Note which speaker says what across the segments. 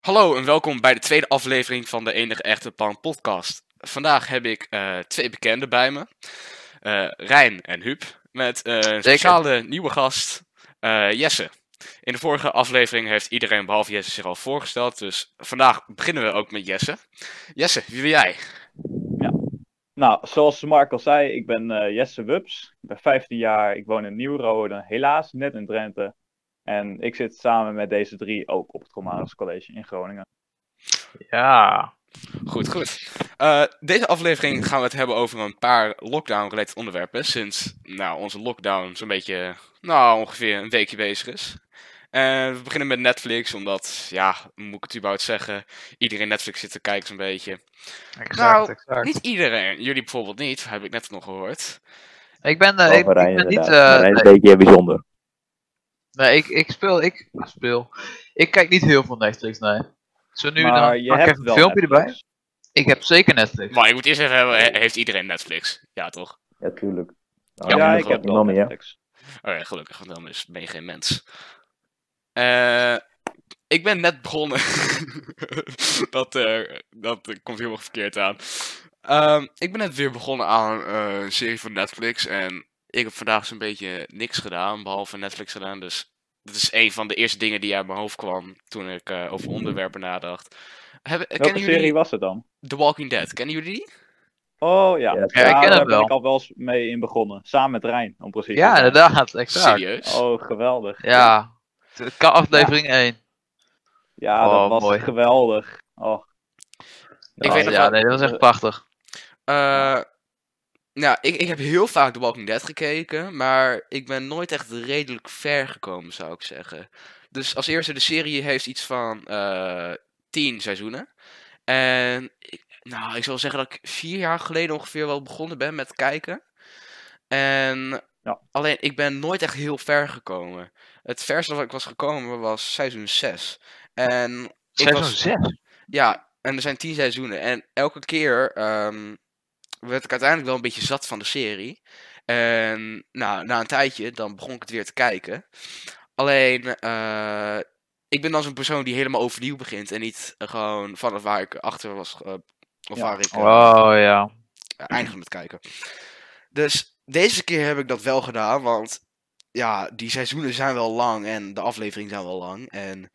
Speaker 1: Hallo en welkom bij de tweede aflevering van de enige echte Pan podcast. Vandaag heb ik eh, twee bekenden bij me. Eh, Rijn en Huub. Met eh, een speciale nieuwe gast, eh, Jesse. In de vorige aflevering heeft iedereen behalve Jesse zich al voorgesteld. Dus vandaag beginnen we ook met Jesse. Jesse, wie ben jij?
Speaker 2: Nou, zoals Mark al zei, ik ben eh, Jesse Wups. Ik ben 15 jaar, ik woon in Nieuwrode, helaas net in Drenthe. En ik zit samen met deze drie ook op het Colmanus College in Groningen.
Speaker 3: Ja,
Speaker 1: Goed, goed. Eh, deze aflevering gaan we het hebben over een paar lockdown-related onderwerpen. Sinds nou, onze lockdown zo'n beetje, nou, ongeveer een weekje bezig is. En we beginnen met Netflix, omdat, ja, hoe moet ik het überhaupt zeggen? Iedereen Netflix zit te kijken zo'n beetje.
Speaker 3: exact,
Speaker 1: Nou,
Speaker 3: exact.
Speaker 1: Niet iedereen, jullie bijvoorbeeld niet, heb ik net nog gehoord.
Speaker 3: Ik ben, eh,
Speaker 4: Oh,
Speaker 3: ik, ik
Speaker 4: Marijn
Speaker 3: ben niet...
Speaker 4: inderdaad.
Speaker 3: eh,
Speaker 4: Marijn is
Speaker 3: nee,
Speaker 4: een beetje bijzonder.
Speaker 3: nee, ik, ik speel... Ik speel... Ik kijk niet heel veel Netflix, nee. Zo nu en dan
Speaker 2: maar je
Speaker 3: pak ik
Speaker 2: hebt
Speaker 3: even
Speaker 2: wel
Speaker 3: een filmpje erbij.
Speaker 2: Netflix.
Speaker 3: Ik heb zeker Netflix.
Speaker 1: Maar ik moet eerst even hebben, he- heeft iedereen Netflix? Ja, toch?
Speaker 4: Ja, tuurlijk. Nou,
Speaker 2: Ja,
Speaker 1: Ja,
Speaker 2: ik heb wel
Speaker 4: nog meer.
Speaker 2: Netflix.
Speaker 3: Eh,
Speaker 1: Oké, Oh gelukkig, want dan is, ben je geen mens. Eh, ik ben net begonnen. dat, eh, dat eh, komt helemaal verkeerd aan. Ehm, ik ben net weer begonnen aan eh, een serie van Netflix. En ik heb vandaag zo'n beetje niks gedaan, behalve Netflix gedaan. Dus dat is een van de eerste dingen die uit mijn hoofd kwam toen ik eh, over onderwerpen nadacht. Hebben, eh,
Speaker 2: Welke
Speaker 1: kennen
Speaker 2: serie
Speaker 1: jullie
Speaker 2: was het dan?
Speaker 1: The Walking Dead? Kennen jullie die?
Speaker 2: Oh ja,
Speaker 4: Ja, ik
Speaker 3: ken hem
Speaker 2: daar ben
Speaker 3: wel.
Speaker 2: ik al wel eens mee in begonnen. Samen met Rijn, om precies te
Speaker 3: Ja,
Speaker 2: zijn.
Speaker 3: inderdaad, exact.
Speaker 1: Serieus?
Speaker 2: Oh, geweldig.
Speaker 3: Ja, het kan aflevering 1.
Speaker 2: Ja,
Speaker 3: Oh,
Speaker 2: dat was
Speaker 3: mooi.
Speaker 2: geweldig. Oh,
Speaker 1: Ik weet nog
Speaker 3: Oh, ja,
Speaker 1: wel-
Speaker 3: nee, dat was echt prachtig.
Speaker 1: Eh, nou, ik, ik heb heel vaak The Walking Dead gekeken, maar ik ben nooit echt redelijk ver gekomen, zou ik zeggen. Dus als eerste, de serie heeft iets van eh tien seizoenen. En ik- nou, ik zal zeggen dat ik vier jaar geleden ongeveer wel begonnen ben met kijken. En
Speaker 2: Ja.
Speaker 1: alleen, ik ben nooit echt heel ver gekomen. Het verste wat ik was gekomen was seizoen 6. En ik
Speaker 3: Seizoen
Speaker 1: was...
Speaker 3: 6.
Speaker 1: Ja, en er zijn tien seizoenen. En elke keer ehm, werd ik uiteindelijk wel een beetje zat van de serie. En nou, na een tijdje, dan begon ik het weer te kijken. Alleen, eh, ik ben dan zo'n persoon die helemaal overnieuw begint. En niet eh, gewoon vanaf waar ik achter was. eh, of
Speaker 2: Ja.
Speaker 1: waar ik eh,
Speaker 3: Oh ja.
Speaker 1: eindigde eh, met kijken. Dus deze keer heb ik dat wel gedaan, want ja, die seizoenen zijn wel lang en de afleveringen zijn wel lang. En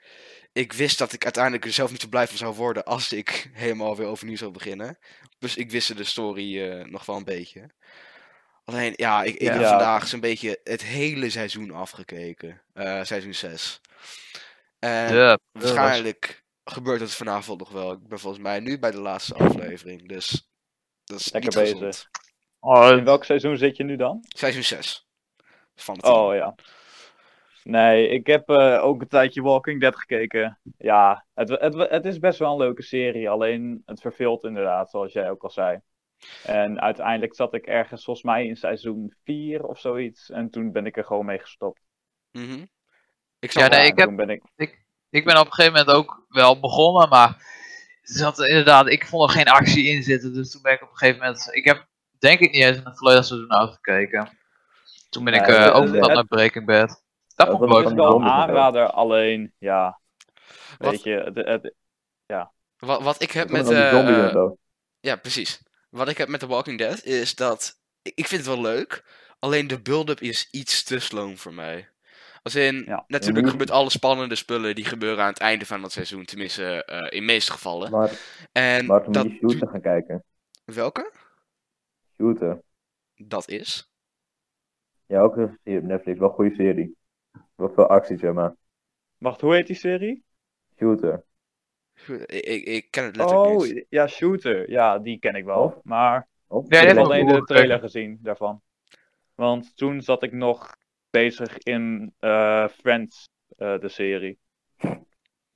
Speaker 1: ik wist dat ik uiteindelijk er zelf niet zo blij van zou worden als ik helemaal weer overnieuw zou beginnen. Dus ik wist de story eh, nog wel een beetje. Alleen, ja, ik, ik heb
Speaker 2: Ja.
Speaker 1: vandaag zo'n beetje het hele seizoen afgekeken. Eh, seizoen 6. En
Speaker 3: Ja,
Speaker 2: Eh,
Speaker 3: dat was-
Speaker 1: waarschijnlijk gebeurt het vanavond nog wel. Ik ben volgens mij nu bij de laatste aflevering, dus dat is
Speaker 2: Lekker
Speaker 1: niet
Speaker 2: bezig.
Speaker 1: gezond.
Speaker 2: in
Speaker 3: Oh,
Speaker 2: welk seizoen zit je nu dan?
Speaker 1: Seizoen 6. Van de
Speaker 2: Oh ja. Nee, ik heb eh, ook een tijdje Walking Dead gekeken. Ja, het, het, het is best wel een leuke serie, alleen het verveelt inderdaad, zoals jij ook al zei. En uiteindelijk zat ik ergens, volgens mij, in seizoen 4 of zoiets. En toen ben ik er gewoon mee gestopt.
Speaker 1: Mhm. Ik
Speaker 3: Ja,
Speaker 1: snap
Speaker 3: nee,
Speaker 1: wel.
Speaker 3: ik heb-
Speaker 2: Toen ben ik...
Speaker 3: ik ben op een gegeven moment ook wel begonnen, maar er zat inderdaad, ik vond er geen actie in zitten. Dus toen ben ik op een gegeven moment, ik heb denk ik niet eens in het volledig seizoen uitgekeken. Toen ben ik
Speaker 2: Nee,
Speaker 3: eh,
Speaker 2: het-
Speaker 3: overgestapt
Speaker 2: het-
Speaker 3: naar Breaking Bad. Dat
Speaker 4: het
Speaker 3: vond ik
Speaker 4: was
Speaker 2: Het
Speaker 3: leuk.
Speaker 2: is
Speaker 4: van
Speaker 3: om
Speaker 4: die
Speaker 2: wel een
Speaker 3: te
Speaker 4: zombies en zo.
Speaker 2: aanrader, alleen, ja,
Speaker 1: Wat-
Speaker 2: weet je, het, het-
Speaker 1: Wat, wat ik heb
Speaker 4: Met
Speaker 1: met.
Speaker 4: die
Speaker 1: eh,
Speaker 4: zombies en
Speaker 1: eh,
Speaker 4: zo.
Speaker 1: ja, precies. Wat ik heb met The Walking Dead is dat. Ik ik vind het wel leuk. Alleen de build-up is iets te sloom voor mij. Als in,
Speaker 2: Ja.
Speaker 1: natuurlijk
Speaker 4: Mhm.
Speaker 1: gebeurt alle spannende spullen die gebeuren aan het einde van dat seizoen. Tenminste, eh, in de meeste gevallen.
Speaker 4: Maar,
Speaker 1: En
Speaker 4: maar toen
Speaker 1: dat
Speaker 4: moet je shooter gaan kijken.
Speaker 1: duurt- welke?
Speaker 4: Shooter.
Speaker 1: Dat is.
Speaker 4: Ja, ook een serie op Netflix. Wel een goede serie. Wel veel actie, zeg maar.
Speaker 2: wacht, hoe heet die serie?
Speaker 4: Shooter.
Speaker 1: Ik, ik, ik ken het letterlijk
Speaker 2: Oh,
Speaker 1: niet.
Speaker 2: ja, Shooter. Ja, die ken ik wel.
Speaker 4: Oh.
Speaker 2: Maar
Speaker 4: Oh,
Speaker 3: Ja,
Speaker 2: Ik
Speaker 3: dat
Speaker 2: heb
Speaker 3: heeft
Speaker 2: alleen
Speaker 3: mijn
Speaker 2: de
Speaker 3: broer
Speaker 2: trailer gezien daarvan. Want toen zat ik nog bezig in eh, Friends, eh, de serie.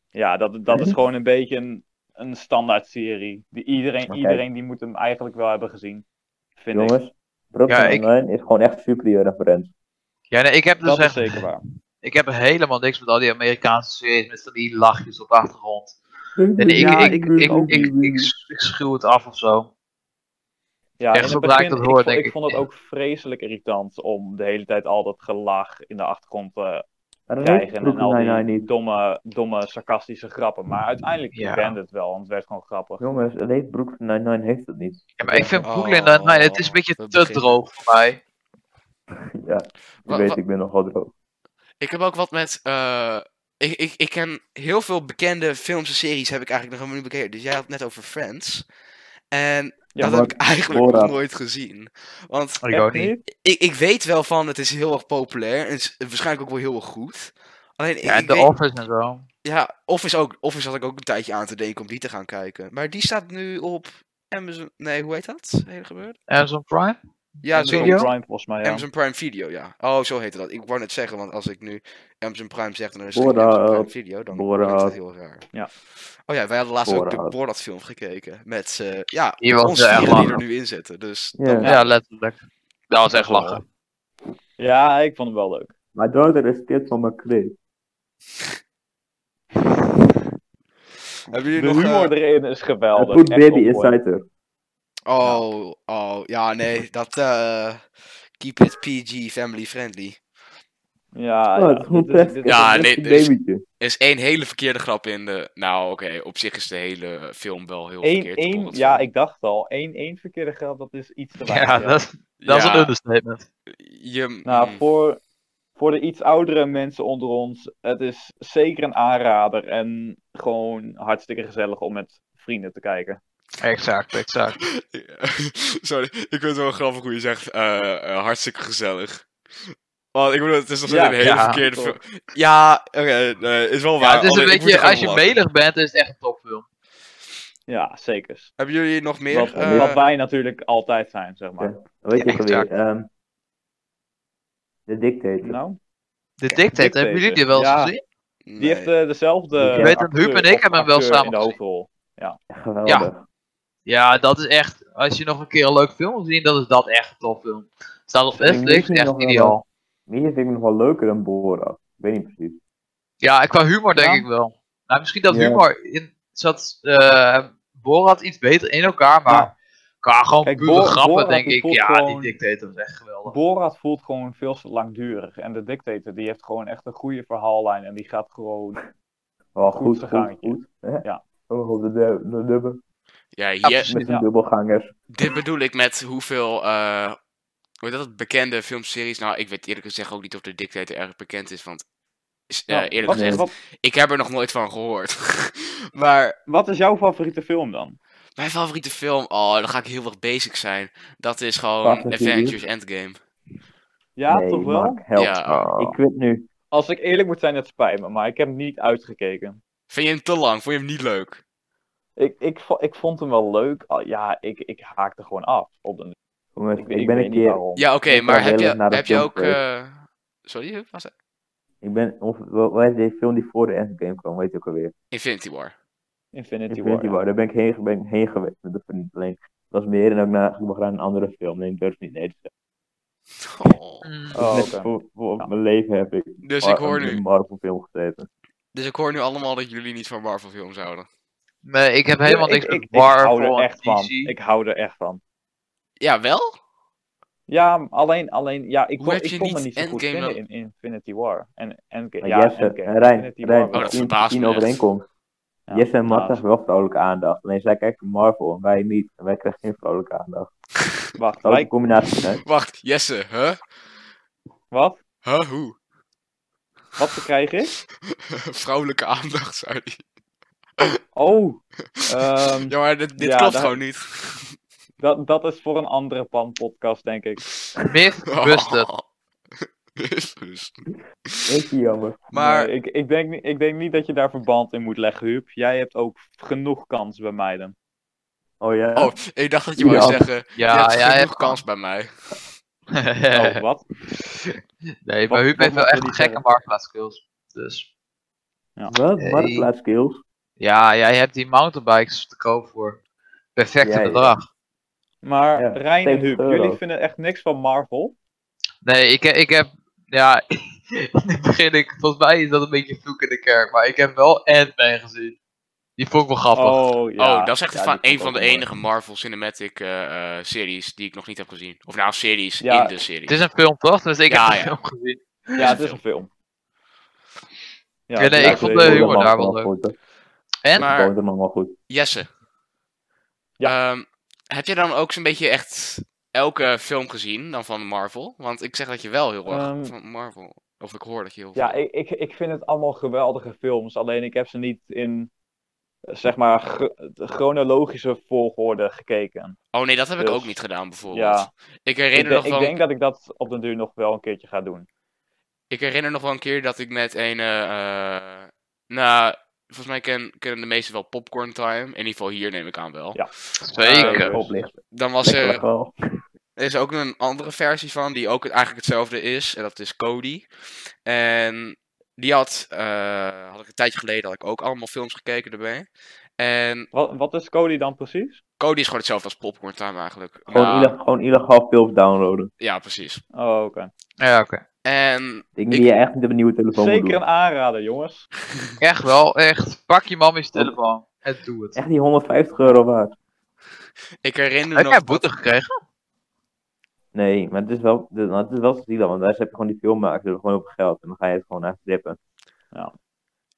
Speaker 2: Ja, dat, dat is gewoon een beetje een, een standaard serie. Die iedereen,
Speaker 4: Oké.
Speaker 2: iedereen die moet hem eigenlijk wel hebben gezien. Vind ik.
Speaker 4: Jongens, Brooklyn
Speaker 3: Ja, ik-
Speaker 4: Online is gewoon echt superieur aan Friends.
Speaker 3: Ja, nee, ik heb dus
Speaker 2: Dat is
Speaker 3: echt,
Speaker 2: zeker waar.
Speaker 3: ik heb helemaal niks met al die Amerikaanse series met van die lachjes op de achtergrond. En ik,
Speaker 2: Ja,
Speaker 3: ik,
Speaker 2: ik
Speaker 3: ik,
Speaker 2: doe
Speaker 3: ik,
Speaker 2: ook
Speaker 3: ik, ik,
Speaker 4: niet.
Speaker 3: ik schuw het af of zo.
Speaker 2: Ja,
Speaker 3: Echt
Speaker 2: in
Speaker 3: zodra
Speaker 2: het
Speaker 3: ik
Speaker 2: begin,
Speaker 3: dat hoor,
Speaker 2: ik, vo-
Speaker 3: denk
Speaker 2: ik
Speaker 3: ik,
Speaker 2: vond het
Speaker 3: ja.
Speaker 2: ook vreselijk irritant om de hele tijd al dat gelach in de achtergrond eh,
Speaker 4: Maar dan heeft
Speaker 2: krijgen. En al
Speaker 4: Brooklyn
Speaker 2: die
Speaker 4: Nine-Nine niet.
Speaker 2: domme, domme, sarcastische grappen. Maar uiteindelijk
Speaker 3: Ja.
Speaker 2: kende het wel, want het werd gewoon grappig.
Speaker 4: Jongens, alleen Brooklyn Nine-Nine heeft het niet.
Speaker 3: Ja, maar ik vind
Speaker 1: Oh,
Speaker 3: Brooklyn Nine-Nine, het is een beetje
Speaker 1: dat
Speaker 3: te
Speaker 1: begint.
Speaker 3: droog voor mij.
Speaker 4: Ja,
Speaker 1: Wa-
Speaker 4: je weet,
Speaker 1: wa-
Speaker 4: ik ben nogal droog.
Speaker 1: Ik heb ook wat met. eh, ik, ik, ik ken heel veel bekende films en series heb ik eigenlijk nog helemaal niet bekeken. Dus jij had het net over Friends. En
Speaker 2: Ja,
Speaker 1: dat
Speaker 4: maar
Speaker 1: heb ik eigenlijk
Speaker 4: Borat.
Speaker 1: nog nooit gezien. Want
Speaker 3: Oh, Ik ook niet.
Speaker 1: ik, ik weet wel van, het is heel erg populair. En het is waarschijnlijk ook wel heel erg goed. Alleen,
Speaker 3: Ja,
Speaker 1: ik
Speaker 3: The
Speaker 1: weet-
Speaker 3: Office en zo.
Speaker 1: ja, Office ook. Office had ik ook een tijdje aan te denken om die te gaan kijken. Maar die staat nu op Amazon. Nee, hoe heet dat? Hele gebeurd?
Speaker 3: Amazon Prime?
Speaker 1: Ja,
Speaker 3: Amazon
Speaker 1: zo.
Speaker 2: Amazon
Speaker 3: Video?
Speaker 2: Prime volgens mij, ja.
Speaker 1: Amazon Prime Video, ja. Oh, zo heette dat. Ik wou net zeggen, want als ik nu Amazon Prime zeg en er is geen
Speaker 4: Borat.
Speaker 1: Amazon Prime Video, dan wordt
Speaker 4: Borat.
Speaker 1: het heel raar.
Speaker 2: Ja.
Speaker 1: Oh ja, wij hadden laatst ook de
Speaker 4: Borat.
Speaker 1: Borat film gekeken. Met, eh, ja,
Speaker 3: Die was
Speaker 1: ons
Speaker 3: echt
Speaker 1: vieren die er
Speaker 3: lachen.
Speaker 1: nu in zitten. Dus
Speaker 4: Ja.
Speaker 1: dat-
Speaker 3: Ja. letterlijk. Dat was echt lachen.
Speaker 2: Ja, ik vond hem wel leuk.
Speaker 4: Mijn dochter is kind van mijn klik.
Speaker 1: Hebben
Speaker 2: De
Speaker 1: jullie nog... eh,
Speaker 2: humor erin is
Speaker 4: Een
Speaker 2: geweldig.
Speaker 4: goed
Speaker 2: echt
Speaker 4: baby is
Speaker 2: opgooi.
Speaker 4: zij er.
Speaker 1: Oh, oh, ja, nee, dat... eh, keep it PG, family friendly.
Speaker 2: Ja,
Speaker 4: Oh,
Speaker 2: ja.
Speaker 4: het is gewoon
Speaker 2: Dit is-
Speaker 4: plastic.
Speaker 2: dit is-
Speaker 1: Ja,
Speaker 4: Het is
Speaker 1: nee,
Speaker 4: een
Speaker 1: dus-
Speaker 4: babytje.
Speaker 1: Er is één hele verkeerde grap in de... Nou, oké, op zich is de hele film wel heel
Speaker 2: één-
Speaker 1: verkeerd. de
Speaker 2: één-
Speaker 1: Borat
Speaker 2: ja,
Speaker 1: film.
Speaker 2: ik dacht al. Eén, één verkeerde grap, dat is iets te weinig.
Speaker 3: Ja, dat, dat is
Speaker 1: Ja,
Speaker 3: een understatement.
Speaker 1: je,
Speaker 2: Nou,
Speaker 1: mm,
Speaker 2: voor, voor de iets oudere mensen onder ons, het is zeker een aanrader. En gewoon hartstikke gezellig om met vrienden te kijken.
Speaker 3: Exact, exact.
Speaker 1: Sorry, ik vind het wel grappig hoe je zegt eh, eh, hartstikke gezellig. Want ik bedoel, het is nog steeds
Speaker 2: Ja,
Speaker 1: een hele
Speaker 3: ja,
Speaker 1: verkeerde
Speaker 2: toch.
Speaker 1: film. Ja, oké, nee, is wel
Speaker 3: Ja,
Speaker 1: waar.
Speaker 3: het is een
Speaker 1: alleen ik oh, moet
Speaker 3: beetje,
Speaker 1: er
Speaker 3: als je
Speaker 1: gewoon om lachen.
Speaker 3: melig bent, is het echt een topfilm.
Speaker 2: Ja, zeker.
Speaker 1: Hebben jullie nog meer?
Speaker 2: Wat,
Speaker 1: eh,
Speaker 2: wat wij natuurlijk altijd zijn, zeg maar.
Speaker 4: Ja. Weet je
Speaker 3: Ja,
Speaker 4: ook alweer?
Speaker 3: exact.
Speaker 4: ehm, de dictator.
Speaker 2: Nou,
Speaker 3: De Dictator, hebben jullie die wel eens
Speaker 2: Ja.
Speaker 3: gezien?
Speaker 1: nee.
Speaker 2: die heeft eh, dezelfde.
Speaker 4: Ik
Speaker 3: weet dat
Speaker 2: acteur
Speaker 3: Huub en ik
Speaker 2: of
Speaker 3: hebben hem wel
Speaker 2: acteur
Speaker 3: samen
Speaker 2: in de
Speaker 3: gezien.
Speaker 2: hoofdrol.
Speaker 4: Geweldig.
Speaker 3: Ja. Ja, dat is echt, als je nog een keer een leuk film wil zien, dan is dat echt een topfilm. Staat op
Speaker 4: Ik denk
Speaker 3: Netflix,
Speaker 4: misschien
Speaker 3: echt
Speaker 4: nog wel
Speaker 3: ideaal.
Speaker 4: Wie vind ik nog wel leuker dan Borat? Ik weet niet precies.
Speaker 3: Ja, en qua humor denk
Speaker 2: Ja.
Speaker 3: ik wel. Nou, misschien dat
Speaker 4: Ja.
Speaker 3: humor in zat eh, Borat iets beter in elkaar, maar
Speaker 2: Ja.
Speaker 3: qua gewoon
Speaker 2: Kijk,
Speaker 3: pure
Speaker 2: Bor-
Speaker 3: grappen
Speaker 2: Borat,
Speaker 3: denk
Speaker 2: die
Speaker 3: ik,
Speaker 2: voelt
Speaker 3: ja,
Speaker 2: gewoon-
Speaker 3: die Dictator is echt geweldig.
Speaker 2: Borat voelt gewoon veel te langdurig. En de dictator die heeft gewoon echt een goede verhaallijn. En die gaat gewoon.
Speaker 4: Wel
Speaker 2: Goed
Speaker 4: goed, goed, goed.
Speaker 2: vergaantje.
Speaker 4: Hè?
Speaker 2: Ja.
Speaker 4: Ook nog op de, dub- de dubbel.
Speaker 1: Ja, hier-
Speaker 3: precies.
Speaker 4: Met de
Speaker 2: Ja.
Speaker 4: dubbelgangers.
Speaker 1: dit bedoel ik met hoeveel... eh, hoe heet dat? het? Bekende filmseries. Nou, ik weet eerlijk gezegd ook niet of de Dictator erg bekend is, want... is, eh,
Speaker 2: Nou,
Speaker 1: eerlijk
Speaker 2: wat,
Speaker 1: gezegd,
Speaker 2: wat,
Speaker 1: ik heb er nog nooit van gehoord. maar
Speaker 2: wat is jouw favoriete film dan?
Speaker 1: Mijn favoriete film, oh, dan ga ik heel erg basic zijn. Dat is
Speaker 4: Wacht,
Speaker 1: gewoon
Speaker 4: dat
Speaker 1: Avengers Endgame.
Speaker 2: Ja,
Speaker 4: nee,
Speaker 2: toch wel?
Speaker 4: Mark, help.
Speaker 1: Ja.
Speaker 3: Oh.
Speaker 4: Ik quit nu.
Speaker 2: Als ik eerlijk moet zijn, het spijt me, maar ik heb hem niet uitgekeken.
Speaker 1: Vind je hem te lang? Vond je hem niet leuk?
Speaker 2: Ik, ik, vo- ik vond hem wel leuk. Al- Ja, ik, ik haakte gewoon af. Op de,
Speaker 4: Jongens, ik,
Speaker 2: ik, ik
Speaker 4: ben
Speaker 2: weet
Speaker 4: een
Speaker 2: niet
Speaker 4: keer...
Speaker 2: waarom.
Speaker 1: Ja, oké,
Speaker 4: Ik ben
Speaker 1: maar heb
Speaker 4: heel
Speaker 1: je,
Speaker 4: erg naar de
Speaker 1: heb je
Speaker 4: film
Speaker 1: ook...
Speaker 4: geweest.
Speaker 1: eh, Sorry, Huub, was het?
Speaker 4: Ik ben... Of, wel- wel is die film die voor de Endgame kwam? Weet je ook alweer?
Speaker 1: Infinity War.
Speaker 2: Infinity,
Speaker 4: Infinity
Speaker 2: War.
Speaker 4: War. Daar ben ik heen, ben ik heen geweest met de vriend. Alleen, dat was meer en ook naar, ik mag naar een andere film. Nee, ik durf niet nee te zeggen.
Speaker 1: Oh.
Speaker 3: Mm.
Speaker 2: Oh,
Speaker 4: Net
Speaker 2: oké.
Speaker 4: voor, voor
Speaker 2: Ja.
Speaker 4: mijn leven heb ik
Speaker 1: Dus
Speaker 4: Mar-
Speaker 1: ik hoor
Speaker 4: een
Speaker 1: nu...
Speaker 4: Marvel film gezeten.
Speaker 1: Dus ik hoor nu allemaal dat jullie niet van Marvel films houden.
Speaker 3: Nee, ik heb helemaal
Speaker 2: Ja,
Speaker 3: niks
Speaker 2: ik,
Speaker 3: met
Speaker 2: ik, ik hou
Speaker 3: Marvel
Speaker 2: er
Speaker 3: en
Speaker 2: echt van.
Speaker 3: DC.
Speaker 2: Ik hou er echt van.
Speaker 1: Ja, wel?
Speaker 2: Ja, alleen, alleen ja, ik,
Speaker 1: Hoe
Speaker 2: kon-
Speaker 1: heb je
Speaker 2: ik kon me
Speaker 1: niet
Speaker 2: niet zo goed
Speaker 1: Endgame
Speaker 2: vinden
Speaker 1: wel-
Speaker 2: in Infinity War. En Endgame.
Speaker 4: Maar
Speaker 2: Ja,
Speaker 4: Jesse
Speaker 2: Endgame.
Speaker 4: en Rijn,
Speaker 2: Infinity
Speaker 4: Rijn,
Speaker 2: War wel.
Speaker 1: dat
Speaker 4: zien-
Speaker 1: verbaast
Speaker 4: zien
Speaker 1: me echt.
Speaker 4: overeenkomst.
Speaker 2: Ja,
Speaker 4: Jesse en Marta
Speaker 2: nou,
Speaker 4: hebben wel vrouwelijke aandacht. Alleen zij kijken Marvel en wij niet. En wij krijgen geen vrouwelijke aandacht.
Speaker 2: Wacht,
Speaker 4: Dat is een
Speaker 2: wij-
Speaker 4: combinatie zijn.
Speaker 1: Wacht, Jesse, huh?
Speaker 2: wat?
Speaker 1: Huh, hoe?
Speaker 2: Wat krijg ik?
Speaker 1: Vrouwelijke aandacht, sorry.
Speaker 2: Oh, ehm,
Speaker 1: Ja, maar dit, dit
Speaker 2: Ja,
Speaker 1: klopt
Speaker 2: daar-
Speaker 1: gewoon niet.
Speaker 2: dat, dat is voor een andere pan-podcast, denk ik. Oh.
Speaker 3: Mythbusters.
Speaker 1: Mythbusters.
Speaker 4: Eentje jammer.
Speaker 1: Maar...
Speaker 2: Nee, ik, ik, denk, niet- ik denk niet dat je daar verband in moet leggen, Huub. Jij hebt ook genoeg kans bij mij dan.
Speaker 4: Oh ja.
Speaker 1: Oh, ik dacht dat je wou
Speaker 4: Ja.
Speaker 1: zeggen... je
Speaker 3: Ja,
Speaker 1: hebt
Speaker 3: jij
Speaker 1: genoeg
Speaker 3: hebt
Speaker 1: kans bij mij. Eh.
Speaker 2: Oh, wat?
Speaker 3: nee,
Speaker 2: Wat-
Speaker 3: maar Huub
Speaker 2: wat
Speaker 3: heeft wel
Speaker 2: moeten we
Speaker 3: echt
Speaker 2: niet
Speaker 3: gekke
Speaker 2: zeggen?
Speaker 3: marktplaatskills. Dus
Speaker 4: Wat?
Speaker 3: Hey.
Speaker 4: Marktplaats skills?
Speaker 3: ja, jij hebt die mountainbikes te koop voor perfecte
Speaker 4: Ja, ja.
Speaker 3: bedrag.
Speaker 2: Maar
Speaker 4: Ja,
Speaker 2: Rijn en
Speaker 4: 70
Speaker 2: Huub,
Speaker 4: euro.
Speaker 2: jullie vinden echt niks van Marvel?
Speaker 3: Nee, ik, ik heb. Ja, nu begin ik. Volgens mij is dat een beetje vloek in de kerk. Maar ik heb wel Ant-Man gezien. Die vond ik wel grappig.
Speaker 2: Oh, ja.
Speaker 1: oh, dat is echt
Speaker 2: Ja,
Speaker 1: van,
Speaker 2: die vond
Speaker 1: een
Speaker 2: ik
Speaker 1: van de
Speaker 2: ook mooi.
Speaker 1: enige Marvel Cinematic eh, eh, series die ik nog niet heb gezien. Of nou, series
Speaker 2: Ja.
Speaker 1: in de serie.
Speaker 3: Het is een film toch? Dus ik
Speaker 1: Ja,
Speaker 3: heb de
Speaker 1: ja.
Speaker 3: film gezien.
Speaker 2: Ja, het is een film. Ja,
Speaker 3: Ja, nee,
Speaker 2: ja,
Speaker 3: ik vond
Speaker 2: zeker.
Speaker 3: de humor daar wel leuk.
Speaker 4: goed.
Speaker 3: En?
Speaker 1: Maar-
Speaker 4: Boterman wel goed.
Speaker 1: Jesse.
Speaker 2: Ja.
Speaker 1: Ehm, heb jij dan ook zo'n beetje echt elke film gezien dan van Marvel? Want ik zeg dat je wel heel erg
Speaker 2: Ehm,
Speaker 1: van Marvel. Of ik hoor dat je heel
Speaker 2: Ja,
Speaker 1: veel-
Speaker 2: ik, ik, ik vind het allemaal geweldige films. Alleen ik heb ze niet in, eh, zeg maar, gr- de chronologische volgorde gekeken.
Speaker 1: Oh nee, dat heb ik
Speaker 2: dus-
Speaker 1: ook niet gedaan bijvoorbeeld.
Speaker 2: Ja,
Speaker 1: Ik
Speaker 2: ik,
Speaker 1: herinner
Speaker 2: denk-
Speaker 1: nog
Speaker 2: ik
Speaker 1: wel.
Speaker 2: denk dat ik dat op den duur nog wel een keertje ga doen.
Speaker 1: Ik herinner nog wel een keer dat ik met een. eh, eh, nou, volgens mij ken, kennen de meesten wel Popcorn Time. In ieder geval hier neem ik aan wel.
Speaker 2: Ja.
Speaker 3: Zeker.
Speaker 2: Eh,
Speaker 4: Oplicht.
Speaker 1: Dan was
Speaker 4: Lekker
Speaker 1: er,
Speaker 4: wel.
Speaker 1: er is ook een andere versie van, die ook eigenlijk hetzelfde is. En dat is Cody. En die had, eh, had ik een tijdje geleden, had ik ook allemaal films gekeken erbij. En
Speaker 2: Wat, wat is Cody dan precies?
Speaker 1: Cody is gewoon hetzelfde als Popcorn Time eigenlijk.
Speaker 4: Gewoon,
Speaker 1: Nou,
Speaker 4: ille- gewoon illegaal films downloaden.
Speaker 1: ja, precies.
Speaker 2: Oh, oké.
Speaker 3: Ja, oké.
Speaker 1: En
Speaker 4: Ik
Speaker 1: Ik-
Speaker 4: denk dat je echt niet op een nieuwe telefoon moet
Speaker 2: Zeker
Speaker 4: doen.
Speaker 2: een aanrader, jongens.
Speaker 3: Echt wel, echt. Pak je mam in je telefoon. En doe het.
Speaker 4: Echt die 150 euro waard.
Speaker 1: ik herinner
Speaker 3: Heb
Speaker 1: nog.
Speaker 3: jij boete gekregen?
Speaker 4: Nee, maar het is wel, de- nou, het is wel zielig, want daar heb je gewoon die filmmakers die hebben gewoon op geld en dan ga je het gewoon echt rippen.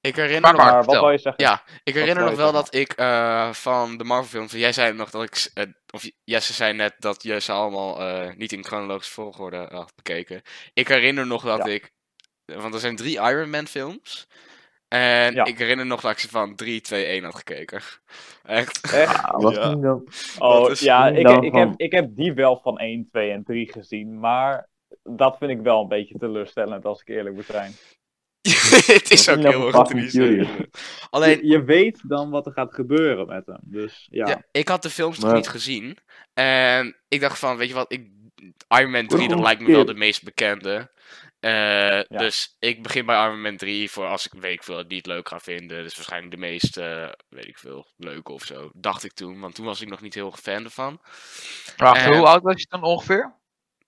Speaker 1: Ik herinner
Speaker 3: Maar
Speaker 1: nog.
Speaker 3: Mark,
Speaker 2: Maar wat
Speaker 3: vertel.
Speaker 2: wil je zeggen?
Speaker 1: Ja, Ik herinner
Speaker 2: Wat
Speaker 1: nog
Speaker 2: wil je
Speaker 1: wel dat ik eh, van de Marvel-films. Jij zei nog dat ik. s- eh, of J- Jesse zei net dat je ze allemaal eh, niet in chronologische volgorde had bekeken. Ik herinner nog dat
Speaker 2: Ja.
Speaker 1: ik. Want er zijn drie Iron Man-films. En
Speaker 2: Ja.
Speaker 1: ik herinner nog dat ik ze van 3, 2, 1 had gekeken. Echt.
Speaker 2: Echt?
Speaker 4: Ah, wat
Speaker 1: Ja.
Speaker 4: ging dan?
Speaker 2: Oh,
Speaker 1: dat is
Speaker 2: ja, ik,
Speaker 4: dan
Speaker 2: ik,
Speaker 4: Nou, van-
Speaker 2: heb, ik heb die wel van 1, 2 en 3 gezien. Maar dat vind ik wel een beetje teleurstellend, als ik eerlijk moet zijn.
Speaker 1: Het is
Speaker 4: Dat
Speaker 1: ook
Speaker 4: is
Speaker 1: heel
Speaker 4: nog
Speaker 1: erg
Speaker 4: fucking
Speaker 1: triest.
Speaker 4: curious.
Speaker 1: eh. Alleen,
Speaker 2: je, je weet dan wat er gaat gebeuren met hem. Dus ja.
Speaker 1: ja, ik had de films nog
Speaker 4: Maar-
Speaker 1: niet gezien. En ik dacht van, weet je wat, ik, Iron Man 3, dat
Speaker 4: goed
Speaker 1: lijkt me wel de
Speaker 4: keer.
Speaker 1: meest bekende. Eh, Dus ik begin bij Iron Man 3 voor als ik, weet ik veel, het niet leuk ga vinden. Dus waarschijnlijk de meest, eh, weet ik veel, leuke of zo. Dacht ik toen, want toen was ik nog niet heel fan ervan.
Speaker 3: Wacht,
Speaker 1: Eh,
Speaker 3: hoe oud was je toen ongeveer?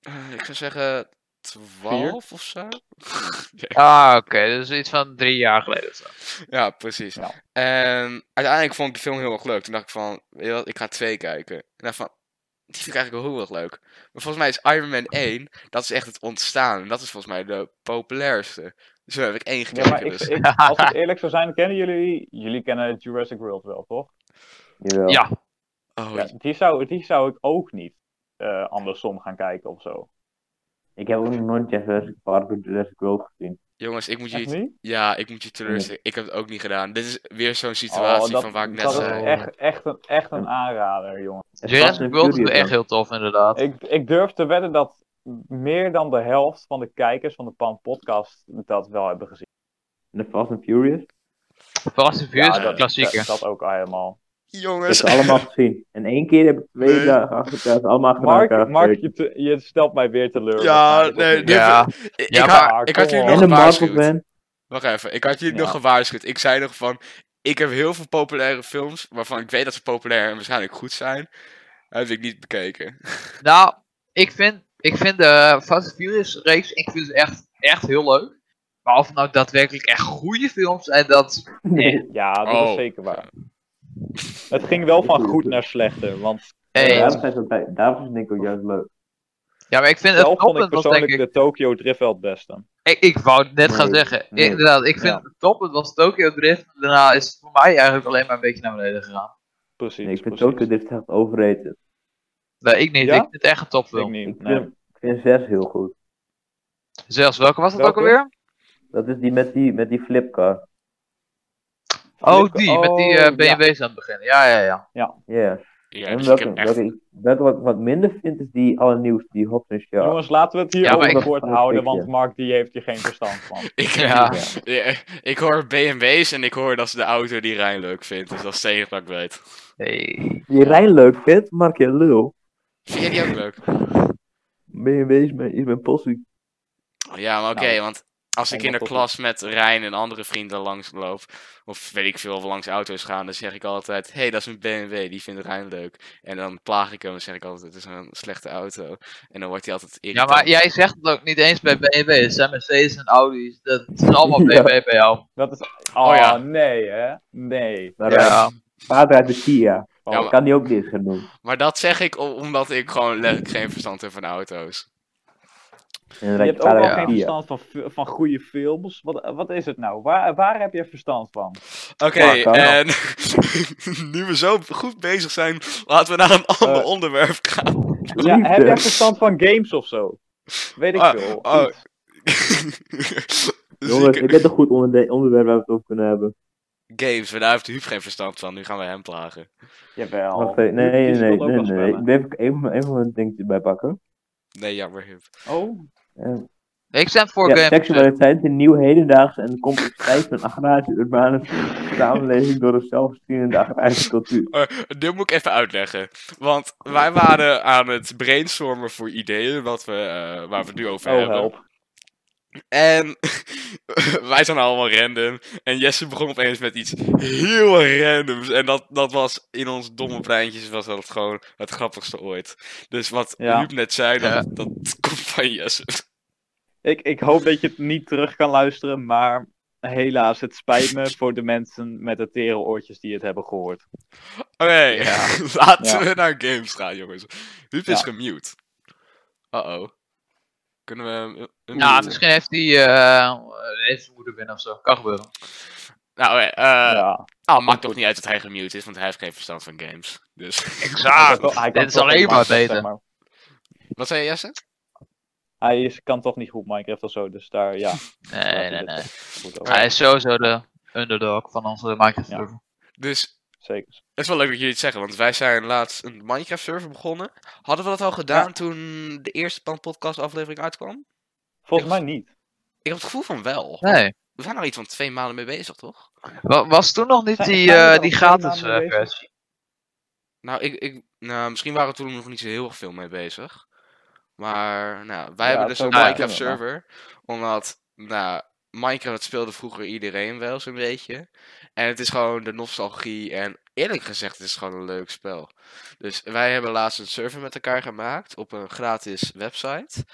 Speaker 1: Eh, ik zou zeggen 12 of zo.
Speaker 3: Ah, oké. Dus iets van drie jaar geleden of zo.
Speaker 1: Ja, precies.
Speaker 2: Ja.
Speaker 1: En uiteindelijk vond ik de film heel erg leuk. Toen dacht ik van, weet je wat, ik ga twee kijken. En dacht van, die vind ik eigenlijk wel heel erg leuk. Maar volgens mij is Iron Man 1, dat is echt het ontstaan. En dat is volgens mij de populairste. Dus toen heb ik één
Speaker 2: Ja,
Speaker 1: gekeken.
Speaker 2: maar ik,
Speaker 1: dus.
Speaker 2: ik- als ik eerlijk zou zijn, kennen jullie... Jullie kennen Jurassic World wel, toch?
Speaker 4: Jawel.
Speaker 3: Ja.
Speaker 1: Oh,
Speaker 2: Ja, die, zou, die zou ik ook niet eh, andersom gaan kijken of zo.
Speaker 4: Ik heb ook nog nooit Jurassic Park of Jurassic World gezien.
Speaker 1: jongens, ik moet
Speaker 2: Echt
Speaker 1: je,
Speaker 2: niet?
Speaker 1: ja, ik moet je teleurstellen. Ik heb het ook niet gedaan. Dit is weer zo'n situatie
Speaker 2: Oh, dat,
Speaker 1: van waar ik net
Speaker 2: dat is
Speaker 1: zei.
Speaker 2: echt, echt, een, echt een aanrader, jongen.
Speaker 4: Het Fast
Speaker 3: Jurassic
Speaker 4: and
Speaker 3: World is
Speaker 4: Furious
Speaker 3: echt
Speaker 4: dan.
Speaker 3: heel tof, inderdaad.
Speaker 2: Ik, ik durf te wedden dat meer dan de helft van de kijkers van de Pan Podcast dat wel hebben gezien.
Speaker 4: De Fast and Furious?
Speaker 3: Fast and Furious,
Speaker 2: dat,
Speaker 3: klassieker.
Speaker 2: dat, dat ook al helemaal.
Speaker 4: Ik
Speaker 1: Jongens,
Speaker 4: heb ze allemaal gezien. In één keer heb ik twee
Speaker 1: Nee.
Speaker 4: dagen achter elkaar, allemaal achter elkaar
Speaker 2: Mark, Mark
Speaker 4: gekeken.
Speaker 2: je, te- je stelt mij weer teleur.
Speaker 1: Ja,
Speaker 2: Dat
Speaker 1: nee,
Speaker 2: is-
Speaker 1: dit-
Speaker 3: Ja.
Speaker 1: ik,
Speaker 3: Ja,
Speaker 1: had-
Speaker 2: maar
Speaker 1: ik had
Speaker 2: kom
Speaker 1: jullie
Speaker 2: op.
Speaker 1: nog
Speaker 4: En de Marvel
Speaker 1: gewaarschuwd.
Speaker 4: fan.
Speaker 1: Wacht even, ik had jullie nog
Speaker 2: Ja.
Speaker 1: gewaarschuwd. Ik zei nog van, ik heb heel veel populaire films waarvan ik weet dat ze populair en waarschijnlijk goed zijn. Heb ik niet bekeken.
Speaker 3: Nou, ik vind, ik vind de Fast and Furious reeks ik vind ze echt, echt heel leuk. Maar of het nou daadwerkelijk echt goede films zijn, dat... Nee.
Speaker 2: Ja, dat
Speaker 1: Oh.
Speaker 2: is zeker waar. Het ging wel van goed naar slechter, want
Speaker 3: nee.
Speaker 4: Ja, daarom zijn ze altijd- daarom vind ik ook juist leuk.
Speaker 3: Ja, maar ik vind het
Speaker 2: zelf vond ik
Speaker 3: toppunt was denk
Speaker 2: persoonlijk
Speaker 3: ik...
Speaker 2: de Tokyo Drift wel het beste.
Speaker 3: Ik, ik wou het net gaan
Speaker 4: Nee,
Speaker 3: zeggen.
Speaker 4: nee.
Speaker 3: Inderdaad, ik vind
Speaker 2: Ja.
Speaker 3: het toppunt was Tokyo Drift. Daarna is het voor mij eigenlijk alleen maar een beetje naar beneden gegaan.
Speaker 2: Precies.
Speaker 4: Nee, ik vind
Speaker 2: precies.
Speaker 4: Tokyo Drift echt overrated.
Speaker 3: Nee, ik niet.
Speaker 2: Ja?
Speaker 3: Ik vind het echt een
Speaker 2: Ik
Speaker 3: topfilm.
Speaker 4: Ik
Speaker 2: niet.
Speaker 4: vind,
Speaker 2: Nee.
Speaker 4: ik vind 6 heel goed.
Speaker 3: Zelfs, welke was dat
Speaker 2: Welke?
Speaker 3: ook alweer?
Speaker 4: Dat is die met die, met die flipcar.
Speaker 3: Oh, die. met die eh,
Speaker 2: Oh,
Speaker 3: BMW's aan het begin. Ja, ja, ja.
Speaker 4: Ja.
Speaker 1: Ja,
Speaker 4: En
Speaker 1: dus ik
Speaker 4: welke,
Speaker 1: heb echt...
Speaker 4: welke, ik- welke wat ik wat minder vind is die allernieuwste, die Hobbs en Shaw.
Speaker 2: Jongens, laten we het hier
Speaker 3: Ja,
Speaker 2: op
Speaker 3: maar
Speaker 2: het
Speaker 4: ik-
Speaker 2: bord houden, want
Speaker 4: Ja.
Speaker 2: Mark die heeft hier geen verstand van.
Speaker 1: Ik,
Speaker 3: Ja.
Speaker 1: ja, ik hoor BMW's en ik hoor dat ze de auto die Rijn leuk vindt. Dus dat is het enige wat ik weet.
Speaker 3: Hey.
Speaker 4: Die Rijn leuk vindt, Mark je lul.
Speaker 1: Vind jij die ook leuk?
Speaker 4: BMW is mijn, is mijn possie.
Speaker 1: Ja, maar oké,
Speaker 2: Nou,
Speaker 1: want als ik in de
Speaker 2: allemaal
Speaker 1: klas met Rijn en andere vrienden langs loop, of weet ik veel, of langs auto's gaan, dan zeg ik altijd, hé, hey, dat is een BMW, die vindt Rijn leuk. En dan plaag ik hem en zeg ik altijd, het is een slechte auto. En dan wordt hij altijd
Speaker 3: Ja,
Speaker 1: irritant.
Speaker 3: maar jij zegt het ook niet eens bij BMW's. Het zijn Mercedes en Audi's. Dat zijn allemaal
Speaker 4: Ja.
Speaker 3: BMW bij jou.
Speaker 2: Dat is... Oh,
Speaker 1: Oh, ja.
Speaker 2: nee, hè? Nee.
Speaker 4: Maar eh,
Speaker 3: Ja.
Speaker 4: vader uit de Kia.
Speaker 2: Oh,
Speaker 1: Ja,
Speaker 4: Ik kan die ook niet eens gaan doen.
Speaker 1: Maar dat zeg ik o- omdat ik gewoon letterlijk geen verstand heb van auto's.
Speaker 4: En dan
Speaker 2: Je
Speaker 4: rijd
Speaker 2: hebt ook wel
Speaker 4: verder
Speaker 3: ja.
Speaker 2: geen
Speaker 4: via.
Speaker 2: verstand van, fi- van goede films. Wat, wat is het nou? Waar, waar heb je verstand van?
Speaker 1: Oké,
Speaker 4: Ja, kan wel.
Speaker 1: en nu we zo goed bezig zijn, laten we naar een ander
Speaker 2: Eh,
Speaker 1: onderwerp gaan.
Speaker 2: Ja, heb jij
Speaker 4: Liefde.
Speaker 2: verstand van games of zo? Weet ik
Speaker 1: Ah,
Speaker 2: veel.
Speaker 1: ah,
Speaker 2: Iets.
Speaker 4: Jongens,
Speaker 1: Zieke
Speaker 4: ik heb een goed onderde- onderwerp waar we het over kunnen hebben.
Speaker 1: Games, maar daar heeft Huub geen verstand van, nu gaan we hem plagen.
Speaker 2: Jawel.
Speaker 4: Wacht even, nee,
Speaker 2: oh, Die- die
Speaker 4: nee, nee,
Speaker 2: speelt ook
Speaker 4: nee,
Speaker 2: wel
Speaker 4: nee.
Speaker 2: spellen.
Speaker 4: Ik ben even een van- een van mijn dingetjes bijpakken.
Speaker 1: Nee, jammer Huub.
Speaker 2: Oh,
Speaker 4: Eh,
Speaker 3: Ik stand voor
Speaker 4: Ja,
Speaker 3: games.
Speaker 4: seksualiteit is een nieuw hedendaags en complexiteit van agrarische urbane samenleving door een zelfsturende agrarische cultuur.
Speaker 1: Eh, dit moet ik even uitleggen. Want wij waren aan het brainstormen voor ideeën wat we, eh, waar we het nu over
Speaker 2: oh
Speaker 1: hebben.
Speaker 2: help.
Speaker 1: En wij zijn allemaal random. En Jesse begon opeens met iets heel randoms. En dat, dat was in ons domme breintjes was dat gewoon het grappigste ooit. Dus wat
Speaker 2: Ja.
Speaker 1: Huub net zei, dat,
Speaker 3: Ja.
Speaker 1: dat komt van Jesse.
Speaker 2: Ik, ik hoop dat je het niet terug kan luisteren, maar helaas, het spijt me voor de mensen met de tere oortjes die het hebben gehoord.
Speaker 1: Oké,
Speaker 3: Ja.
Speaker 1: laten
Speaker 2: Ja.
Speaker 1: we naar games gaan, jongens. Huub is
Speaker 2: Ja.
Speaker 1: gemute. Uh-oh. Kunnen we hem eh, unmuten?
Speaker 3: Ja, misschien heeft hij eh, heeft zijn moeder binnen of zo. Kan gebeuren.
Speaker 1: Nou, oké, eh,
Speaker 2: ja.
Speaker 1: Ah, maakt toch niet uit dat hij gemute is, want hij heeft geen verstand van games. Dus.
Speaker 3: Exact.
Speaker 2: Hij kan
Speaker 3: ah, dit is
Speaker 2: toch
Speaker 3: alleen
Speaker 2: geen
Speaker 3: maar
Speaker 2: Minecraft,
Speaker 3: beter.
Speaker 2: zeg maar.
Speaker 1: Wat zei je, Jesse?
Speaker 2: Hij is, kan toch niet goed Minecraft of zo, dus daar, ja.
Speaker 3: Nee, nee, nee.
Speaker 2: Goed over.
Speaker 3: Hij is sowieso de underdog van onze Minecraft
Speaker 2: Ja.
Speaker 3: server.
Speaker 1: Dus
Speaker 2: Zeker.
Speaker 1: het is wel leuk dat jullie het zeggen, want wij zijn laatst een Minecraft-server begonnen. Hadden we dat al gedaan toen de eerste podcast-aflevering uitkwam?
Speaker 2: Volgens mij niet.
Speaker 1: Ik heb het gevoel van wel.
Speaker 3: Nee.
Speaker 1: We zijn er iets van twee maanden mee bezig, toch?
Speaker 3: Wa- Was toen nog niet
Speaker 2: Zijn-
Speaker 3: die,
Speaker 2: zijn we
Speaker 3: eh,
Speaker 2: dan
Speaker 3: die
Speaker 2: twee
Speaker 3: gratis
Speaker 2: maanden
Speaker 3: eh,
Speaker 2: bezig?
Speaker 3: versie?
Speaker 1: Nou, ik, ik, nou, misschien waren we toen nog niet zo heel erg veel mee bezig. Maar nou, wij
Speaker 2: Ja,
Speaker 1: hebben
Speaker 2: het
Speaker 1: dus een
Speaker 2: zou wel kunnen,
Speaker 1: Minecraft-server. Omdat, nou, Minecraft speelde vroeger iedereen wel zo'n beetje. En het is gewoon de nostalgie. En eerlijk gezegd, het is gewoon een leuk spel. Dus wij hebben laatst een server met elkaar gemaakt op een gratis website.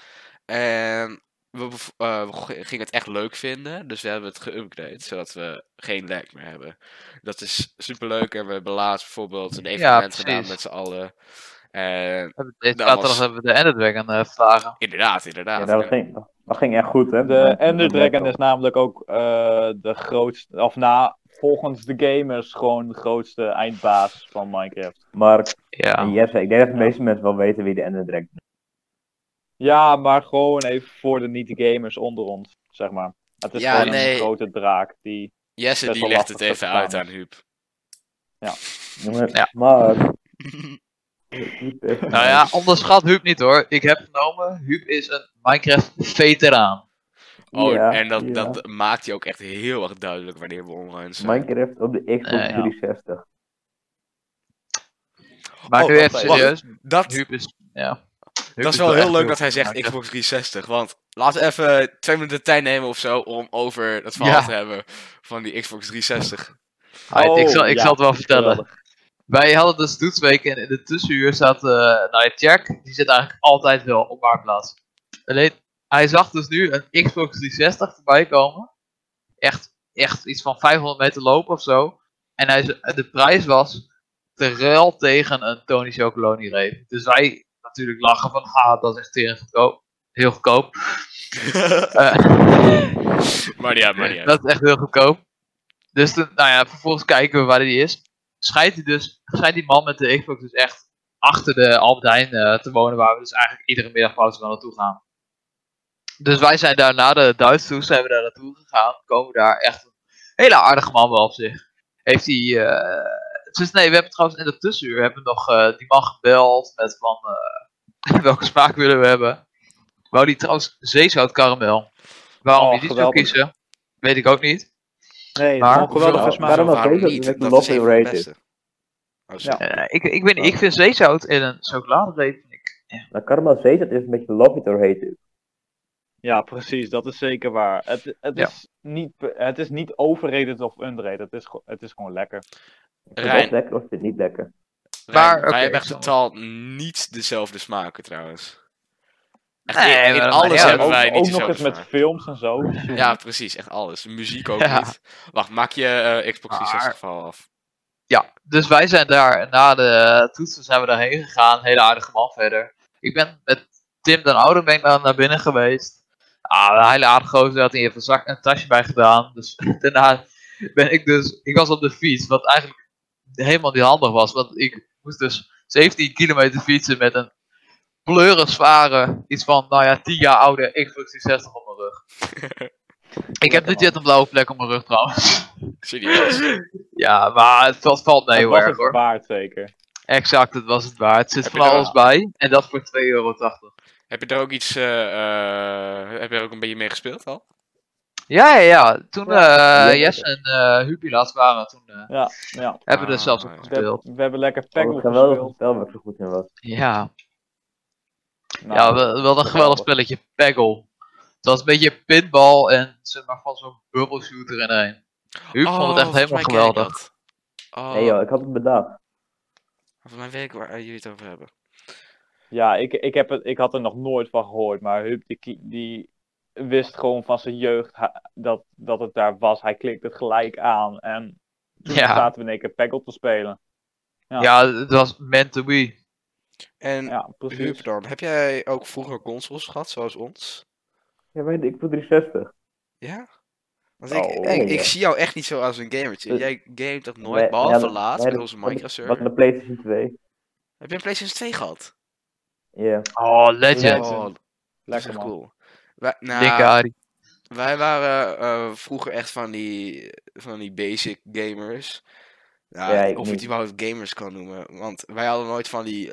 Speaker 1: En we, bev- eh, we g- gingen het echt leuk vinden. Dus we hebben het geüpgrade, zodat we geen lag meer hebben. Dat is superleuk. En we hebben laatst bijvoorbeeld een evenement gedaan
Speaker 3: precies.
Speaker 1: met z'n allen. En
Speaker 3: We hebben- Deze
Speaker 1: Dat
Speaker 3: zaterdag
Speaker 1: was-
Speaker 3: hebben we de Ender Dragon eh, verslagen.
Speaker 1: inderdaad, inderdaad.
Speaker 4: Ja, dat
Speaker 1: En-
Speaker 4: ging, dat ging echt goed, hè?
Speaker 2: De Ender Dragon is namelijk ook eh, de grootste, of na, volgens de gamers, gewoon de grootste eindbaas van Minecraft.
Speaker 4: Mark en
Speaker 3: Ja.
Speaker 4: Jesse, ik denk dat de meeste mensen wel weten wie de Ender Dragon is.
Speaker 2: Ja, maar gewoon even voor de niet-gamers onder ons, zeg maar. Het is
Speaker 1: Ja,
Speaker 2: gewoon
Speaker 1: nee.
Speaker 2: een grote draak die...
Speaker 1: Jesse,
Speaker 2: Best
Speaker 1: die
Speaker 2: wel
Speaker 1: legt het
Speaker 2: lastig te
Speaker 1: even uit
Speaker 2: verstaan.
Speaker 1: aan Huub.
Speaker 4: Jongen,
Speaker 3: Ja.
Speaker 2: Oh,
Speaker 4: Mark.
Speaker 3: Nou ja, onderschat Huub niet hoor. Ik heb genomen, Huub is een Minecraft-veteraan.
Speaker 1: Oh,
Speaker 4: Ja,
Speaker 1: en dat,
Speaker 4: ja.
Speaker 1: dat maakt hij ook echt heel erg duidelijk wanneer we online zijn.
Speaker 4: Minecraft op de Xbox
Speaker 3: Nee.
Speaker 4: 360.
Speaker 3: Maar
Speaker 1: Oh,
Speaker 3: nu even
Speaker 2: wacht,
Speaker 1: wacht.
Speaker 3: serieus,
Speaker 1: dat,
Speaker 3: Huub is... Ja. Huub
Speaker 1: dat is wel heel
Speaker 3: echt
Speaker 1: leuk dat hij zegt
Speaker 3: Minecraft.
Speaker 1: Xbox 360. Want laten we even twee minuten de tijd nemen of zo om over het verhaal
Speaker 3: Ja.
Speaker 1: te hebben van die Xbox 360.
Speaker 3: Alright, ik zal,
Speaker 2: Oh,
Speaker 3: ik
Speaker 2: ja,
Speaker 3: zal het wel vertellen.
Speaker 2: geweldig.
Speaker 3: Wij hadden dus toetsweken en in de tussenuur zat eh nou ja, Jack, die zit eigenlijk altijd wel op marktplaats. Alleen, hij zag dus nu een Xbox 360 voorbij komen. Echt, echt iets van 500 meter lopen of zo. En hij, z- de prijs was te ruil tegen een Tony Chocoloni reep. Dus wij natuurlijk lachen van, ah, dat is echt heel goedkoop. Heel goedkoop. Eh,
Speaker 1: maar ja, maar ja.
Speaker 3: dat is echt heel goedkoop. Dus toen, nou ja, vervolgens kijken we waar die is. Schijnt, die dus, schijnt die man met de Xbox dus echt achter de Albert Heijn eh, te wonen, waar we dus eigenlijk iedere middagpauze wel naartoe gaan. Dus wij zijn daar na de Duits toes, zijn we daar naartoe gegaan. Komen daar echt een hele aardige man wel op zich. Heeft hij. eh, dus nee, we hebben trouwens in de tussenuur hebben we nog eh, die man gebeld met van eh, welke smaak willen we hebben. Wou die trouwens zeezout karamel. Waarom
Speaker 2: Oh,
Speaker 3: je die zou
Speaker 2: geweldig.
Speaker 3: kiezen, weet ik ook niet.
Speaker 2: Nee,
Speaker 3: Maar-
Speaker 2: gewoon geweldige
Speaker 4: Waarom-
Speaker 2: smaak.
Speaker 4: waarom-
Speaker 1: Waarom
Speaker 4: dat
Speaker 1: niet?
Speaker 4: is echt
Speaker 1: Dat
Speaker 4: een
Speaker 1: is een van de
Speaker 4: lottery rated.
Speaker 1: beste. Oh, zo.
Speaker 3: Eh, ik, ik weet niet, ik vind zeezout in een chocoladereep. vind ik-
Speaker 4: Nou, Caramel Zee, dat is een beetje love it or hate it.
Speaker 2: Ja, precies, dat is zeker waar. Het, het,
Speaker 3: Ja.
Speaker 2: is, niet, het is niet overrated of underrated, het is, gewoon- het is gewoon lekker.
Speaker 4: Vind je
Speaker 1: Rijn.
Speaker 4: dat lekker of vind je het niet lekker?
Speaker 1: Rijn,
Speaker 3: Maar, oké,
Speaker 1: wij hebben echt
Speaker 3: ik zal-
Speaker 1: totaal niet dezelfde smaken trouwens. Echt,
Speaker 3: Nee,
Speaker 1: in, in
Speaker 3: maar-
Speaker 1: alles
Speaker 3: maar ja,
Speaker 1: hebben
Speaker 2: ook
Speaker 1: wij niet
Speaker 2: ook nog
Speaker 1: dezelfde
Speaker 2: eens met
Speaker 1: smaak.
Speaker 2: films en zo.
Speaker 1: Ja, precies. Echt alles. Muziek ook
Speaker 3: Ja.
Speaker 1: niet. Wacht, maak je eh, Xbox
Speaker 3: Maar-
Speaker 1: 360 verhaal af.
Speaker 3: Ja, dus wij zijn daar na de toetsen zijn we daarheen gegaan. Hele aardige man verder. Ik ben met Tim den Oude ben ik dan naar binnen geweest. Ah, een hele aardige gozer, had hij even een, zak, een tasje bij gedaan. Dus daarna ben ik dus, ik was op de fiets, wat eigenlijk helemaal niet handig was. Want ik moest dus 17 kilometer fietsen met een pleurenzware, iets van, nou ja, 10 jaar oude Xbox 360 op mijn rug. ik heb dit
Speaker 2: man.
Speaker 3: jaar een blauwe plek op mijn rug trouwens.
Speaker 1: Serieus.
Speaker 3: ja, maar het valt, valt mee
Speaker 2: dat
Speaker 3: heel
Speaker 2: was
Speaker 3: erg
Speaker 2: het
Speaker 3: hoor.
Speaker 2: waard zeker.
Speaker 3: Exact, het was het waard. Er zit
Speaker 1: Heb
Speaker 3: van
Speaker 1: je er-
Speaker 3: alles bij. En dat voor 2,80 euro.
Speaker 1: Heb je daar ook iets. eh, eh, heb je daar ook een beetje mee gespeeld al?
Speaker 3: Ja, ja, ja. Toen eh
Speaker 2: Ja,
Speaker 3: Jess en eh Hubi laatst waren, toen eh,
Speaker 2: Ja, ja.
Speaker 3: hebben we er
Speaker 1: Ah,
Speaker 3: zelfs
Speaker 1: ja.
Speaker 3: op
Speaker 1: Dat-
Speaker 2: We, hebben-
Speaker 3: gespeeld.
Speaker 2: we hebben lekker
Speaker 4: Ik
Speaker 2: Peggle
Speaker 4: heb wel
Speaker 2: gespeeld.
Speaker 4: verteld waar ik zo goed in was.
Speaker 3: Ja,
Speaker 2: Nou,
Speaker 3: ja wel, wel een geweldig
Speaker 2: geweldig.
Speaker 3: spelletje. Peggle. Het was een beetje pinball en zeg maar van zo'n bubble shooter in één. Huub vond het echt
Speaker 1: Oh, volgens
Speaker 3: helemaal
Speaker 1: mij ken ik
Speaker 3: geweldig.
Speaker 1: dat. Oh,
Speaker 4: Nee joh, ik had het bedacht.
Speaker 1: volgens mij weet ik waar eh, jullie het over hebben.
Speaker 2: Ja, ik, ik, heb het, ik had er nog nooit van gehoord, maar Huub die, ki- die wist gewoon van zijn jeugd ha- dat, dat het daar was. Hij klikt het gelijk aan en toen
Speaker 3: Ja.
Speaker 2: zaten we in één keer Peggle te spelen.
Speaker 3: Ja.
Speaker 2: Ja.
Speaker 3: het was meant to be.
Speaker 1: En
Speaker 2: Ja, precies.
Speaker 1: Huub dan, heb jij ook vroeger consoles gehad, zoals ons?
Speaker 4: Ja, maar ik voel 360.
Speaker 1: Ja? Want
Speaker 2: Oh,
Speaker 1: ik, ik, ik
Speaker 4: ja.
Speaker 1: zie jou echt niet zo als een gamertje.
Speaker 4: Dus-
Speaker 1: Jij gamet dat nooit,
Speaker 4: Wij-
Speaker 1: behalve
Speaker 4: wij hadden-
Speaker 1: laatst
Speaker 4: wij
Speaker 1: met
Speaker 4: hadden-
Speaker 1: onze Minecraft
Speaker 4: We hadden
Speaker 1: server.
Speaker 4: de PlayStation 2.
Speaker 1: Heb je een PlayStation 2 gehad?
Speaker 4: Ja.
Speaker 3: Oh, legend.
Speaker 2: Legend.
Speaker 1: Oh, dat is
Speaker 2: Lekker
Speaker 1: echt
Speaker 2: man.
Speaker 1: cool. Wij, nou,
Speaker 3: Dikke Arie.
Speaker 1: wij waren eh, vroeger echt van die, van die basic gamers. Nou,
Speaker 4: Ja, ik
Speaker 1: of je
Speaker 4: niet.
Speaker 1: het überhaupt gamers kan noemen. Want wij hadden nooit van die...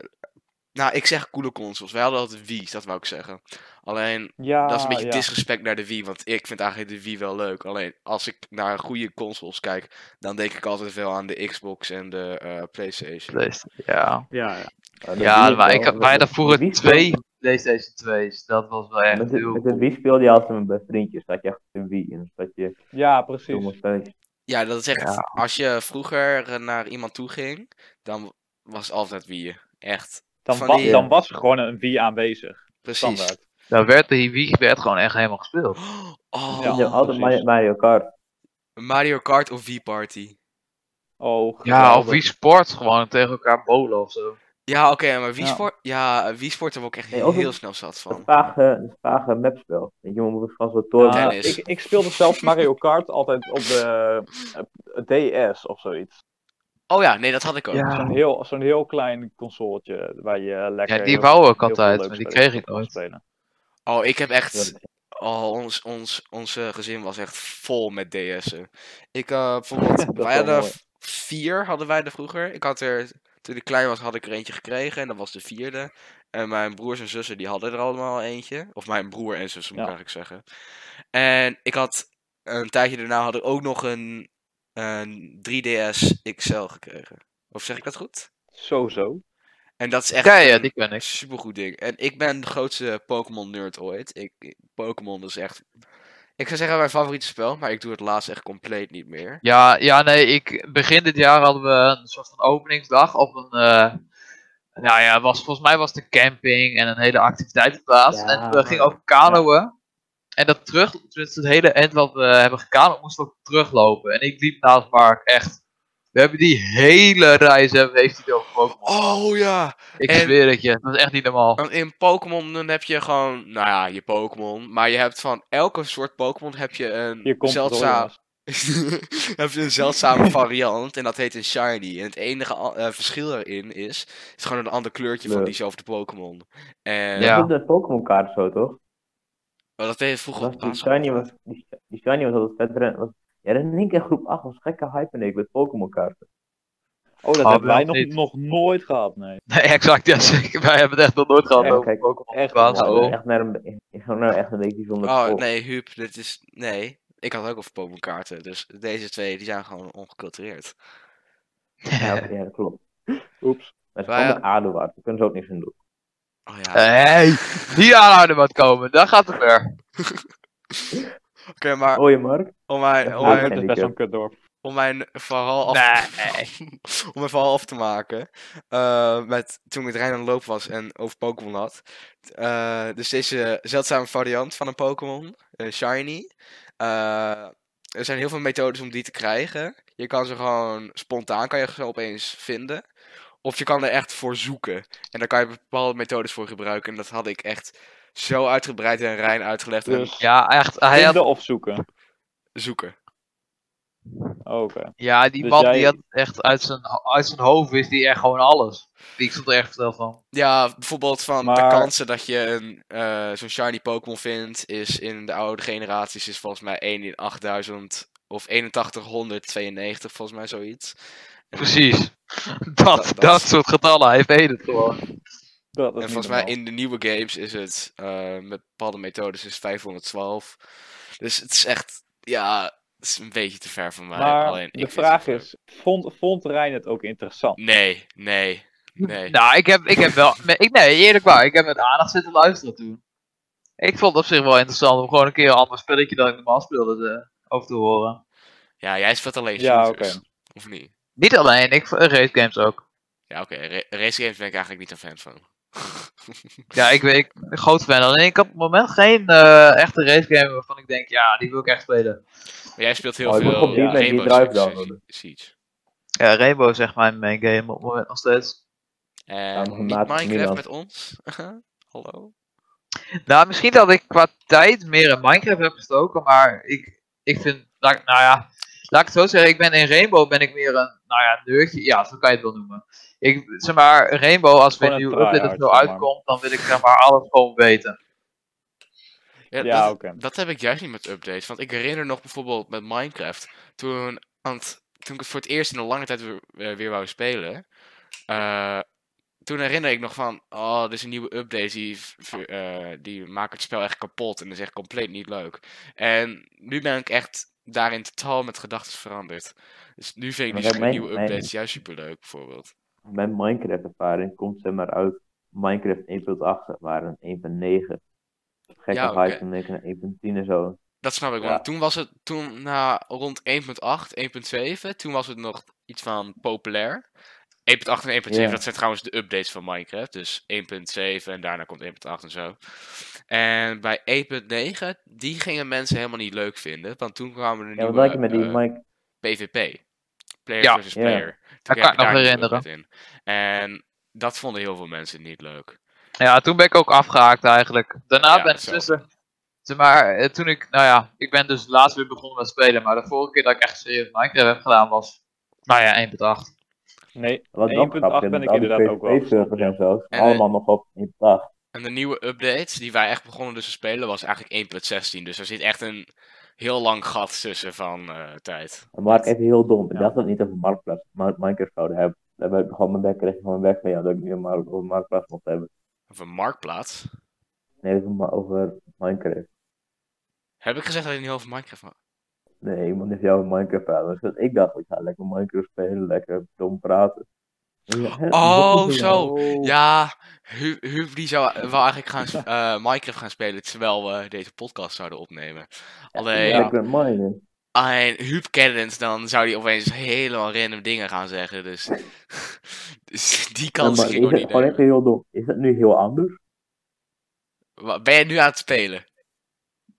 Speaker 1: Nou, ik zeg coole consoles. Wij hadden altijd Wii's, dat wou ik zeggen. Alleen,
Speaker 2: Ja,
Speaker 1: Dat is een beetje
Speaker 2: Ah, ja.
Speaker 1: disrespect naar de Wii, want ik vind eigenlijk de Wii wel leuk. Alleen als ik naar goede consoles kijk, dan denk ik altijd veel aan de Xbox en de eh, PlayStation.
Speaker 3: Ja,
Speaker 2: Ja, ja.
Speaker 4: Oh, de Wii
Speaker 3: ja
Speaker 4: is
Speaker 3: maar
Speaker 4: wel-
Speaker 3: ik had
Speaker 4: met-
Speaker 3: wij hadden
Speaker 4: met-
Speaker 3: vroeger
Speaker 4: met Wii
Speaker 3: twee PlayStation 2's. Dat was wel
Speaker 4: speelde-
Speaker 3: echt
Speaker 4: Met de,
Speaker 3: heel
Speaker 4: met de Wii speelde je altijd met mijn vriendjes. Dat je echt de Wii en dat je
Speaker 2: Ja, precies.
Speaker 4: jongens spelletjes.
Speaker 1: Ja, dat is echt.
Speaker 3: Ja.
Speaker 1: Als je vroeger eh, naar iemand toe ging, dan was het altijd Wii. Echt.
Speaker 2: Dan,
Speaker 1: Van
Speaker 2: wa-
Speaker 1: die-
Speaker 2: dan was er gewoon een Wii aanwezig.
Speaker 1: Precies.
Speaker 2: Standaard.
Speaker 3: Daar werd de Wii werd gewoon echt helemaal gespeeld.
Speaker 1: Oh,
Speaker 2: Ja,
Speaker 4: Ja, altijd Mario,
Speaker 2: precies.
Speaker 4: Mario Kart.
Speaker 1: Mario Kart of Wii Party.
Speaker 2: Oh,
Speaker 3: Ja, of
Speaker 2: geweldig.
Speaker 3: Wii Sports gewoon tegen elkaar bolen of zo.
Speaker 1: Ja, oké, maar Wii
Speaker 2: Ja.
Speaker 1: Sport. Ja, eh, Wii Sport heb ik ook echt
Speaker 4: Nee, of
Speaker 1: heel
Speaker 4: een-
Speaker 1: snel zat van.
Speaker 4: Dat vage, dat vage mapspel. Weet je, je moet van zo'n toren.
Speaker 2: Ja,
Speaker 1: Tennis.
Speaker 2: ik, ik speelde zelfs Mario Kart altijd op de eh, DS of zoiets.
Speaker 1: Oh ja, nee, dat had ik ook.
Speaker 2: Zo'n heel, zo'n heel klein consoletje waar je eh, lekker.
Speaker 3: Ja, die
Speaker 2: heel-
Speaker 3: wou ik
Speaker 2: heel
Speaker 3: altijd,
Speaker 2: veel leuke
Speaker 3: maar die
Speaker 2: spelletjes
Speaker 3: kreeg ik
Speaker 2: op kon
Speaker 3: nooit.
Speaker 2: spelen.
Speaker 1: Oh, ik heb echt.
Speaker 4: Ja,
Speaker 1: Oh, ons, ons, ons eh, gezin was echt vol met DS'en. Ik, eh bijvoorbeeld,
Speaker 4: is
Speaker 1: wij
Speaker 4: wel
Speaker 1: hadden
Speaker 4: mooi.
Speaker 1: v- vier, hadden wij er vroeger. Ik had er, toen ik klein was, had ik er eentje gekregen en dat was de vierde. En mijn broers en zussen, die hadden er allemaal eentje. Of mijn broer en zussen, moet ik
Speaker 2: Ja.
Speaker 1: eigenlijk zeggen. En ik had, een tijdje daarna had ik ook nog een, een 3DS XL gekregen. Of zeg ik dat goed?
Speaker 2: Zo, zo.
Speaker 1: En dat is echt
Speaker 3: Ja, ja,
Speaker 1: een-
Speaker 3: die ken ik.
Speaker 1: Supergoed ding. En ik ben de grootste Pokémon-nerd ooit. Ik, ik- Pokémon is echt... Ik zou zeggen mijn favoriete spel, maar ik doe het laatst echt compleet niet meer.
Speaker 3: Ja, ja, nee, ik, begin dit jaar hadden we een soort van openingsdag op een, eh, nou ja, was, volgens mij was de camping en een hele activiteitenplaats.
Speaker 4: Ja,
Speaker 3: en eh, we gingen
Speaker 1: ja.
Speaker 3: ook kanoën. En dat terug, dus het hele eind wat we hebben gekanoën, moesten we ook teruglopen. En ik liep naast Mark, echt. We hebben die hele reis, hebben, heeft hij het over Pokémon.
Speaker 1: Oh ja!
Speaker 3: Ik
Speaker 1: en-
Speaker 3: zweer het je, dat is echt niet normaal.
Speaker 1: Want in Pokémon dan heb je gewoon... Nou ja, je Pokémon. Maar je hebt van elke soort Pokémon heb je
Speaker 2: Hier
Speaker 1: een
Speaker 2: komt het hoor,
Speaker 1: zeldzaam...
Speaker 2: jongens.
Speaker 1: heb je een zeldzame variant en dat heet een Shiny. En het enige a- eh, verschil erin is... is gewoon een ander kleurtje van
Speaker 4: Leuk.
Speaker 1: diezelfde Pokémon. En
Speaker 3: Ja.
Speaker 4: Dat was op de Pokémon kaart zo, toch?
Speaker 1: oh, dat deed je vroeger
Speaker 4: Was
Speaker 1: op
Speaker 4: die,
Speaker 1: basisschool.
Speaker 4: shiny was, die, die shiny was altijd vet. ren- Was, ja, dat in één keer groep 8 was gekke hype en ik met Pokémon kaarten.
Speaker 2: Oh, dat
Speaker 3: Oh,
Speaker 2: hebben
Speaker 3: wel
Speaker 2: wij nog,
Speaker 3: niet.
Speaker 2: nog nooit gehad, nee.
Speaker 3: Nee, exact, ja, zeker. Wij hebben het echt nog nooit gehad
Speaker 4: Ja,
Speaker 3: over
Speaker 4: kijk,
Speaker 3: Pokémon.
Speaker 2: echt
Speaker 3: Baas,
Speaker 2: normaal,
Speaker 3: hoor.
Speaker 4: Nou, echt naar een, ik ging nou echt een beetje zonder
Speaker 1: Oh,
Speaker 4: school.
Speaker 1: nee, Huub, dit is... Nee, ik had ook over Pokémon kaarten. Dus deze twee, die zijn gewoon ongecultureerd.
Speaker 4: Ja, oké, ja, dat klopt.
Speaker 2: Oeps.
Speaker 4: Maar ze
Speaker 1: Maar ja.
Speaker 4: komen met ADO uit, daar kunnen ze ook niks aan doen.
Speaker 1: Oh ja.
Speaker 3: Hey, die aanhouden moet komen, daar gaat het weer.
Speaker 1: Oké, maar
Speaker 4: Hoi Mark.
Speaker 1: om mijn,
Speaker 4: dat
Speaker 1: om
Speaker 4: maakt
Speaker 2: Ja,
Speaker 1: mijn,
Speaker 2: dat is
Speaker 4: handicap.
Speaker 2: best wel een kutdorp.
Speaker 1: om mijn verhaal af
Speaker 3: Nee.
Speaker 1: om mijn verhaal af te maken. eh, met, toen ik met Rijn aan de loop was en over Pokémon had. Eh, dus deze zeldzame variant van een Pokémon, een Shiny. eh, er zijn heel veel methodes om die te krijgen. Je kan ze gewoon spontaan kan je ze opeens vinden. Of je kan er echt voor zoeken. En daar kan je bepaalde methodes voor gebruiken. En dat had ik echt zo uitgebreid en rein uitgelegd. En
Speaker 2: Dus
Speaker 3: Ja, echt. Hij had,
Speaker 2: vinden of zoeken.
Speaker 1: zoeken.
Speaker 2: Oh, Oké.
Speaker 3: ja, die
Speaker 2: Dus
Speaker 3: man
Speaker 2: jij-
Speaker 3: die had echt uit zijn, uit zijn hoofd wist die echt gewoon alles. Die ik stond er echt versteld van.
Speaker 1: Ja, bijvoorbeeld van de
Speaker 2: Maar-
Speaker 1: kansen dat je een, eh, zo'n shiny Pokémon vindt, is in de oude generaties is volgens mij 1 in 8000 of 8192, volgens mij zoiets.
Speaker 3: Precies. Dat,
Speaker 1: dat-
Speaker 3: dat, soort getallen, hij weet het gewoon.
Speaker 2: Dat
Speaker 1: en
Speaker 2: is niet
Speaker 1: volgens mij
Speaker 2: normaal.
Speaker 1: in de nieuwe games is het eh, met bepaalde methodes is 512. Dus het is echt, ja, het is een beetje te ver van mij.
Speaker 2: Maar
Speaker 1: alleen ik
Speaker 2: de
Speaker 1: vind
Speaker 2: vraag
Speaker 1: het leuk.
Speaker 2: is, vond, vond Rijn het ook interessant?
Speaker 1: Nee, nee, nee.
Speaker 3: Nou, ik heb, ik heb wel. me- Ik, nee, eerlijk waar, ik heb met aandacht zitten luisteren toen. Ik vond het op zich wel interessant om gewoon een keer een ander spelletje dan ik normaal speelde eh, over te horen.
Speaker 1: Ja, jij speelt alleen
Speaker 2: Ja,
Speaker 1: shooters.
Speaker 2: oké.
Speaker 1: Of niet?
Speaker 3: Niet alleen, ik v- race games ook.
Speaker 1: Ja, oké. ra- race games ben ik eigenlijk niet een fan van.
Speaker 3: Ja, ik ben ik ben een groot fan. Alleen ik heb op het moment geen eh, echte race game waarvan ik denk, ja, die wil ik echt spelen.
Speaker 1: Maar jij speelt heel
Speaker 4: Oh, ik moet
Speaker 1: veel
Speaker 4: op die
Speaker 1: ja,
Speaker 4: plek die
Speaker 1: Rainbow
Speaker 4: drive
Speaker 1: Six eh,
Speaker 4: downloaden.
Speaker 1: Siege.
Speaker 3: Ja, Rainbow is echt mijn main game op het moment nog steeds.
Speaker 1: En
Speaker 4: maar
Speaker 1: niet
Speaker 4: maat van
Speaker 1: Eh, Minecraft
Speaker 4: Milan.
Speaker 1: met ons. Hallo?
Speaker 3: Nou, misschien dat ik qua tijd meer in Minecraft heb gestoken, maar ik, ik vind, laat ik- nou ja, laat ik het zo zeggen, ik ben in Rainbow ben ik meer een, nou ja, nerdje, ja, zo kan je het wel noemen. Ik, zeg maar, Rainbow, als er
Speaker 2: Gewoon
Speaker 3: een
Speaker 2: een
Speaker 3: nieuwe update of
Speaker 2: tryhard,
Speaker 3: zo
Speaker 2: zeg maar.
Speaker 3: uitkomt, dan wil ik zeg maar alles gewoon weten.
Speaker 1: Ja,
Speaker 2: Ja,
Speaker 1: dat,
Speaker 2: oké.
Speaker 1: dat heb ik juist niet met updates. Want ik herinner nog bijvoorbeeld met Minecraft. Toen, aan het- toen ik het voor het eerst in een lange tijd weer, eh, weer wou spelen. eh, toen herinner ik nog van. Oh, dit is een nieuwe update. Die, v- v- eh, die maakt het spel echt kapot. En dat is echt compleet niet leuk. En nu ben ik echt daarin totaal met gedachten veranderd. Dus nu vind ik
Speaker 4: Maar
Speaker 1: die
Speaker 4: dat
Speaker 1: sp-
Speaker 4: meen-
Speaker 1: nieuwe
Speaker 4: meen-
Speaker 1: updates juist superleuk, bijvoorbeeld.
Speaker 4: Mijn Minecraft-ervaring komt zeg maar uit Minecraft 1.8, zeg maar, een 1.9. Gekke
Speaker 1: Ja, oké.
Speaker 4: hype van denk ik naar 1.10 en zo.
Speaker 1: Dat snap ik,
Speaker 2: Ja.
Speaker 1: want toen was het toen, na rond 1.8, 1.7, toen was het nog iets van populair. 1.8 en 1.7,
Speaker 4: Ja.
Speaker 1: dat zijn trouwens de updates van Minecraft. Dus 1.7 en daarna komt 1.8 en zo. En bij 1.9, die gingen mensen helemaal niet leuk vinden. Want toen kwamen er
Speaker 4: Ja, wat
Speaker 1: nieuwe
Speaker 4: lijkt het met die
Speaker 1: eh,
Speaker 4: Mike?
Speaker 1: PvP. Player
Speaker 3: Ja.
Speaker 1: versus
Speaker 4: Ja.
Speaker 1: player.
Speaker 3: Dat
Speaker 1: Toen
Speaker 3: kan
Speaker 1: heb
Speaker 3: ik nog
Speaker 1: daar nieuwe
Speaker 3: herinneren.
Speaker 1: update in. En dat vonden heel veel mensen niet leuk.
Speaker 3: Ja, toen ben ik ook afgehaakt eigenlijk. Daarna
Speaker 1: Ja,
Speaker 3: ben ik
Speaker 1: zo.
Speaker 3: tussen, zeg maar, eh, toen ik, nou ja, ik ben dus laatst weer begonnen met spelen, maar de vorige keer dat ik echt serieus Minecraft heb gedaan was, nou ja, 1.8.
Speaker 2: Nee,
Speaker 4: Wat ik ook
Speaker 2: 1.8
Speaker 4: grappig
Speaker 2: ben
Speaker 4: vind,
Speaker 2: ik
Speaker 4: al die
Speaker 2: inderdaad ook wel.
Speaker 4: PvP-servers en zo,
Speaker 1: En, eh,
Speaker 4: allemaal nog op 1.8.
Speaker 1: En de nieuwe update die wij echt begonnen dus te spelen was eigenlijk 1.16. Dus er zit echt een heel lang gat tussen van eh, tijd.
Speaker 4: Maar ik even heel dom. Ik
Speaker 2: Ja.
Speaker 4: dacht dat we het niet over Marktplaats, maar Minecraft zouden hebben. Daar ben ik gewoon mijn bek kreeg gewoon weg van jou dat ik niet maar over Marktplaats mocht hebben.
Speaker 1: Of een marktplaats.
Speaker 4: Nee, over, Ma- over Minecraft.
Speaker 1: Heb ik gezegd dat ik niet over Minecraft had?
Speaker 4: Nee, iemand heeft jou over Minecraft aan. Dus ik dacht, ik ga lekker Minecraft spelen, lekker dom praten. Ja, hè?
Speaker 1: Oh,
Speaker 4: Wat is er
Speaker 1: zo.
Speaker 4: nou?
Speaker 1: Ja, Hu- Huub die zou eh, wou eigenlijk gaan, sp- eh, Minecraft gaan spelen terwijl we deze podcast zouden opnemen. Alleen,
Speaker 2: Ja.
Speaker 4: Lekker minen.
Speaker 1: aan Huub kennend, dan zou hij opeens helemaal random dingen gaan zeggen. Dus, dus die kans
Speaker 4: Ja, maar oh,
Speaker 1: ging
Speaker 4: is
Speaker 1: ik ook
Speaker 4: het
Speaker 1: niet
Speaker 4: gewoon
Speaker 1: nemen.
Speaker 4: echt heel dom. Is dat nu heel anders?
Speaker 1: Wa- Ben je nu aan het spelen?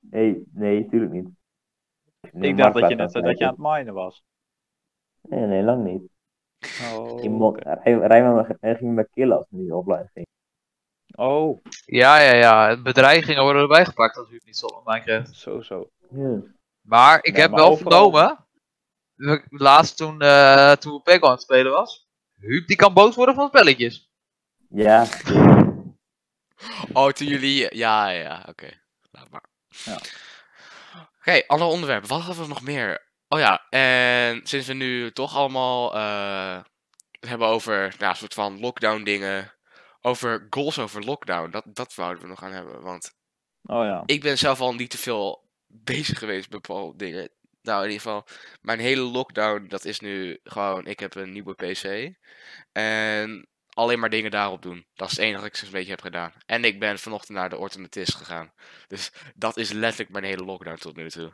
Speaker 4: Nee, nee, tuurlijk niet. Nee,
Speaker 2: Ik dacht dat je
Speaker 4: Marktplaats
Speaker 2: net
Speaker 4: aan
Speaker 2: zei
Speaker 4: het
Speaker 2: dat je aan
Speaker 4: kijken.
Speaker 2: het minen was.
Speaker 4: Nee, nee, lang niet.
Speaker 2: Oh,
Speaker 4: Iemand,
Speaker 2: oké.
Speaker 4: Rij- Rijnman eh, ging me killen als hij niet offline ging.
Speaker 2: oh
Speaker 3: Ja, ja, ja. Bedreigingen worden erbij gepakt als u het niet stopt met Minecraft.
Speaker 2: zo zo.
Speaker 4: Ja.
Speaker 3: eh, Maar ik
Speaker 2: Nee,
Speaker 3: heb
Speaker 2: maar
Speaker 3: wel
Speaker 2: overal-
Speaker 3: vernomen. we- Laatst toen, eh toen Pego aan het spelen was. Huub die kan boos worden van spelletjes.
Speaker 4: Ja,
Speaker 1: Oh, toen jullie. Ja, ja, ja, oké. Laat maar.
Speaker 2: Ja.
Speaker 1: Oké, alle onderwerpen. Wat hadden we nog meer? Oh ja, en sinds we nu toch allemaal eh, het hebben over nou, soort van lockdown dingen. Over goals over lockdown. Dat, dat wouden we nog aan hebben. Want
Speaker 2: Oh ja.
Speaker 1: ik ben zelf al niet te veel bezig geweest met bepaalde dingen. Nou, in ieder geval, mijn hele lockdown, dat is nu gewoon, ik heb een nieuwe PC. En alleen maar dingen daarop doen. Dat is het enige dat ik zo'n beetje heb gedaan. En ik ben vanochtend naar de orthodontist gegaan. Dus dat is letterlijk mijn hele lockdown tot nu toe.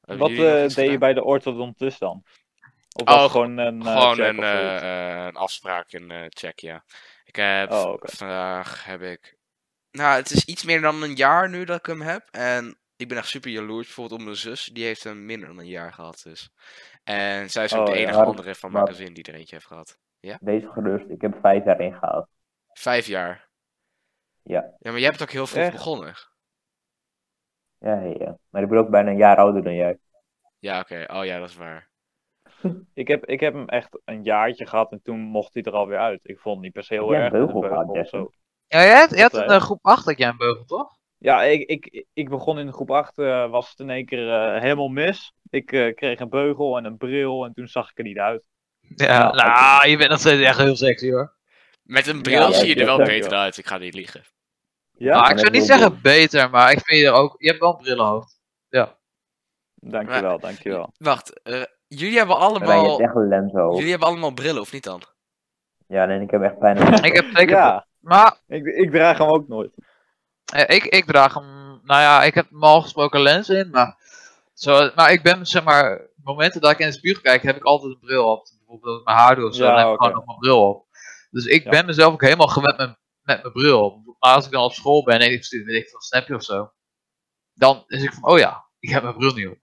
Speaker 1: Hebben
Speaker 2: Wat
Speaker 1: jullie nog
Speaker 2: eh,
Speaker 1: iets
Speaker 2: deed je
Speaker 1: gedaan?
Speaker 2: bij de orthodontist dan? Of
Speaker 1: Oh,
Speaker 2: was het gewoon een eh,
Speaker 1: Gewoon
Speaker 2: check
Speaker 1: een,
Speaker 2: of zoiets?
Speaker 1: eh, eh, een afspraak, een eh, check, ja. Ik heb
Speaker 2: Oh, oké.
Speaker 1: vandaag heb ik. Nou, het is iets meer dan een jaar nu dat ik hem heb. En ik ben echt super jaloers. Bijvoorbeeld op mijn zus, die heeft hem minder dan een jaar gehad. Dus. En zij is ook
Speaker 2: Oh,
Speaker 1: de
Speaker 2: ja,
Speaker 1: enige
Speaker 4: maar-
Speaker 1: andere van
Speaker 4: maar-
Speaker 1: mijn gezin die er eentje heeft gehad. Ja?
Speaker 4: Wees gerust, ik heb vijf jaar ingehaald.
Speaker 1: Vijf jaar.
Speaker 4: Ja.
Speaker 1: Ja, maar jij bent ook heel vroeg
Speaker 2: Echt?
Speaker 1: begonnen.
Speaker 4: Ja, ja, ja. Maar ik ben ook bijna een jaar ouder dan jij.
Speaker 1: Ja, oké. Oh ja, dat is waar.
Speaker 2: Ik heb, ik heb hem echt een jaartje gehad en toen mocht hij er alweer uit. Ik vond het niet per se heel
Speaker 4: Jij
Speaker 2: erg.
Speaker 4: hebt
Speaker 2: een
Speaker 4: beugel gehad,
Speaker 2: of zo.
Speaker 3: Ja, jij had, jij had
Speaker 2: Dat,
Speaker 3: een
Speaker 2: eh,
Speaker 3: eh, groep 8 dat jij een beugel, toch?
Speaker 2: Ja, ik, ik, ik begon in groep 8, eh, was het in één keer eh, helemaal mis. Ik eh, kreeg een beugel en een bril en toen zag ik er niet uit.
Speaker 3: Ja,
Speaker 2: nou,
Speaker 3: nou, je bent nog steeds echt heel sexy hoor.
Speaker 1: Met een bril
Speaker 2: ja,
Speaker 1: zie je er wel
Speaker 4: ja,
Speaker 1: beter
Speaker 2: ja.
Speaker 1: uit. Ik ga niet liegen.
Speaker 2: Ja,
Speaker 3: maar
Speaker 4: dat
Speaker 3: ik zou
Speaker 4: is
Speaker 3: niet
Speaker 4: heel
Speaker 3: zeggen beter, maar ik vind je er ook. Je hebt wel een brillenhoofd.
Speaker 2: dankjewel, dankjewel.
Speaker 1: Wacht, eh, jullie hebben
Speaker 4: Maar je hebt
Speaker 1: allemaal...
Speaker 4: echt een lenzo.
Speaker 1: Jullie hebben allemaal brillen, of niet dan?
Speaker 4: Ja, nee, ik heb echt bijna...
Speaker 3: Ik heb zeker.
Speaker 2: Ja,
Speaker 3: Maar
Speaker 2: ik, ik draag hem ook nooit.
Speaker 3: eh, ik, ik draag hem. Nou ja, ik heb normaal gesproken lens in, maar. Zo, maar ik ben zeg maar. Momenten dat ik in de spiegel kijk, heb ik altijd een bril op. Bijvoorbeeld als mijn haar doe of zo,
Speaker 2: Ja,
Speaker 3: dan heb ik
Speaker 2: oké.
Speaker 3: gewoon nog mijn bril op. Dus ik
Speaker 2: Ja.
Speaker 3: ben mezelf ook helemaal gewend met, met mijn bril op. Maar als ik dan op school ben en ik stuur, weet ik veel, een snapje of zo. Dan is ik van, oh ja, ik heb mijn bril niet op.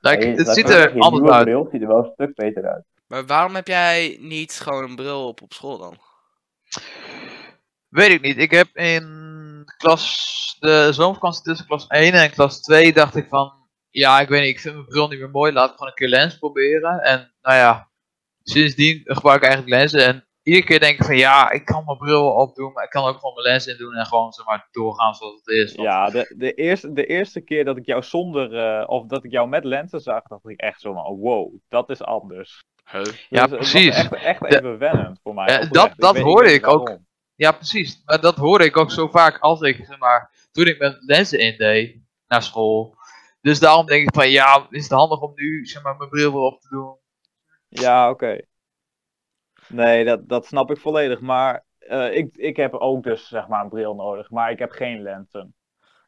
Speaker 3: Like,
Speaker 4: Nee,
Speaker 3: het
Speaker 4: laat
Speaker 3: ziet
Speaker 4: maar zeggen,
Speaker 3: er
Speaker 4: je
Speaker 3: anders
Speaker 4: nieuwe
Speaker 3: uit.
Speaker 4: bril ziet er wel een stuk beter uit.
Speaker 1: Maar waarom heb jij niet gewoon een bril op op school dan?
Speaker 3: Weet ik niet. Ik heb in klas, de zomervakantie tussen klas 1 en klas 2 dacht ik van, ja, ik weet niet, ik vind mijn bril niet meer mooi, laat ik gewoon een keer lens proberen. En nou ja, sindsdien gebruik ik eigenlijk lenzen en iedere keer denk ik van, ja, ik kan mijn bril opdoen, maar ik kan ook gewoon mijn lens in doen en gewoon zeg maar doorgaan zoals het is. Want-
Speaker 2: Ja, de, de, eerste, de eerste keer dat ik jou zonder, eh, of dat ik jou met lenzen zag, dacht ik echt zo van, oh, wow, dat is anders.
Speaker 1: Huh? Oh,
Speaker 3: Ja,
Speaker 2: Dus het was
Speaker 3: precies.
Speaker 2: Echt, echt
Speaker 3: De-
Speaker 2: even wennend voor mij.
Speaker 3: Ja,
Speaker 2: oprecht.
Speaker 3: dat-
Speaker 2: Ik
Speaker 3: dat
Speaker 2: weet
Speaker 3: hoorde
Speaker 2: niet
Speaker 3: ik ook.
Speaker 2: waarom.
Speaker 3: Ja, precies. Maar dat hoorde ik ook zo vaak als ik, zeg maar, toen ik mijn lessen indeed naar school. Dus daarom denk ik van, ja, is het handig om nu, zeg maar, mijn bril weer op te doen?
Speaker 2: Ja, oké. Nee, dat, dat snap ik volledig. Maar eh, ik, ik heb ook dus zeg maar een bril nodig, maar ik heb geen lenzen.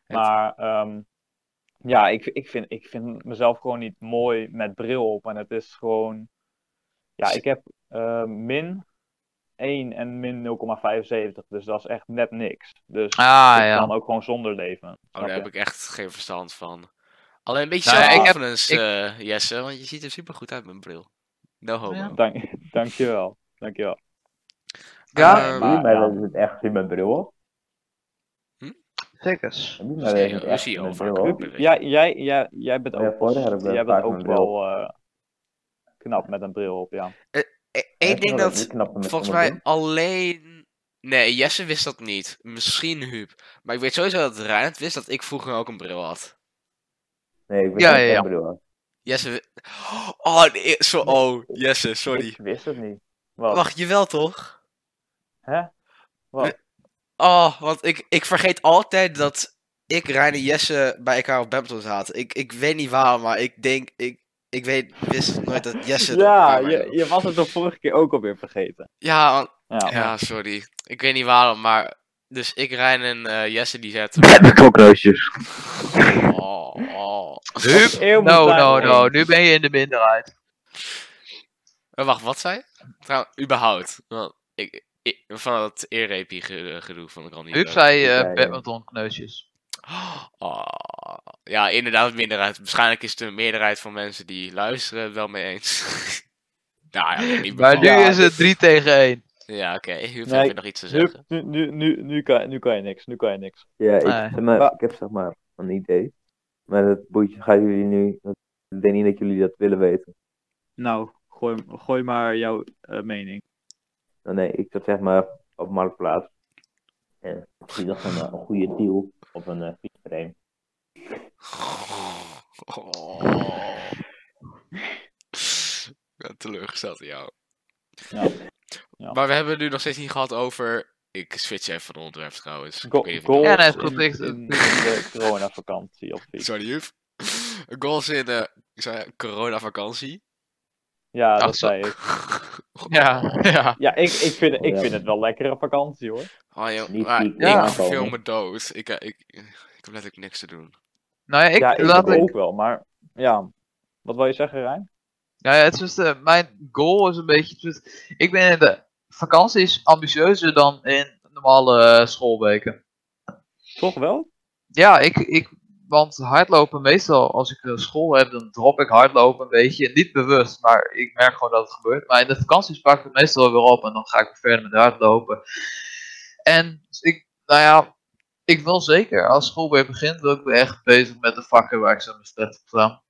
Speaker 2: Maar ehm, ja, ik, ik, vind, ik vind mezelf gewoon niet mooi met bril op. En het is gewoon. Ja, ik heb eh, min 1 en min 0,75. Dus dat is echt net niks. Dus
Speaker 3: Ah,
Speaker 2: ik
Speaker 3: ja.
Speaker 2: kan ook gewoon zonder leven.
Speaker 1: Oh,
Speaker 2: snap
Speaker 1: daar
Speaker 2: je?
Speaker 1: heb ik echt geen verstand van. Alleen een beetje
Speaker 3: Nou ja, ik heb-
Speaker 1: zelfconfidence,
Speaker 3: ik-
Speaker 1: eh, Jesse, want je ziet er super goed uit met een bril. No homo. Eh,
Speaker 3: Ja.
Speaker 2: Dank, dankjewel. Dankjewel.
Speaker 3: Ja,
Speaker 1: Eh,
Speaker 4: Zie je
Speaker 2: maar-
Speaker 4: mij
Speaker 2: ja.
Speaker 4: dat ik het echt zie met bril op?
Speaker 3: zeker.
Speaker 4: Zie je mij
Speaker 1: Dus
Speaker 4: dat
Speaker 1: nee,
Speaker 4: ik het
Speaker 1: we
Speaker 4: echt
Speaker 1: zien
Speaker 4: zie
Speaker 1: al
Speaker 4: met
Speaker 1: vaak
Speaker 4: bril op?
Speaker 1: bril.
Speaker 2: Ja, jij, jij, jij bent
Speaker 4: Ja,
Speaker 2: ook,
Speaker 4: vorig jaar heb ik
Speaker 2: jij
Speaker 4: vaak
Speaker 2: bent
Speaker 4: mijn
Speaker 2: ook
Speaker 4: bril
Speaker 2: wel eh, knap met een bril op, ja.
Speaker 1: E-
Speaker 4: Ja,
Speaker 1: Eén ding
Speaker 4: wel
Speaker 1: dat
Speaker 4: ik knap met
Speaker 1: volgens
Speaker 4: zonder
Speaker 1: mij alleen... Nee, Jesse wist dat niet. Misschien Huub. Maar ik weet sowieso dat Reinhard wist dat ik vroeger ook een bril had.
Speaker 4: bril. Nee, ik ben
Speaker 3: Ja,
Speaker 4: echt
Speaker 3: ja,
Speaker 4: geen
Speaker 3: ja.
Speaker 4: bril aan.
Speaker 1: Jesse... wi- Oh, nee, zo, oh Jesse, sorry.
Speaker 2: Ik wist het niet. Wat?
Speaker 1: Wacht, jawel toch?
Speaker 2: Hè? Wat?
Speaker 1: Oh, want ik, ik vergeet altijd dat ik, Rijn en Jesse bij elkaar op Badminton zaten. Ik, ik weet niet waarom, maar ik denk... Ik, ik weet, wist nooit dat Jesse... er
Speaker 2: Ja,
Speaker 1: bij mij
Speaker 2: je,
Speaker 1: was.
Speaker 2: je was het de vorige keer ook alweer vergeten.
Speaker 1: Ja, want-
Speaker 2: Ja.
Speaker 1: ja, sorry. Ik weet niet waarom, maar... Dus ik, Rijn en eh, Jesse die zetten...
Speaker 4: Pepperkokroosjes.
Speaker 1: Oh, oh.
Speaker 3: Hup,
Speaker 2: Eeuw moet
Speaker 3: no, no,
Speaker 2: daarheen.
Speaker 3: no, nu ben je in de minderheid.
Speaker 1: Eh, wacht, wat zei je? Trouw, überhaupt. Want ik, ik, van dat eerrepie ge- gedoe vond ik al niet
Speaker 3: Hup
Speaker 1: leuk.
Speaker 3: zei eh,
Speaker 4: Ja, ja.
Speaker 3: badminton kneusjes.
Speaker 1: Oh, ja, inderdaad, minderheid. Waarschijnlijk is de meerderheid van mensen die luisteren het wel mee eens. nou ja, niet
Speaker 3: Maar nu
Speaker 1: bepaald.
Speaker 2: Ja,
Speaker 3: is het 3 tegen 1.
Speaker 1: Ja, oké. Huub, heb
Speaker 2: Nee,
Speaker 1: je nog iets te
Speaker 2: Nu,
Speaker 1: zeggen?
Speaker 2: nu, nu, nu, nu, kan, nu kan je niks, nu kan je niks.
Speaker 4: Ja, ik,
Speaker 3: Nee.
Speaker 4: zeg maar,
Speaker 2: Maar-
Speaker 4: ik heb zeg maar een idee. Maar dat boeitje gaan jullie nu... dat- Ik denk niet dat jullie dat willen weten.
Speaker 2: Nou, gooi, gooi maar jouw eh, mening.
Speaker 4: Nou, nee, ik zat zeg maar op Marktplaats. En ik zie dat een, eh, een goede deal op een eh, fietsframe.
Speaker 1: Oh. Ik ben teleurgesteld in jou.
Speaker 2: Ja. Ja.
Speaker 1: Maar we hebben het nu nog steeds niet gehad over... Ik switch even van onderwerp trouwens. Ik
Speaker 2: Go-
Speaker 1: weet niet of je-
Speaker 2: goals
Speaker 3: Ja, nee, is goed,
Speaker 2: in,
Speaker 3: ik-
Speaker 2: in de coronavakantie of iets.
Speaker 1: Sorry, Huub. Goals in eh, de corona-vakantie.
Speaker 2: Ja,
Speaker 3: Ach,
Speaker 2: dat
Speaker 3: zo.
Speaker 2: zei ik.
Speaker 3: Ja, ja.
Speaker 2: Ja, ik, ik, vind, ik
Speaker 4: Ja.
Speaker 2: vind het wel lekkere vakantie hoor.
Speaker 1: Oh, joh,
Speaker 4: Niet
Speaker 1: maar
Speaker 4: die
Speaker 3: Ja.
Speaker 1: ik verveel
Speaker 4: aanval.
Speaker 1: me dood. Ik, eh, ik, ik heb letterlijk niks te doen.
Speaker 3: Nou ja, ik,
Speaker 2: ja, ik
Speaker 3: laat ik,
Speaker 2: ook wel, maar ja. Wat wil je zeggen, Rijn?
Speaker 3: nou ja, het is dus, eh, mijn goal is een beetje, het is- ik ben in de vakanties ambitieuzer dan in normale eh, schoolweken.
Speaker 2: Toch wel?
Speaker 3: Ja, ik, ik Want hardlopen, meestal als ik eh, school heb, dan drop ik hardlopen een beetje. Niet bewust, maar ik merk gewoon dat het gebeurt. Maar in de vakanties pak ik het meestal weer op en dan ga ik weer verder met hardlopen. En dus ik, nou ja, ik wil zeker, als school weer begint, wil ik weer echt bezig met de vakken waar ik zo mijn slecht op sta.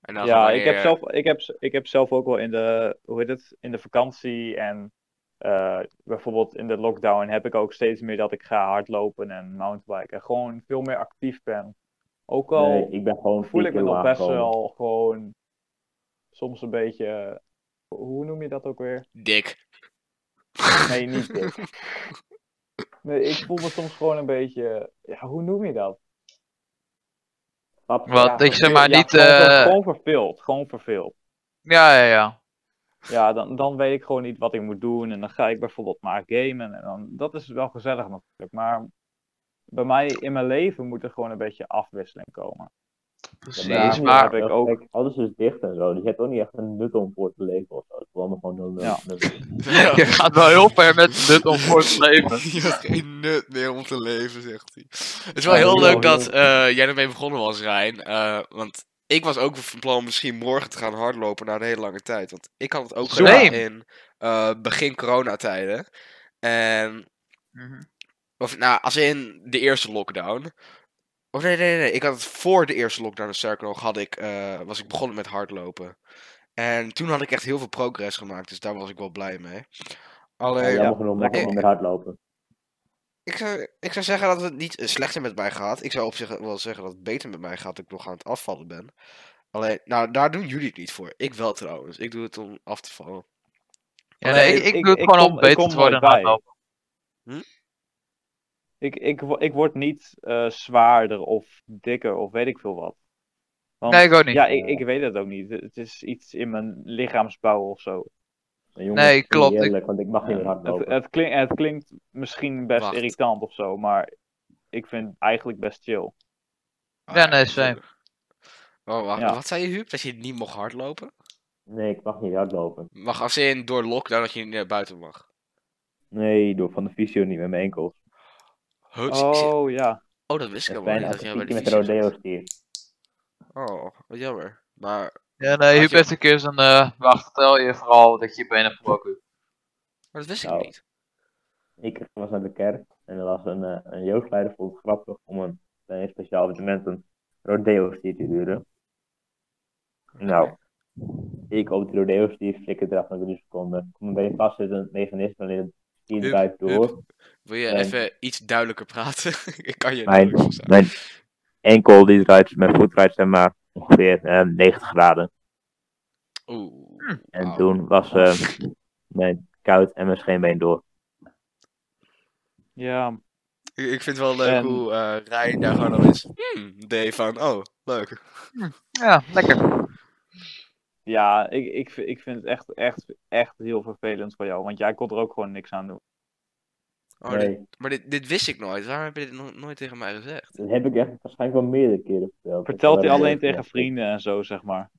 Speaker 1: En dan
Speaker 2: Ja,
Speaker 1: wanneer-
Speaker 2: ik heb, zelf, ik, heb, z- ik heb zelf ook wel in de, hoe heet het, in de vakantie en eh, bijvoorbeeld in de lockdown heb ik ook steeds meer dat ik ga hardlopen en mountainbiken. Gewoon veel meer actief ben. Ook al
Speaker 4: Nee, ik ben gewoon
Speaker 2: voel
Speaker 4: vier
Speaker 2: ik me
Speaker 4: keer
Speaker 2: nog best
Speaker 4: laaggekomen.
Speaker 2: wel gewoon soms een beetje, eh, hoe noem je dat ook weer?
Speaker 1: Dik.
Speaker 2: Nee, niet dit. Nee, ik voel me soms gewoon een beetje, ja, hoe noem je dat?
Speaker 4: Wat?
Speaker 3: Wat, dat je zeg maar
Speaker 2: Ja,
Speaker 3: niet...
Speaker 2: gewoon,
Speaker 3: eh,
Speaker 2: gewoon verveeld, gewoon verveeld.
Speaker 3: ja, ja, ja.
Speaker 2: Ja, dan, dan weet ik gewoon niet wat ik moet doen. En dan ga ik bijvoorbeeld maar gamen. En dan, dat is wel gezellig natuurlijk. Maar bij mij in mijn leven moet er gewoon een beetje afwisseling komen.
Speaker 4: Ja,
Speaker 3: Precies,
Speaker 4: maar-
Speaker 3: maar...
Speaker 2: heb ik
Speaker 4: Dat-
Speaker 2: ook-
Speaker 4: kijk, alles is dicht en zo, dus je hebt ook niet echt een nut om voor te leven of zo. Het is allemaal gewoon nul, nul,
Speaker 2: Ja.
Speaker 4: nul.
Speaker 3: Je gaat wel heel ver met nut om voor te leven.
Speaker 1: Je hebt geen nut meer om te leven, zegt hij. Het is wel
Speaker 4: Ja,
Speaker 1: heel
Speaker 4: heel
Speaker 1: leuk
Speaker 4: goed.
Speaker 1: dat eh, jij ermee begonnen was, Rijn. eh, want ik was ook van plan om misschien morgen te gaan hardlopen na een hele lange tijd. Want ik had het ook
Speaker 3: Same.
Speaker 1: gedaan in eh, begin coronatijden. En
Speaker 3: Mhm.
Speaker 1: Of, nou, als in de eerste lockdown. Of nee, nee, nee. Ik had het voor de eerste lockdown, dus sterker nog, had ik, eh, was ik begonnen met hardlopen. En toen had ik echt heel veel progress gemaakt, dus daar was ik wel blij mee. Alleen,
Speaker 4: Jammer genoeg mag ik
Speaker 1: Lekker.
Speaker 4: niet meer hardlopen.
Speaker 1: ik, zou, ik zou zeggen dat het niet slechter met mij gaat. Ik zou op zich wel zeggen dat het beter met mij gaat, dat ik nog aan het afvallen ben. Alleen, nou, daar doen jullie het niet voor. Ik wel trouwens. Ik doe het om af te vallen.
Speaker 3: Ja,
Speaker 2: Nee,
Speaker 3: nee, ik,
Speaker 2: ik-
Speaker 3: ik doe het
Speaker 2: ik
Speaker 3: gewoon
Speaker 2: kom-
Speaker 3: om
Speaker 2: ik
Speaker 3: beter
Speaker 2: kom
Speaker 3: te worden in
Speaker 2: nooit bij.
Speaker 3: hardlopen.
Speaker 2: Ik, ik, wo- ik word niet eh, zwaarder of dikker of weet ik veel wat. Want,
Speaker 3: Nee, ik ook niet.
Speaker 2: Ja, ik, ik weet het ook niet. Het is iets in mijn lichaamsbouw of zo.
Speaker 4: Maar jongens,
Speaker 3: Nee,
Speaker 4: ik vind het
Speaker 3: klopt, ik-
Speaker 4: Eerlijk, want ik mag niet
Speaker 2: Het,
Speaker 4: meer hardlopen.
Speaker 2: het, klinkt, het klinkt misschien best
Speaker 1: Wacht.
Speaker 2: irritant of zo, maar ik vind het eigenlijk best chill.
Speaker 1: Ah,
Speaker 3: Ja, nee,
Speaker 1: ik-
Speaker 3: same.
Speaker 1: Oh, wacht.
Speaker 2: Ja.
Speaker 1: Wat zei je, Huub? Dat je niet mocht hardlopen?
Speaker 4: Nee, ik mag niet hardlopen.
Speaker 1: Mag als in door lockdown dat je niet naar buiten mag.
Speaker 4: Nee, door van de fysio niet met mijn enkels.
Speaker 1: Huts, ik zit-
Speaker 2: Oh ja.
Speaker 1: Oh, dat wist ik
Speaker 4: Dat is
Speaker 1: helemaal niet.
Speaker 4: bijna
Speaker 1: Dat
Speaker 4: als
Speaker 1: jij
Speaker 4: een
Speaker 1: bij de
Speaker 4: fietje met
Speaker 1: fysio zat.
Speaker 4: rodeo's hier.
Speaker 1: Oh, wat jammer. Maar,
Speaker 3: Ja, nee,
Speaker 1: Had
Speaker 3: Huub
Speaker 1: je-
Speaker 3: heeft een keer zijn... eh wacht, vertel je vooral dat je je benen gebroken hebt.
Speaker 1: maar dat wist ik
Speaker 4: Nou.
Speaker 1: niet.
Speaker 4: Ik was naar de kerk en er was een, eh een jeugdleider vond het grappig om een, bij een speciaal evenement een rodeo-stier te huren. Nou, ik op die rodeo-stier flikker eraf na drie seconden. Kom bij een vastzittend mechanisme en het stier
Speaker 1: Hup,
Speaker 4: draait door.
Speaker 1: hup. Wil je
Speaker 4: Nee.
Speaker 1: even iets duidelijker praten? ik kan je
Speaker 4: Mijn-
Speaker 1: niet verstaan.
Speaker 4: Mijn enkel die draait, mijn voet draait zeg maar ongeveer eh, 90 graden.
Speaker 1: Oeh.
Speaker 4: En
Speaker 1: Auw.
Speaker 4: toen was eh, mijn kuit en mijn scheenbeen door.
Speaker 2: Ja,
Speaker 1: Ik, ik vind het wel leuk
Speaker 2: En-
Speaker 1: hoe eh Rijn daar gewoon al is. Hmm, D van, oh, leuk.
Speaker 3: Ja, lekker.
Speaker 2: Ja, ik, ik, vi- ik vind het echt, echt, echt heel vervelend voor jou. Want jij kon er ook gewoon niks aan doen.
Speaker 1: Oh,
Speaker 4: nee,
Speaker 1: dit- maar dit, dit wist ik nooit. Waarom heb je dit nog nooit tegen mij gezegd?
Speaker 4: dat heb ik echt waarschijnlijk wel meerdere keren verteld.
Speaker 2: Vertelt
Speaker 4: Dat
Speaker 2: hij
Speaker 4: ik wel
Speaker 2: alleen
Speaker 4: een-
Speaker 2: tegen vrienden en zo, zeg maar.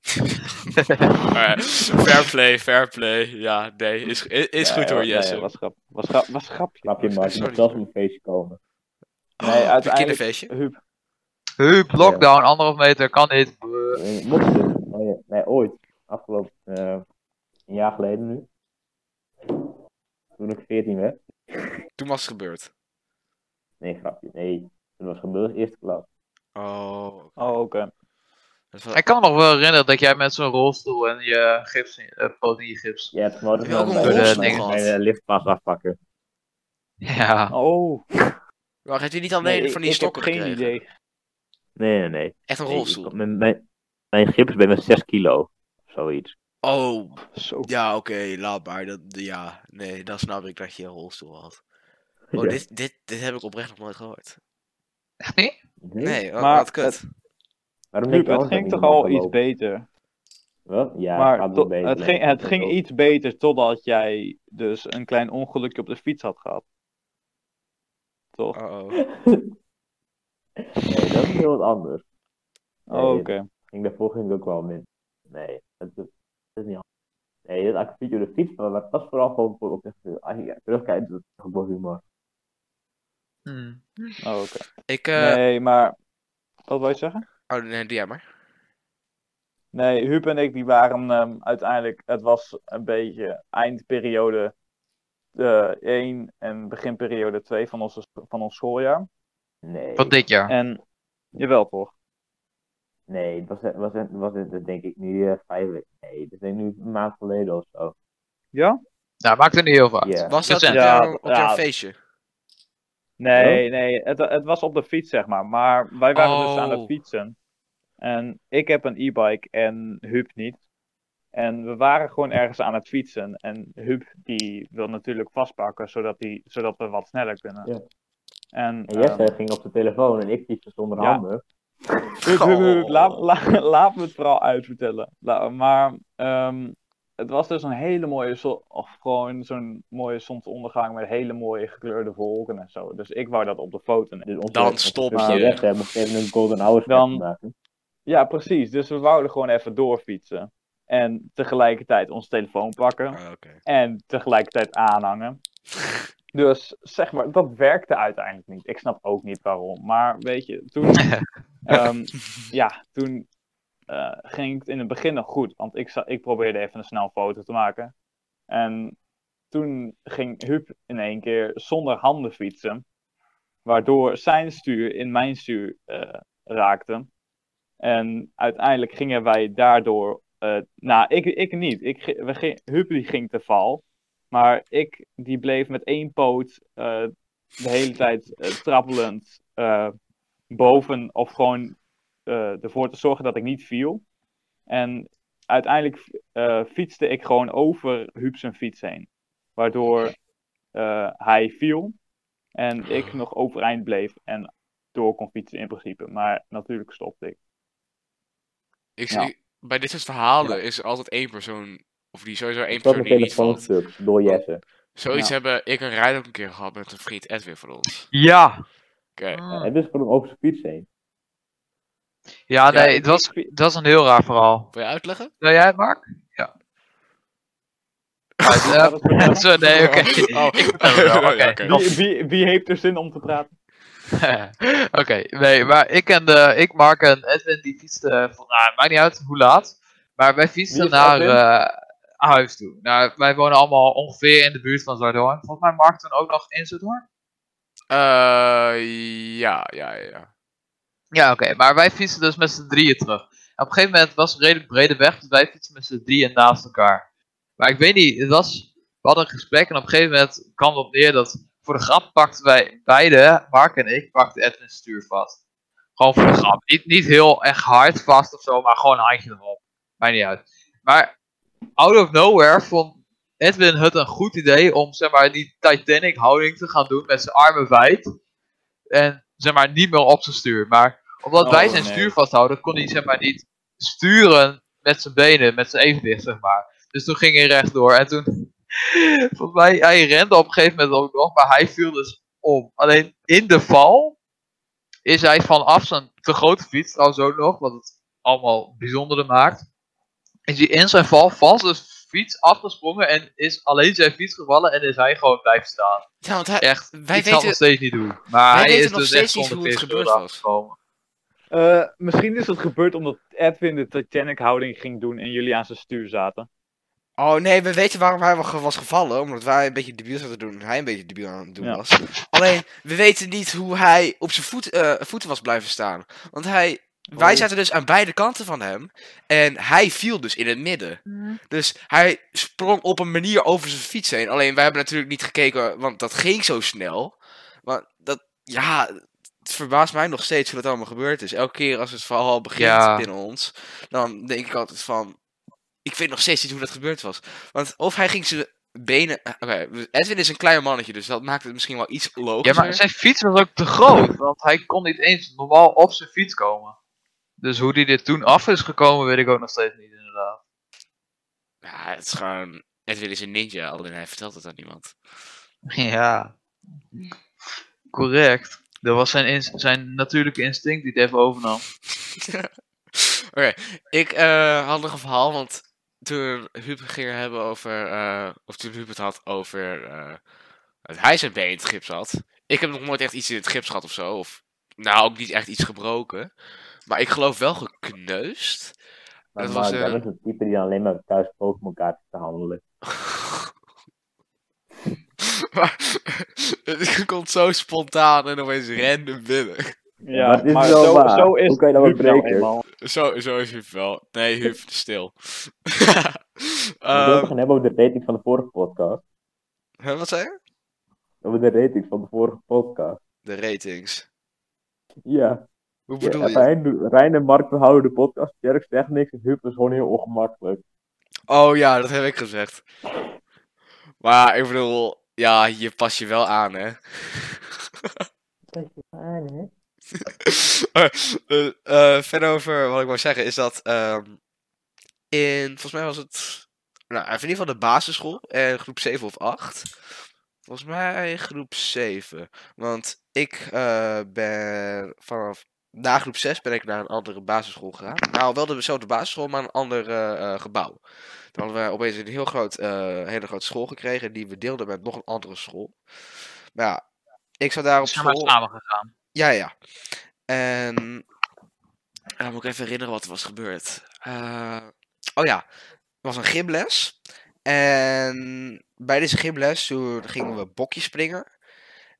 Speaker 1: Maar, Eh, fair play, fair play. Ja, D is, is, is
Speaker 2: Ja,
Speaker 1: goed
Speaker 2: ja,
Speaker 1: hoor,
Speaker 2: ja,
Speaker 1: Jesse.
Speaker 2: ja, was, grap, was, grap, was grapje.
Speaker 4: Grapje, maar ik
Speaker 1: Sorry.
Speaker 4: moet zelfs op een feestje komen.
Speaker 2: nee,
Speaker 1: Oh,
Speaker 2: uiteindelijk-
Speaker 1: kinderfeestje.
Speaker 2: Huub,
Speaker 3: Huub, lockdown, anderhalf meter, kan niet. Bleh.
Speaker 4: Eh, Mocht het? Nee, nee, ooit. Afgelopen eh, een jaar geleden nu. Toen ik 14 werd.
Speaker 1: Toen was het gebeurd.
Speaker 4: Nee, grapje. Nee, toen was gebeurd eerste klas.
Speaker 1: Oh.
Speaker 2: oh oké.
Speaker 1: Dat was-
Speaker 3: Ik kan me nog wel herinneren dat jij met zo'n rolstoel en je gips, in- eh poot in je gips.
Speaker 4: Je hebt gewoon
Speaker 1: Heb je ook een
Speaker 4: bij de-
Speaker 3: rolstoel
Speaker 4: bij de-
Speaker 1: gehad?
Speaker 4: bij de liftpas eh, afpakken.
Speaker 3: Ja.
Speaker 2: Oh,
Speaker 1: Wacht, heeft u niet alleen
Speaker 2: nee,
Speaker 1: van
Speaker 2: ik,
Speaker 1: die
Speaker 2: ik heb
Speaker 1: stokken
Speaker 2: geen
Speaker 1: gekregen?
Speaker 2: idee.
Speaker 4: Nee, nee, nee.
Speaker 1: Echt een
Speaker 4: Nee,
Speaker 1: rolstoel.
Speaker 4: ik- mijn, mijn, mijn gips bij met 6 kilo. Of zoiets.
Speaker 1: Oh,
Speaker 2: Zo.
Speaker 1: ja, oké, laat maar. Dat, ja, nee, dan snap ik dat je een rolstoel had. Oh,
Speaker 4: Ja.
Speaker 1: dit, dit, dit heb ik oprecht nog nooit gehoord.
Speaker 3: Echt niet?
Speaker 1: Nee, wa-
Speaker 2: Maar
Speaker 1: wat kut.
Speaker 4: Waarom
Speaker 2: Huub,
Speaker 4: denk je
Speaker 2: het
Speaker 4: anders
Speaker 2: ging
Speaker 4: dat
Speaker 2: toch al
Speaker 4: iemand kan
Speaker 2: iets
Speaker 4: lopen?
Speaker 2: beter.
Speaker 4: Wat? Ja,
Speaker 2: maar
Speaker 4: gaat
Speaker 2: to-
Speaker 4: wel beter.
Speaker 2: het,
Speaker 4: nee,
Speaker 2: ging,
Speaker 4: gaat
Speaker 2: het
Speaker 4: wel
Speaker 2: ging
Speaker 4: beter.
Speaker 2: iets beter totdat jij dus een klein ongelukje op de fiets had gehad. Toch?
Speaker 1: Uh-oh.
Speaker 4: Nee, dat is heel wat anders.
Speaker 2: Oh, oké.
Speaker 4: Ging daarvoor ging ik ook wel min. Nee, dat, dat is niet handig. Nee, dat actief op de fiets, maar dat was vooral gewoon voor op de Als je ja, terugkijkt, dat is toch wel humor.
Speaker 3: Hm.
Speaker 2: Oh, oké.
Speaker 1: Ik, eh,
Speaker 2: Nee, maar Wat wil je zeggen?
Speaker 1: Oh, nee, doe jij maar.
Speaker 2: Nee, Huub en ik die waren ehm, uiteindelijk... Het was een beetje eindperiode eh 1 en beginperiode 2 van, onze, van ons schooljaar.
Speaker 4: Nee.
Speaker 3: Van dit jaar.
Speaker 2: En jawel toch?
Speaker 4: Nee, het was, het was, het was het, denk ik nu eh, vijf weken. Nee, dat denk ik nu een maand geleden of zo.
Speaker 2: Ja?
Speaker 3: Nou, maakt er niet heel veel uit.
Speaker 4: Ja.
Speaker 1: Was dat op,
Speaker 3: Recent.
Speaker 2: Ja,
Speaker 1: jou- op jouw
Speaker 2: ja.
Speaker 1: feestje?
Speaker 2: Nee, nee. Het, het was op de fiets, zeg maar. Maar wij waren dus aan
Speaker 1: Oh.
Speaker 2: het fietsen. En ik heb een e-bike en Huub niet. En we waren gewoon ergens aan het fietsen. En Huub die wil natuurlijk vastpakken, zodat, die, zodat we wat sneller kunnen.
Speaker 4: Ja.
Speaker 2: En
Speaker 4: En Jesse
Speaker 2: ehm,
Speaker 4: ging op de telefoon en ik fietste zonder
Speaker 2: Ja.
Speaker 4: handen.
Speaker 2: Hup, hup, hup,
Speaker 1: Oh.
Speaker 2: Laat, la- laat me het verhaal uitvertellen. La- maar ehm, het was dus een hele mooie, zo- of gewoon zo'n mooie zonsondergang met hele mooie gekleurde wolken en zo. Dus ik wou dat op de foto nemen.
Speaker 4: Dus onze,
Speaker 1: Dan
Speaker 4: onze
Speaker 1: stop
Speaker 4: fucking
Speaker 2: je.
Speaker 4: Jesse moest even een golden hour
Speaker 2: Dan-
Speaker 4: maken.
Speaker 2: Ja, precies. Dus we wouden gewoon even doorfietsen. En tegelijkertijd ons telefoon pakken.
Speaker 1: Ah, oké.
Speaker 2: En tegelijkertijd aanhangen. Dus zeg maar, dat werkte uiteindelijk niet. Ik snap ook niet waarom. Maar weet je, toen. ehm, ja, toen eh, ging het in het begin nog goed. Want ik, za- ik probeerde even een snel foto te maken. En toen ging Huub in één keer zonder handen fietsen. Waardoor zijn stuur in mijn stuur eh, raakte. En uiteindelijk gingen wij daardoor eh, nou, ik, ik niet. Ik, ge- we ging, Huub die ging te val. Maar ik die bleef met één poot eh, de hele tijd eh, trappelend eh, boven of gewoon eh, ervoor te zorgen dat ik niet viel. En uiteindelijk eh, fietste ik gewoon over Huub zijn fiets heen. Waardoor eh, hij viel en ik nog overeind bleef en door kon fietsen in principe. Maar natuurlijk stopte ik.
Speaker 1: Ik
Speaker 2: Ja.
Speaker 1: zie- Bij dit soort verhalen is er altijd één persoon, of die sowieso één
Speaker 4: Ik zat
Speaker 1: persoon
Speaker 4: mijn
Speaker 1: die niet
Speaker 4: telefoon
Speaker 1: valt.
Speaker 4: stuk door Jesse.
Speaker 1: Zoiets
Speaker 2: Ja.
Speaker 1: hebben ik en Rijn ook een keer gehad met een vriend Edwin van ons.
Speaker 3: Ja.
Speaker 1: Oké.
Speaker 2: Oh.
Speaker 3: Hmm.
Speaker 4: En dus gewoon over zijn fiets heen.
Speaker 3: Ja, nee,
Speaker 2: Ja,
Speaker 3: het, was,
Speaker 2: ik-
Speaker 3: het was een heel raar verhaal.
Speaker 1: Wil je uitleggen?
Speaker 3: Wil jij het, Mark? Ja.
Speaker 2: Gaat het verder?
Speaker 3: Zo, nee, oké.
Speaker 1: Oh.
Speaker 3: Ik vertel het wel,
Speaker 1: Oké.
Speaker 3: oké.
Speaker 2: Wie, wie, wie heeft er zin om te praten?
Speaker 3: Oké, nee, maar ik en de, ik, Mark en Edwin, die fietsten, van, nou, maakt niet uit hoe laat, maar wij fietsten
Speaker 2: Wie is
Speaker 3: naar
Speaker 2: Edwin?
Speaker 3: eh, huis toe. Nou, wij wonen allemaal ongeveer in de buurt van Zuidhoorn. Volgens mij Mark toen ook nog in Zuidhoorn.
Speaker 1: Eh, ja, ja, ja.
Speaker 3: Ja, oké, maar wij fietsen dus met z'n drieën terug. En op een gegeven moment was het een redelijk brede weg, dus wij fietsen met z'n drieën naast elkaar. Maar ik weet niet, het was, we hadden een gesprek en op een gegeven moment kwam het op neer dat voor de grap pakten wij beide, Mark en ik, pakten Edwin stuur vast. Gewoon voor de grap. Niet, niet heel echt hard vast of zo, maar gewoon een handje erop. Maakt niet uit. Maar out of nowhere vond Edwin het een goed idee om zeg maar, die Titanic houding te gaan doen met zijn armen wijd. En zeg maar niet meer op zijn stuur. Maar omdat
Speaker 2: Oh,
Speaker 3: wij zijn
Speaker 2: nee.
Speaker 3: stuur vasthouden, kon hij zeg maar niet sturen met zijn benen, met zijn evenwicht zeg maar. Dus toen ging hij rechtdoor en toen, volgens mij, hij rende op een gegeven moment ook nog, maar hij viel dus om. Alleen in de val is hij vanaf zijn te grote fiets, trouwens ook nog, wat het allemaal bijzonderder maakt, is hij in zijn val van zijn fiets afgesprongen en is alleen zijn fiets gevallen en is hij gewoon blijven staan.
Speaker 1: Ja, want hij,
Speaker 3: Echt,
Speaker 1: wij
Speaker 3: ik zal het
Speaker 1: weten-
Speaker 3: nog steeds niet doen. Maar
Speaker 1: wij
Speaker 3: hij
Speaker 1: weten
Speaker 3: is
Speaker 1: nog
Speaker 3: dus
Speaker 1: steeds
Speaker 3: echt
Speaker 1: niet
Speaker 3: zonder
Speaker 1: hoe het
Speaker 3: keer
Speaker 1: gebeurd
Speaker 3: schuld
Speaker 1: was.
Speaker 3: afgekomen.
Speaker 2: Eh, misschien is dat gebeurd omdat Edwin de Titanic-houding ging doen en jullie aan zijn stuur zaten.
Speaker 1: Oh nee, we weten waarom hij wa- was gevallen. Omdat wij een beetje debiel zaten te doen. En hij een beetje debiel aan het doen
Speaker 2: Ja.
Speaker 1: was. Alleen, we weten niet hoe hij op zijn voet, eh, voeten was blijven staan. Want hij, wij
Speaker 2: Oh.
Speaker 1: zaten dus aan beide kanten van hem. En hij viel dus in het midden. Dus hij sprong op een manier over zijn fiets heen. Alleen, wij hebben natuurlijk niet gekeken, want dat ging zo snel. Maar dat, ja, het verbaast mij nog steeds hoe dat allemaal gebeurd is. Elke keer als het verhaal begint
Speaker 3: Ja.
Speaker 1: binnen ons, dan denk ik altijd van... Ik weet nog steeds niet hoe dat gebeurd was. Want of hij ging zijn benen... eh, Oké, Edwin is een klein mannetje, dus dat maakt het misschien wel iets
Speaker 3: Ja,
Speaker 1: logischer.
Speaker 3: maar zijn fiets was ook te groot, want hij kon niet eens normaal op zijn fiets komen. Dus hoe die dit toen af is gekomen, weet ik ook nog steeds niet inderdaad.
Speaker 1: Ja, het is gewoon... Edwin is een ninja, alleen hij vertelt het aan niemand.
Speaker 3: Ja. Correct. Dat was zijn, ins- zijn natuurlijke instinct die het even overnam.
Speaker 1: Oké, ik eh, had nog een verhaal, want toen Huub het ging hebben over, eh, of toen Huub het had over eh dat hij zijn been in het gips had. Ik heb nog nooit echt iets in het gips gehad of zo, of Nou, ook niet echt iets gebroken. Maar ik geloof wel gekneusd.
Speaker 4: Maar
Speaker 1: Dat
Speaker 4: dat
Speaker 1: was,
Speaker 4: was,
Speaker 1: eh,
Speaker 4: is een type die dan alleen maar thuis Pokémon kaarten te handelen.
Speaker 1: maar het komt zo spontaan en opeens random binnen.
Speaker 2: Ja,
Speaker 4: maar het is
Speaker 2: maar
Speaker 4: wel
Speaker 2: zo,
Speaker 4: waar.
Speaker 2: zo is
Speaker 4: Hoe kan je dat
Speaker 2: Huub nou
Speaker 4: bebreken?
Speaker 2: eenmaal.
Speaker 1: Zo, zo is het wel. Nee, Huub, stil.
Speaker 4: We wilden het
Speaker 1: Ehm,
Speaker 4: gaan hebben over de rating van de vorige podcast.
Speaker 1: hè, wat zei je?
Speaker 4: Over de rating van de vorige podcast.
Speaker 1: De ratings.
Speaker 4: Ja.
Speaker 1: Hoe bedoel
Speaker 4: ja
Speaker 1: je?
Speaker 4: Rijn, Rijn en Mark behouden de podcast. Jerk zegt niks en Huub is gewoon heel ongemakkelijk.
Speaker 1: Oh ja, dat heb ik gezegd. Maar ik bedoel, ja, je pas je wel aan, hè? Eh, eh, eh, verder over wat ik wou zeggen is dat ehm, in, volgens mij was het, nou, in ieder geval de basisschool en groep 7 of 8. Volgens mij groep 7. Want ik eh, ben vanaf, na groep 6 ben ik naar een andere basisschool gegaan. Nou, wel dezelfde basisschool, maar een ander eh, eh, gebouw. Toen hadden we opeens een heel groot, eh, hele grote school gekregen die we deelden met nog een andere school. Maar ja, ik zat daar op
Speaker 3: We zijn maar
Speaker 1: school...
Speaker 3: samen gegaan.
Speaker 1: Ja, ja. En. Dan moet ik even herinneren wat er was gebeurd. Eh, oh ja, er was een gymles. En bij deze gymles toen gingen we bokje springen.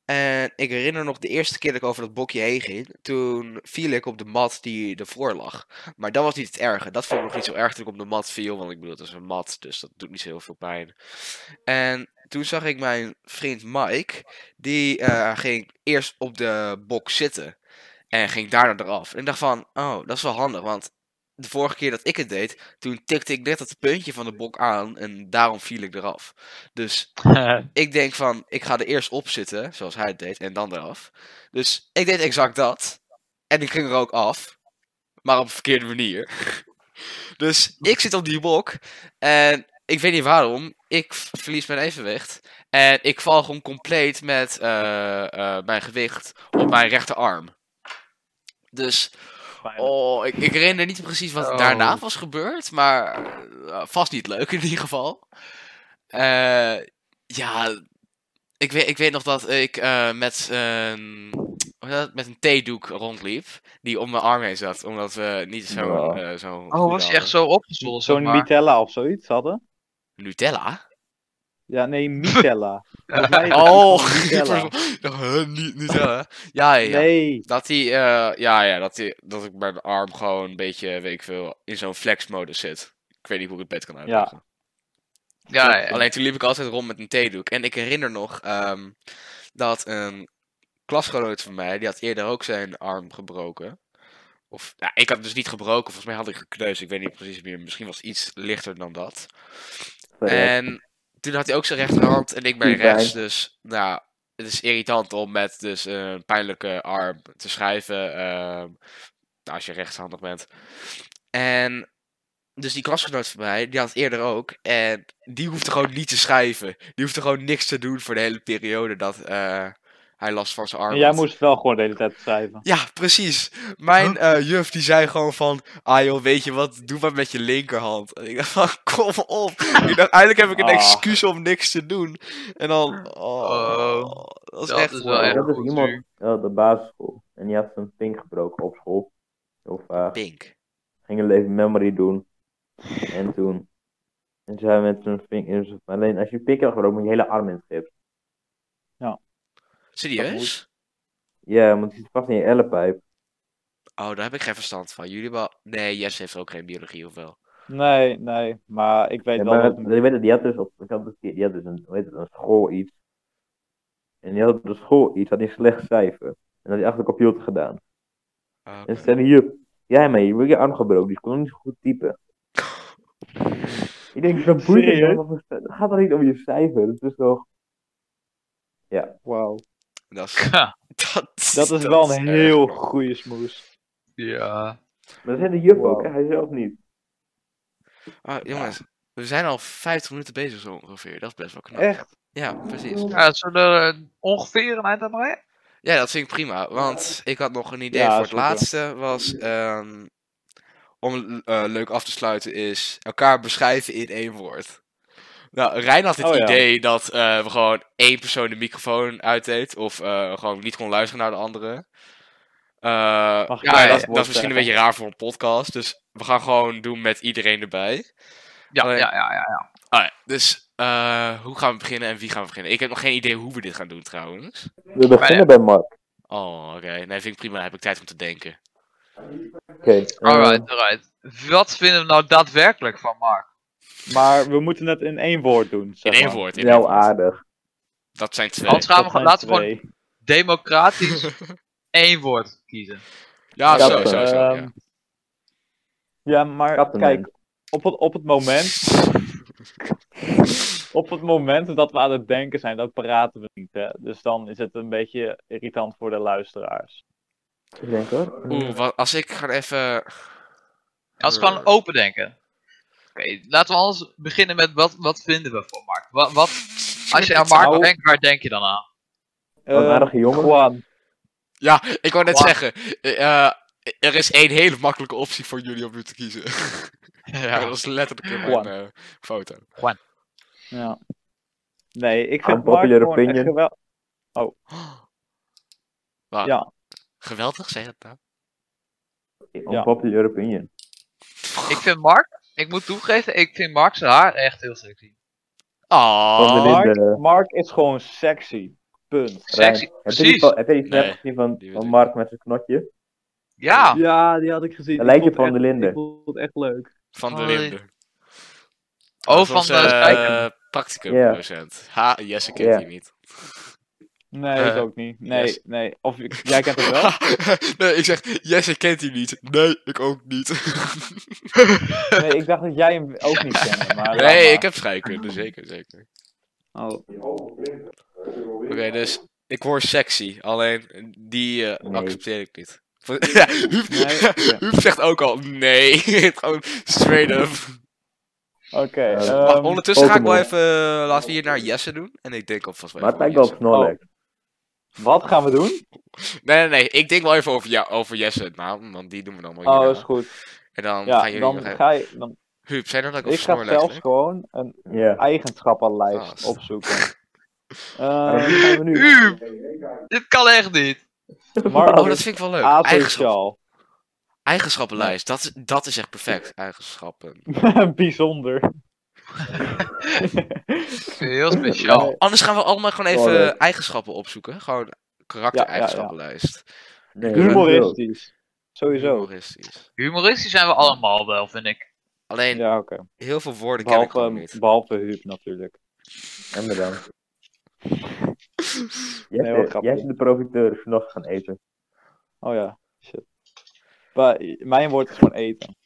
Speaker 1: En ik herinner nog de eerste keer dat ik over dat bokje heen ging. Toen viel ik op de mat die ervoor lag. Maar dat was niet het erge. Dat vond ik nog niet zo erg dat ik op de mat viel. Want ik bedoel, het is een mat, dus dat doet niet zo heel veel pijn. En toen zag ik mijn vriend Mike die eh, ging eerst op de bok zitten en ging daarna eraf. En ik dacht van, oh, dat is wel handig, want de vorige keer dat ik het deed, toen tikte ik net het puntje van de bok aan en daarom viel ik eraf. Dus ik denk van, ik ga er eerst op zitten, zoals hij het deed, en dan eraf. Dus ik deed exact dat. En ik ging er ook af, maar op een verkeerde manier. Dus ik zit op die bok en ik weet niet waarom, ik v- verlies mijn evenwicht. En ik val gewoon compleet met eh, eh, mijn gewicht op mijn rechterarm. Dus, oh, ik, ik herinner niet precies wat er
Speaker 3: Oh.
Speaker 1: daarna was gebeurd, maar eh, vast niet leuk in ieder geval. Eh, ja, ik weet, ik weet nog dat ik eh, met, een- hoe heet dat? met een theedoek rondliep, die om mijn arm heen zat, omdat we niet zo...
Speaker 4: Ja.
Speaker 1: eh zo
Speaker 3: Oh, was je echt zo opgezwollen?
Speaker 2: Zo'n
Speaker 3: Zo'n maar.
Speaker 2: Mitella of zoiets hadden.
Speaker 1: Nutella?
Speaker 2: Ja, nee, Mitella. Volgens mij is het
Speaker 1: Oh,
Speaker 2: iets van Nutella.
Speaker 1: Huh, Nu- Nutella. Ja, ja, ja.
Speaker 2: Nee,
Speaker 1: Dat hij, eh, ja, ja, dat, hij, dat ik mijn arm gewoon een beetje, weet ik veel, in zo'n flexmodus zit. Ik weet niet hoe ik het beter kan uitleggen.
Speaker 3: Ja, ja.
Speaker 1: Alleen toen liep ik altijd rond met een theedoek. En ik herinner nog ehm, dat een klasgenoot van mij, die had eerder ook zijn arm gebroken. Of, nou, ik had het dus niet gebroken, volgens mij had ik gekneusd. Ik weet niet precies meer, misschien was het iets lichter dan dat. En toen had hij ook zijn rechterhand en ik mijn
Speaker 4: Pijn.
Speaker 1: rechts. Dus nou, het is irritant om met dus een pijnlijke arm te schrijven. ehm, nou, als je rechtshandig bent. En dus die klasgenoot van mij, die had het eerder ook. En die hoefde gewoon niet te schrijven. Die hoefde gewoon niks te doen voor de hele periode dat eh, hij last van zijn arm
Speaker 2: en jij
Speaker 1: had.
Speaker 2: moest wel gewoon de hele tijd schrijven.
Speaker 1: Ja, precies. Mijn eh, juf die zei gewoon van, ah joh, weet je wat, doe maar met je linkerhand. En ik dacht van, kom op. ik dacht, eindelijk heb ik een
Speaker 2: Ah.
Speaker 1: excuus om niks te doen. En dan, oh,
Speaker 3: Oh,
Speaker 1: dat is
Speaker 3: dat
Speaker 1: echt...
Speaker 3: is wel
Speaker 1: wow.
Speaker 3: erg.
Speaker 4: dat is
Speaker 3: goed,
Speaker 4: iemand
Speaker 3: Huub.
Speaker 4: ja, op de basisschool. En die had zijn pink gebroken op school. Of eh,
Speaker 1: Pink.
Speaker 4: ging een leven memory doen. En toen. En toen zei hij met zijn vinger. Alleen als je pik hebt gebroken, moet je hele arm in het gips.
Speaker 1: Serieus?
Speaker 4: Ja, want die zit vast in je ellepijp.
Speaker 1: Oh, daar heb ik geen verstand van. Jullie wel... Nee, Jess heeft ook geen biologie, of wel?
Speaker 2: Nee, nee, maar ik weet
Speaker 4: Ja,
Speaker 2: wel
Speaker 4: maar
Speaker 2: dat...
Speaker 4: ik weet het, die had dus op. Ik had dus, die had dus een, hoe heet het, een school iets. En die had op de school iets, had hij een slecht cijfer. En dat had hij achter de computer gedaan.
Speaker 1: Ah,
Speaker 4: En
Speaker 1: oké.
Speaker 4: ze zeiden, hier, jij maar, je wordt je arm gebroken, dus ik kon niet zo goed typen. Ik denk, dat boeit het
Speaker 2: Serieus?
Speaker 4: toch? Of- Het gaat toch niet om je cijfer, het is toch...
Speaker 2: Wauw.
Speaker 1: Dat is...
Speaker 3: Ja.
Speaker 1: Dat,
Speaker 2: Dat is wel een
Speaker 1: erg.
Speaker 2: heel goede smoes.
Speaker 3: Ja.
Speaker 4: Maar dat zei de juf
Speaker 2: Wow.
Speaker 4: ook, hè? hij zelf niet.
Speaker 1: Ah, jongens, we zijn al 50 minuten bezig zo ongeveer. Dat is best wel knap.
Speaker 2: Echt?
Speaker 1: Ja, precies.
Speaker 3: ja zullen we er eh, ongeveer een eind aan breien?
Speaker 1: Ja, dat vind ik prima. Want ik had nog een idee voor
Speaker 2: Ja,
Speaker 1: het
Speaker 2: is goed, ja.
Speaker 1: laatste. Was ehm, om eh, leuk af te sluiten, is elkaar beschrijven in één woord. Nou, Rijn had het
Speaker 2: Oh ja.
Speaker 1: idee dat eh, we gewoon één persoon de microfoon uitdeed. Of eh, gewoon niet kon luisteren naar de andere. Eh,
Speaker 2: Mag
Speaker 3: Ja,
Speaker 1: maar
Speaker 3: ja,
Speaker 1: dat,
Speaker 3: ja.
Speaker 1: dat is misschien een beetje raar voor een podcast. Dus we gaan gewoon doen met iedereen erbij.
Speaker 3: Ja,
Speaker 1: Alleen-
Speaker 3: ja, ja, ja, ja.
Speaker 1: Alright, dus eh, hoe gaan we beginnen en wie gaan we beginnen? Ik heb nog geen idee hoe we dit gaan doen trouwens.
Speaker 4: We beginnen bij Mark.
Speaker 1: Oh, oké. Nee, vind ik prima. Dan heb ik tijd om te denken.
Speaker 4: Oké. eh,
Speaker 2: Oh.
Speaker 3: Alright, alright. Wat vinden we nou daadwerkelijk van Mark?
Speaker 2: Maar we moeten het in één woord doen.
Speaker 1: In
Speaker 2: Zeg
Speaker 1: één
Speaker 2: maar.
Speaker 1: woord.
Speaker 4: eh,
Speaker 1: In één
Speaker 4: wel
Speaker 1: woord.
Speaker 4: aardig.
Speaker 1: Dat zijn twee.
Speaker 3: Hans- Gaan we
Speaker 2: Dat
Speaker 3: gewoon- laten
Speaker 2: zijn
Speaker 3: we gewoon-
Speaker 2: twee.
Speaker 3: Democratisch één woord kiezen.
Speaker 1: Ja,
Speaker 4: Ja,
Speaker 1: Ah, zo,
Speaker 4: dat,
Speaker 1: zo, zo.
Speaker 2: Ehm,
Speaker 1: ja.
Speaker 2: ja, maar
Speaker 4: Kaptein.
Speaker 2: kijk, op het, op het moment. Op het moment dat we aan het denken zijn, dat praten we niet. Hè? Dus dan is het een beetje irritant voor de luisteraars.
Speaker 4: Ik denk hoor.
Speaker 2: Mm.
Speaker 1: Oeh, wat, als ik ga even.
Speaker 3: Als we gewoon open denken. Oké, laten we anders beginnen met wat, wat vinden we van Mark? Wat, wat, als je aan Mark
Speaker 2: Nou-
Speaker 3: denkt, waar denk je dan aan?
Speaker 4: Wat een
Speaker 2: Eh,
Speaker 4: aardige jongen.
Speaker 2: Juan.
Speaker 1: Ja, ik wou net
Speaker 3: Wat?
Speaker 1: zeggen. eh, eh, er is één hele makkelijke optie voor jullie om nu te kiezen. Ja, dat is letterlijk in mijn
Speaker 2: Juan.
Speaker 1: eh, foto.
Speaker 2: Ja. Nee, ik vind Mark
Speaker 4: Unpopular
Speaker 2: gewoon echt
Speaker 4: opinion.
Speaker 2: geweldig.
Speaker 1: Wat?
Speaker 2: Ja.
Speaker 1: Geweldig, zei dat nou?
Speaker 4: Unpopular opinion.
Speaker 3: Ik vind Mark, ik moet toegeven, ik vind Mark zijn haar echt heel sexy.
Speaker 4: Van
Speaker 1: Oh,
Speaker 4: de-
Speaker 2: Mark,
Speaker 4: eh,
Speaker 2: Mark is gewoon sexy. Punt.
Speaker 4: Rijn,
Speaker 3: Sexy,
Speaker 4: heb je die
Speaker 3: precies.
Speaker 4: fo- Heb je die snap
Speaker 1: Nee,
Speaker 4: gezien van,
Speaker 1: die weet
Speaker 4: van
Speaker 1: ik
Speaker 4: Mark met zijn knotje?
Speaker 1: Ah.
Speaker 3: Ja,
Speaker 2: Ja, die had ik gezien.
Speaker 4: Een
Speaker 2: Ik
Speaker 4: lijntje
Speaker 2: vond
Speaker 4: van
Speaker 2: het
Speaker 4: de
Speaker 2: echt-
Speaker 4: Linde.
Speaker 2: Ik vond het echt leuk.
Speaker 1: van de
Speaker 3: Hoi.
Speaker 1: Linden.
Speaker 3: oh
Speaker 1: Dat is
Speaker 3: van
Speaker 1: onze,
Speaker 3: de Spijker.
Speaker 1: eh, practicum
Speaker 4: Ja.
Speaker 1: docent. Ha, Jesse kent
Speaker 4: Ja.
Speaker 1: die niet.
Speaker 2: Nee,
Speaker 1: Eh,
Speaker 2: ik ook niet. Nee,
Speaker 1: yes.
Speaker 2: nee. Of ik- jij kent het wel?
Speaker 1: nee, ik zeg, Jesse kent die niet. Nee, ik ook niet.
Speaker 2: Nee, ik dacht dat jij hem ook niet kende. Maar laat
Speaker 1: nee,
Speaker 2: maar.
Speaker 1: ik heb scheikunde, zeker, zeker.
Speaker 2: Oh.
Speaker 1: Oké, dus ik hoor sexy, alleen die eh,
Speaker 4: Nee.
Speaker 1: accepteer ik niet. ja, Huub,
Speaker 2: Nee.
Speaker 1: Huub zegt ook al, nee, gewoon straight up.
Speaker 2: Oké.
Speaker 4: Eh,
Speaker 2: ehm,
Speaker 1: Wacht, ondertussen ga ik wel
Speaker 4: Pokémon.
Speaker 1: even, eh, laten we hier naar Jesse doen. En ik denk alvast wel
Speaker 4: Maar
Speaker 1: even
Speaker 4: het lijkt
Speaker 1: over
Speaker 4: wel op
Speaker 1: Oh.
Speaker 4: Snorlax.
Speaker 2: wat gaan we doen?
Speaker 1: Jesse. Nee, nee, nee, ik denk wel even over, ja, over Jesse, nou, want die doen we dan wel
Speaker 2: Oh,
Speaker 1: hierna.
Speaker 2: is goed.
Speaker 1: En dan gaan
Speaker 2: Ja,
Speaker 1: jullie
Speaker 2: dan
Speaker 1: nog even-
Speaker 2: ga je... Dan,
Speaker 1: Huub, zijn er dan ook
Speaker 2: ik
Speaker 1: over
Speaker 2: ga
Speaker 1: Snorlax?
Speaker 2: zelfs
Speaker 1: hè?
Speaker 2: gewoon een
Speaker 4: Ja.
Speaker 2: eigenschappenlijst
Speaker 1: Ah.
Speaker 2: opzoeken.
Speaker 4: Maar
Speaker 2: Eh,
Speaker 4: wie gaan we nu?
Speaker 3: Uw, dit kan echt niet.
Speaker 2: Mark
Speaker 1: Oh, dat
Speaker 2: is
Speaker 1: vind ik wel leuk. Eigenschappen,
Speaker 2: asociaal.
Speaker 1: eigenschappenlijst, dat, is- dat is echt perfect. Eigenschappen.
Speaker 2: Bijzonder.
Speaker 3: Heel speciaal.
Speaker 1: Anders gaan we allemaal gewoon even
Speaker 4: Sorry.
Speaker 1: eigenschappen opzoppen. Gewoon karaktereigenschappenlijst.
Speaker 4: Nee,
Speaker 2: Humoristisch. Sowieso.
Speaker 1: Humoristisch.
Speaker 3: Humoristisch zijn we allemaal wel, vind ik.
Speaker 1: Alleen
Speaker 2: Ja, oké.
Speaker 1: heel veel woorden ken ik gewoon
Speaker 2: Behalve,
Speaker 1: niet.
Speaker 2: behalve Huub natuurlijk.
Speaker 4: En bedankt.
Speaker 2: Nee, wel
Speaker 4: Jesse,
Speaker 2: grappig.
Speaker 4: Jesse de profiteur is nog gaan eten.
Speaker 2: Oh ja, shit. Maar, mijn woord is gewoon eten.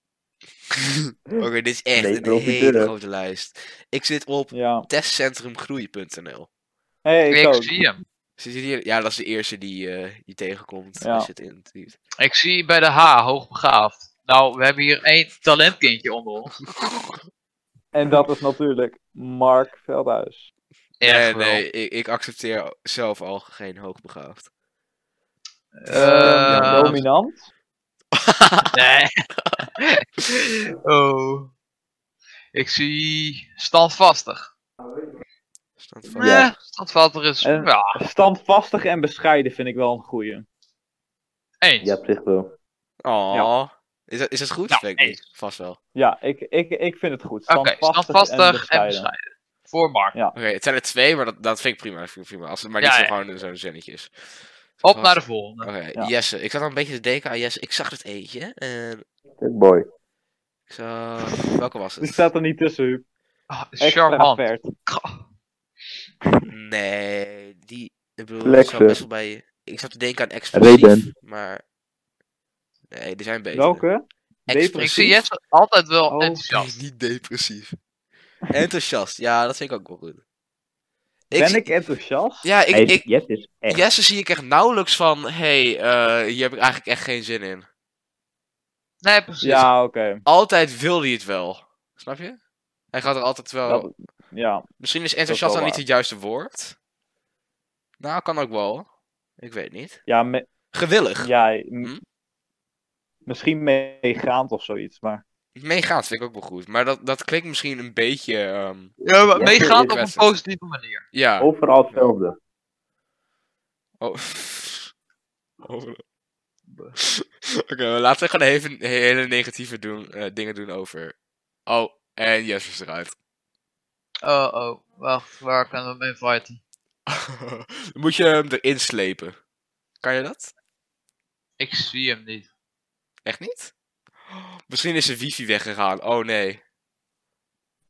Speaker 2: ehm,
Speaker 1: Oké, dit is echt
Speaker 4: Nee,
Speaker 1: een
Speaker 4: profiteuren.
Speaker 1: hele grote lijst. Ik zit op
Speaker 2: Ja.
Speaker 1: testcentrumgroei.nl.
Speaker 2: Hey, ik,
Speaker 3: Ik
Speaker 2: ook.
Speaker 3: zie hem.
Speaker 1: Zit je hier? Ja, dat is de eerste die eh, je tegenkomt
Speaker 2: Ja.
Speaker 1: als je het interviewt.
Speaker 3: Ik zie bij de H, hoogbegaafd. Nou, we hebben hier één talentkindje onder ons.
Speaker 2: En dat is natuurlijk Mark Veldhuis.
Speaker 3: Echt
Speaker 1: nee,
Speaker 3: wel.
Speaker 1: nee, ik, ik accepteer zelf al geen hoogbegaafd.
Speaker 3: Eh,
Speaker 2: Eh, dominant.
Speaker 3: nee. oh. Ik zie standvastig.
Speaker 1: Stand
Speaker 3: Ja.
Speaker 1: van.
Speaker 4: Ja.
Speaker 3: standvastig is
Speaker 2: En-
Speaker 3: ja,
Speaker 2: Standvastig en bescheiden vind ik wel een goeie.
Speaker 3: eens.
Speaker 4: Ja, op zich wel.
Speaker 1: Oh. Is, dat, is dat goed?
Speaker 3: Nou,
Speaker 1: Weet ik niet.
Speaker 3: eens.
Speaker 1: Vast wel.
Speaker 2: Ja, ik, ik, ik vind het goed.
Speaker 3: Oké,
Speaker 2: Standvastig,
Speaker 3: standvastig
Speaker 2: en bescheiden.
Speaker 3: Voor Mark.
Speaker 2: Ja.
Speaker 1: Oké, het zijn er twee, maar dat, dat vind ik prima. Dat vind ik prima. Als het maar
Speaker 3: Ja,
Speaker 1: niet zo
Speaker 3: ja.
Speaker 1: gewoon zo'n zinnetje is.
Speaker 3: Op naar de volgende.
Speaker 1: Oké,
Speaker 2: Ja.
Speaker 1: Jesse. Ik zat al een beetje te denken aan Jesse. Ik zag het eentje. En
Speaker 4: Good boy.
Speaker 1: ik zag... Welke was
Speaker 2: Die
Speaker 1: het?
Speaker 2: staat er niet tussen, Huub.
Speaker 3: Ah, charmant.
Speaker 2: Extravert.
Speaker 1: Nee, die... Ik bedoel, ik
Speaker 4: Flexen.
Speaker 1: zat best wel bij... Ik zat te denken aan expressief,
Speaker 4: Reden.
Speaker 1: maar... Nee, er zijn betere.
Speaker 2: Welke?
Speaker 3: Ik
Speaker 1: Expressief.
Speaker 3: zie Jesse altijd wel
Speaker 2: Oh.
Speaker 3: enthousiast.
Speaker 1: Niet depressief. Enthousiast. Ja, dat vind ik ook wel goed.
Speaker 2: Ben
Speaker 1: zie-
Speaker 2: ik enthousiast?
Speaker 1: Ja, ik,
Speaker 4: Hey,
Speaker 1: ik,
Speaker 4: Jesse is echt.
Speaker 1: Jesse zie ik echt nauwelijks van, hey, eh, hier heb ik eigenlijk echt geen zin in.
Speaker 3: Nee, precies.
Speaker 2: Ja, oké.
Speaker 1: Altijd wil hij het wel. Snap je? Hij gaat er altijd wel...
Speaker 2: Dat- Ja,
Speaker 1: Misschien is enthousiast
Speaker 2: wel
Speaker 1: dan niet
Speaker 2: waar.
Speaker 1: het juiste woord. Nou, kan ook wel. Ik weet niet.
Speaker 2: ja, me-
Speaker 1: Gewillig.
Speaker 2: ja m-
Speaker 1: Hm?
Speaker 2: misschien meegaand of zoiets, maar...
Speaker 1: Meegaand vind ik ook wel goed. Maar dat, dat klinkt misschien een beetje... ehm,
Speaker 3: Ja, maar
Speaker 4: Ja,
Speaker 3: meegaand op een
Speaker 1: wedstrijd.
Speaker 3: positieve manier.
Speaker 1: ja.
Speaker 4: Overal hetzelfde.
Speaker 1: Oh. Over- Oké, maar laten we gewoon even hele negatieve doen, eh, dingen doen over. Oh, en Jess is eruit.
Speaker 3: Oh, oh. Wacht, waar kunnen we mee fighten?
Speaker 1: Dan moet je hem erin slepen. Kan je dat?
Speaker 3: Ik zie hem niet.
Speaker 1: Echt niet? Misschien is zijn wifi weggegaan. Oh nee.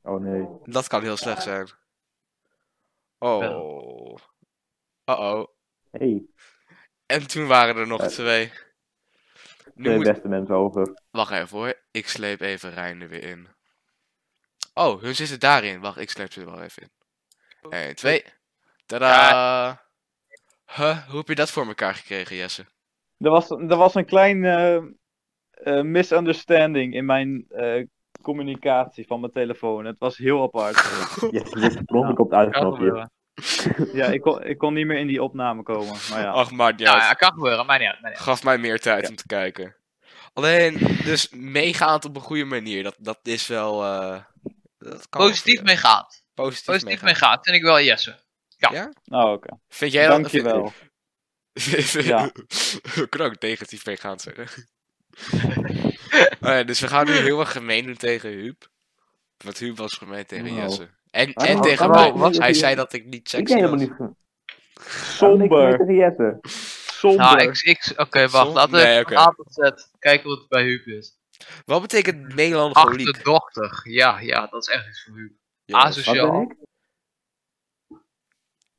Speaker 4: Oh nee.
Speaker 1: Dat kan heel slecht zijn. Oh. Uh-oh.
Speaker 4: Hey,
Speaker 1: En toen waren er nog
Speaker 4: Ja.
Speaker 1: twee. Nu
Speaker 4: twee
Speaker 1: moet...
Speaker 4: beste mensen over.
Speaker 1: Wacht even hoor. Ik sleep even Rijn er weer in. Oh, hun zitten daarin. Wacht, ik sleep ze er wel even in. 1, 2. Tada! Huh, hoe heb je dat voor elkaar gekregen, Jesse?
Speaker 2: Er was, er was een klein eh, eh, misunderstanding in mijn eh, communicatie van mijn telefoon. Het was heel apart.
Speaker 4: Je zit per ongeluk op
Speaker 3: Kan
Speaker 4: het uitknopje.
Speaker 3: gebeuren.
Speaker 2: ja, ik kon, ik kon niet meer in die opname komen. Maar Oh, ja.
Speaker 1: Ach, maar ja,
Speaker 3: Ja, ja, kan gebeuren. Maar niet uit. maakt niet uit.
Speaker 1: gaf mij meer tijd
Speaker 2: Ja.
Speaker 1: om te kijken. Alleen, dus meegaand op een goede manier, dat, dat is wel. eh, dat kan wel
Speaker 3: Positief
Speaker 1: gebeuren.
Speaker 3: meegaat.
Speaker 1: Positief,
Speaker 3: Positief
Speaker 1: meegaan.
Speaker 3: meegaat. Vind ik wel Jesse.
Speaker 2: Oh, oké.
Speaker 1: Vind jij dat?
Speaker 2: Dankjewel.
Speaker 1: ja.
Speaker 2: Ja.
Speaker 1: Ik kan ook negatief mee gaan zeggen. Oh ja, dus we gaan nu heel erg gemeen doen tegen Huub. Want Huub was gemeen tegen
Speaker 4: Nou.
Speaker 1: Jesse. En,
Speaker 4: Maar
Speaker 1: en
Speaker 4: wat-
Speaker 1: tegen
Speaker 4: wat-
Speaker 1: mij.
Speaker 4: wat-
Speaker 1: Hij zei dat ik niet
Speaker 4: Ik
Speaker 1: seks
Speaker 4: ben helemaal
Speaker 1: was.
Speaker 4: niet ge-
Speaker 2: Somber.
Speaker 4: Waarom niks meer tegen Jesse?
Speaker 2: Somber.
Speaker 3: Nou, ik, ik, oké, wacht.
Speaker 1: Zon-
Speaker 3: Laten we
Speaker 1: Nee,
Speaker 3: even
Speaker 1: oké.
Speaker 3: van A tot Z kijken wat het bij Huub is.
Speaker 1: Wat betekent melancholiek?
Speaker 3: Achterdochtig. Ja, ja, dat is echt iets voor Huub.
Speaker 1: jongens?
Speaker 3: Asus.
Speaker 4: Wat
Speaker 3: Ja.
Speaker 4: ben ik?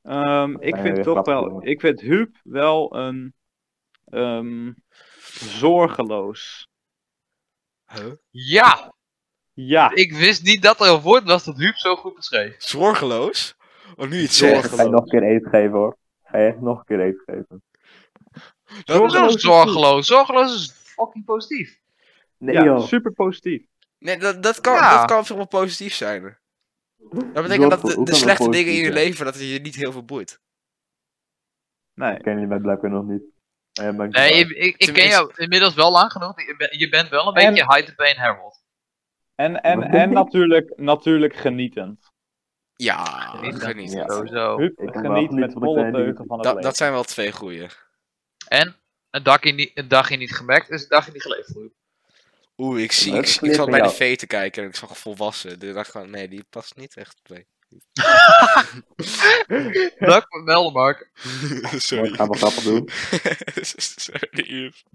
Speaker 2: Ehm, ik
Speaker 4: Nee,
Speaker 2: vind
Speaker 4: weer
Speaker 2: toch
Speaker 4: grappig,
Speaker 2: wel,
Speaker 4: jongen.
Speaker 2: ik vind Huub wel een ehm, zorgeloos.
Speaker 1: Huh?
Speaker 3: Ja,
Speaker 2: Ja,
Speaker 3: ik wist niet dat er een woord was dat Huub zo goed beschreef.
Speaker 1: Zorgeloos? Oh, nu iets
Speaker 2: Zorgeloos.
Speaker 1: zegt.
Speaker 4: Ga je nog een keer eten geven hoor. Ga je echt nog een keer eten geven.
Speaker 1: Dat-
Speaker 3: Hoezo
Speaker 2: Zorgeloos is
Speaker 3: zorgeloos? Zorgeloos is fucking positief.
Speaker 4: Nee
Speaker 2: ja
Speaker 4: joh.
Speaker 2: super positief.
Speaker 1: Nee, dat, dat kan,
Speaker 3: Ja.
Speaker 1: dat kan veel positief zijn. Dat betekent dat
Speaker 4: Zorgel-
Speaker 1: de,
Speaker 4: hoe
Speaker 1: de
Speaker 4: kan dat
Speaker 1: slechte dingen in je
Speaker 4: positief zijn?
Speaker 1: leven, dat het je niet heel veel boeit.
Speaker 2: Nee,
Speaker 4: Ken je mij blijkbaar nog niet. Eh, maar ik-
Speaker 3: Nee, ik, ik, ik ken
Speaker 1: Tenminste-
Speaker 3: jou inmiddels wel lang genoeg. Je bent, je bent wel een
Speaker 2: En-
Speaker 3: beetje high the pain Harold.
Speaker 2: en, en, en natuurlijk, natuurlijk genietend.
Speaker 1: Ja,
Speaker 3: Geniet dan.
Speaker 1: geniet.
Speaker 4: Ja.
Speaker 3: Sowieso.
Speaker 2: Huub
Speaker 4: Oh, ik kan wel
Speaker 2: geniet
Speaker 4: genieten
Speaker 2: met
Speaker 4: van de
Speaker 2: volle
Speaker 4: kleine
Speaker 2: teugen
Speaker 4: dingen.
Speaker 2: van het
Speaker 1: Dat,
Speaker 2: leven.
Speaker 1: dat zijn wel twee goeie.
Speaker 3: En een dagje niet, een dagje niet gemerkt is een dagje niet geleefd. Huub.
Speaker 1: Oeh, ik zie.
Speaker 4: Dat
Speaker 1: Ik,
Speaker 4: is
Speaker 1: ik
Speaker 4: geleerd
Speaker 1: zat
Speaker 4: van
Speaker 1: bij de
Speaker 4: jou.
Speaker 1: vee te kijken en ik zag volwassen. Dus ik dacht gewoon, nee, die past niet echt bij.
Speaker 3: Dank voor het melden, Mark.
Speaker 1: Sorry.
Speaker 4: Ik ga wel grappig doen.
Speaker 1: Sorry, Yves.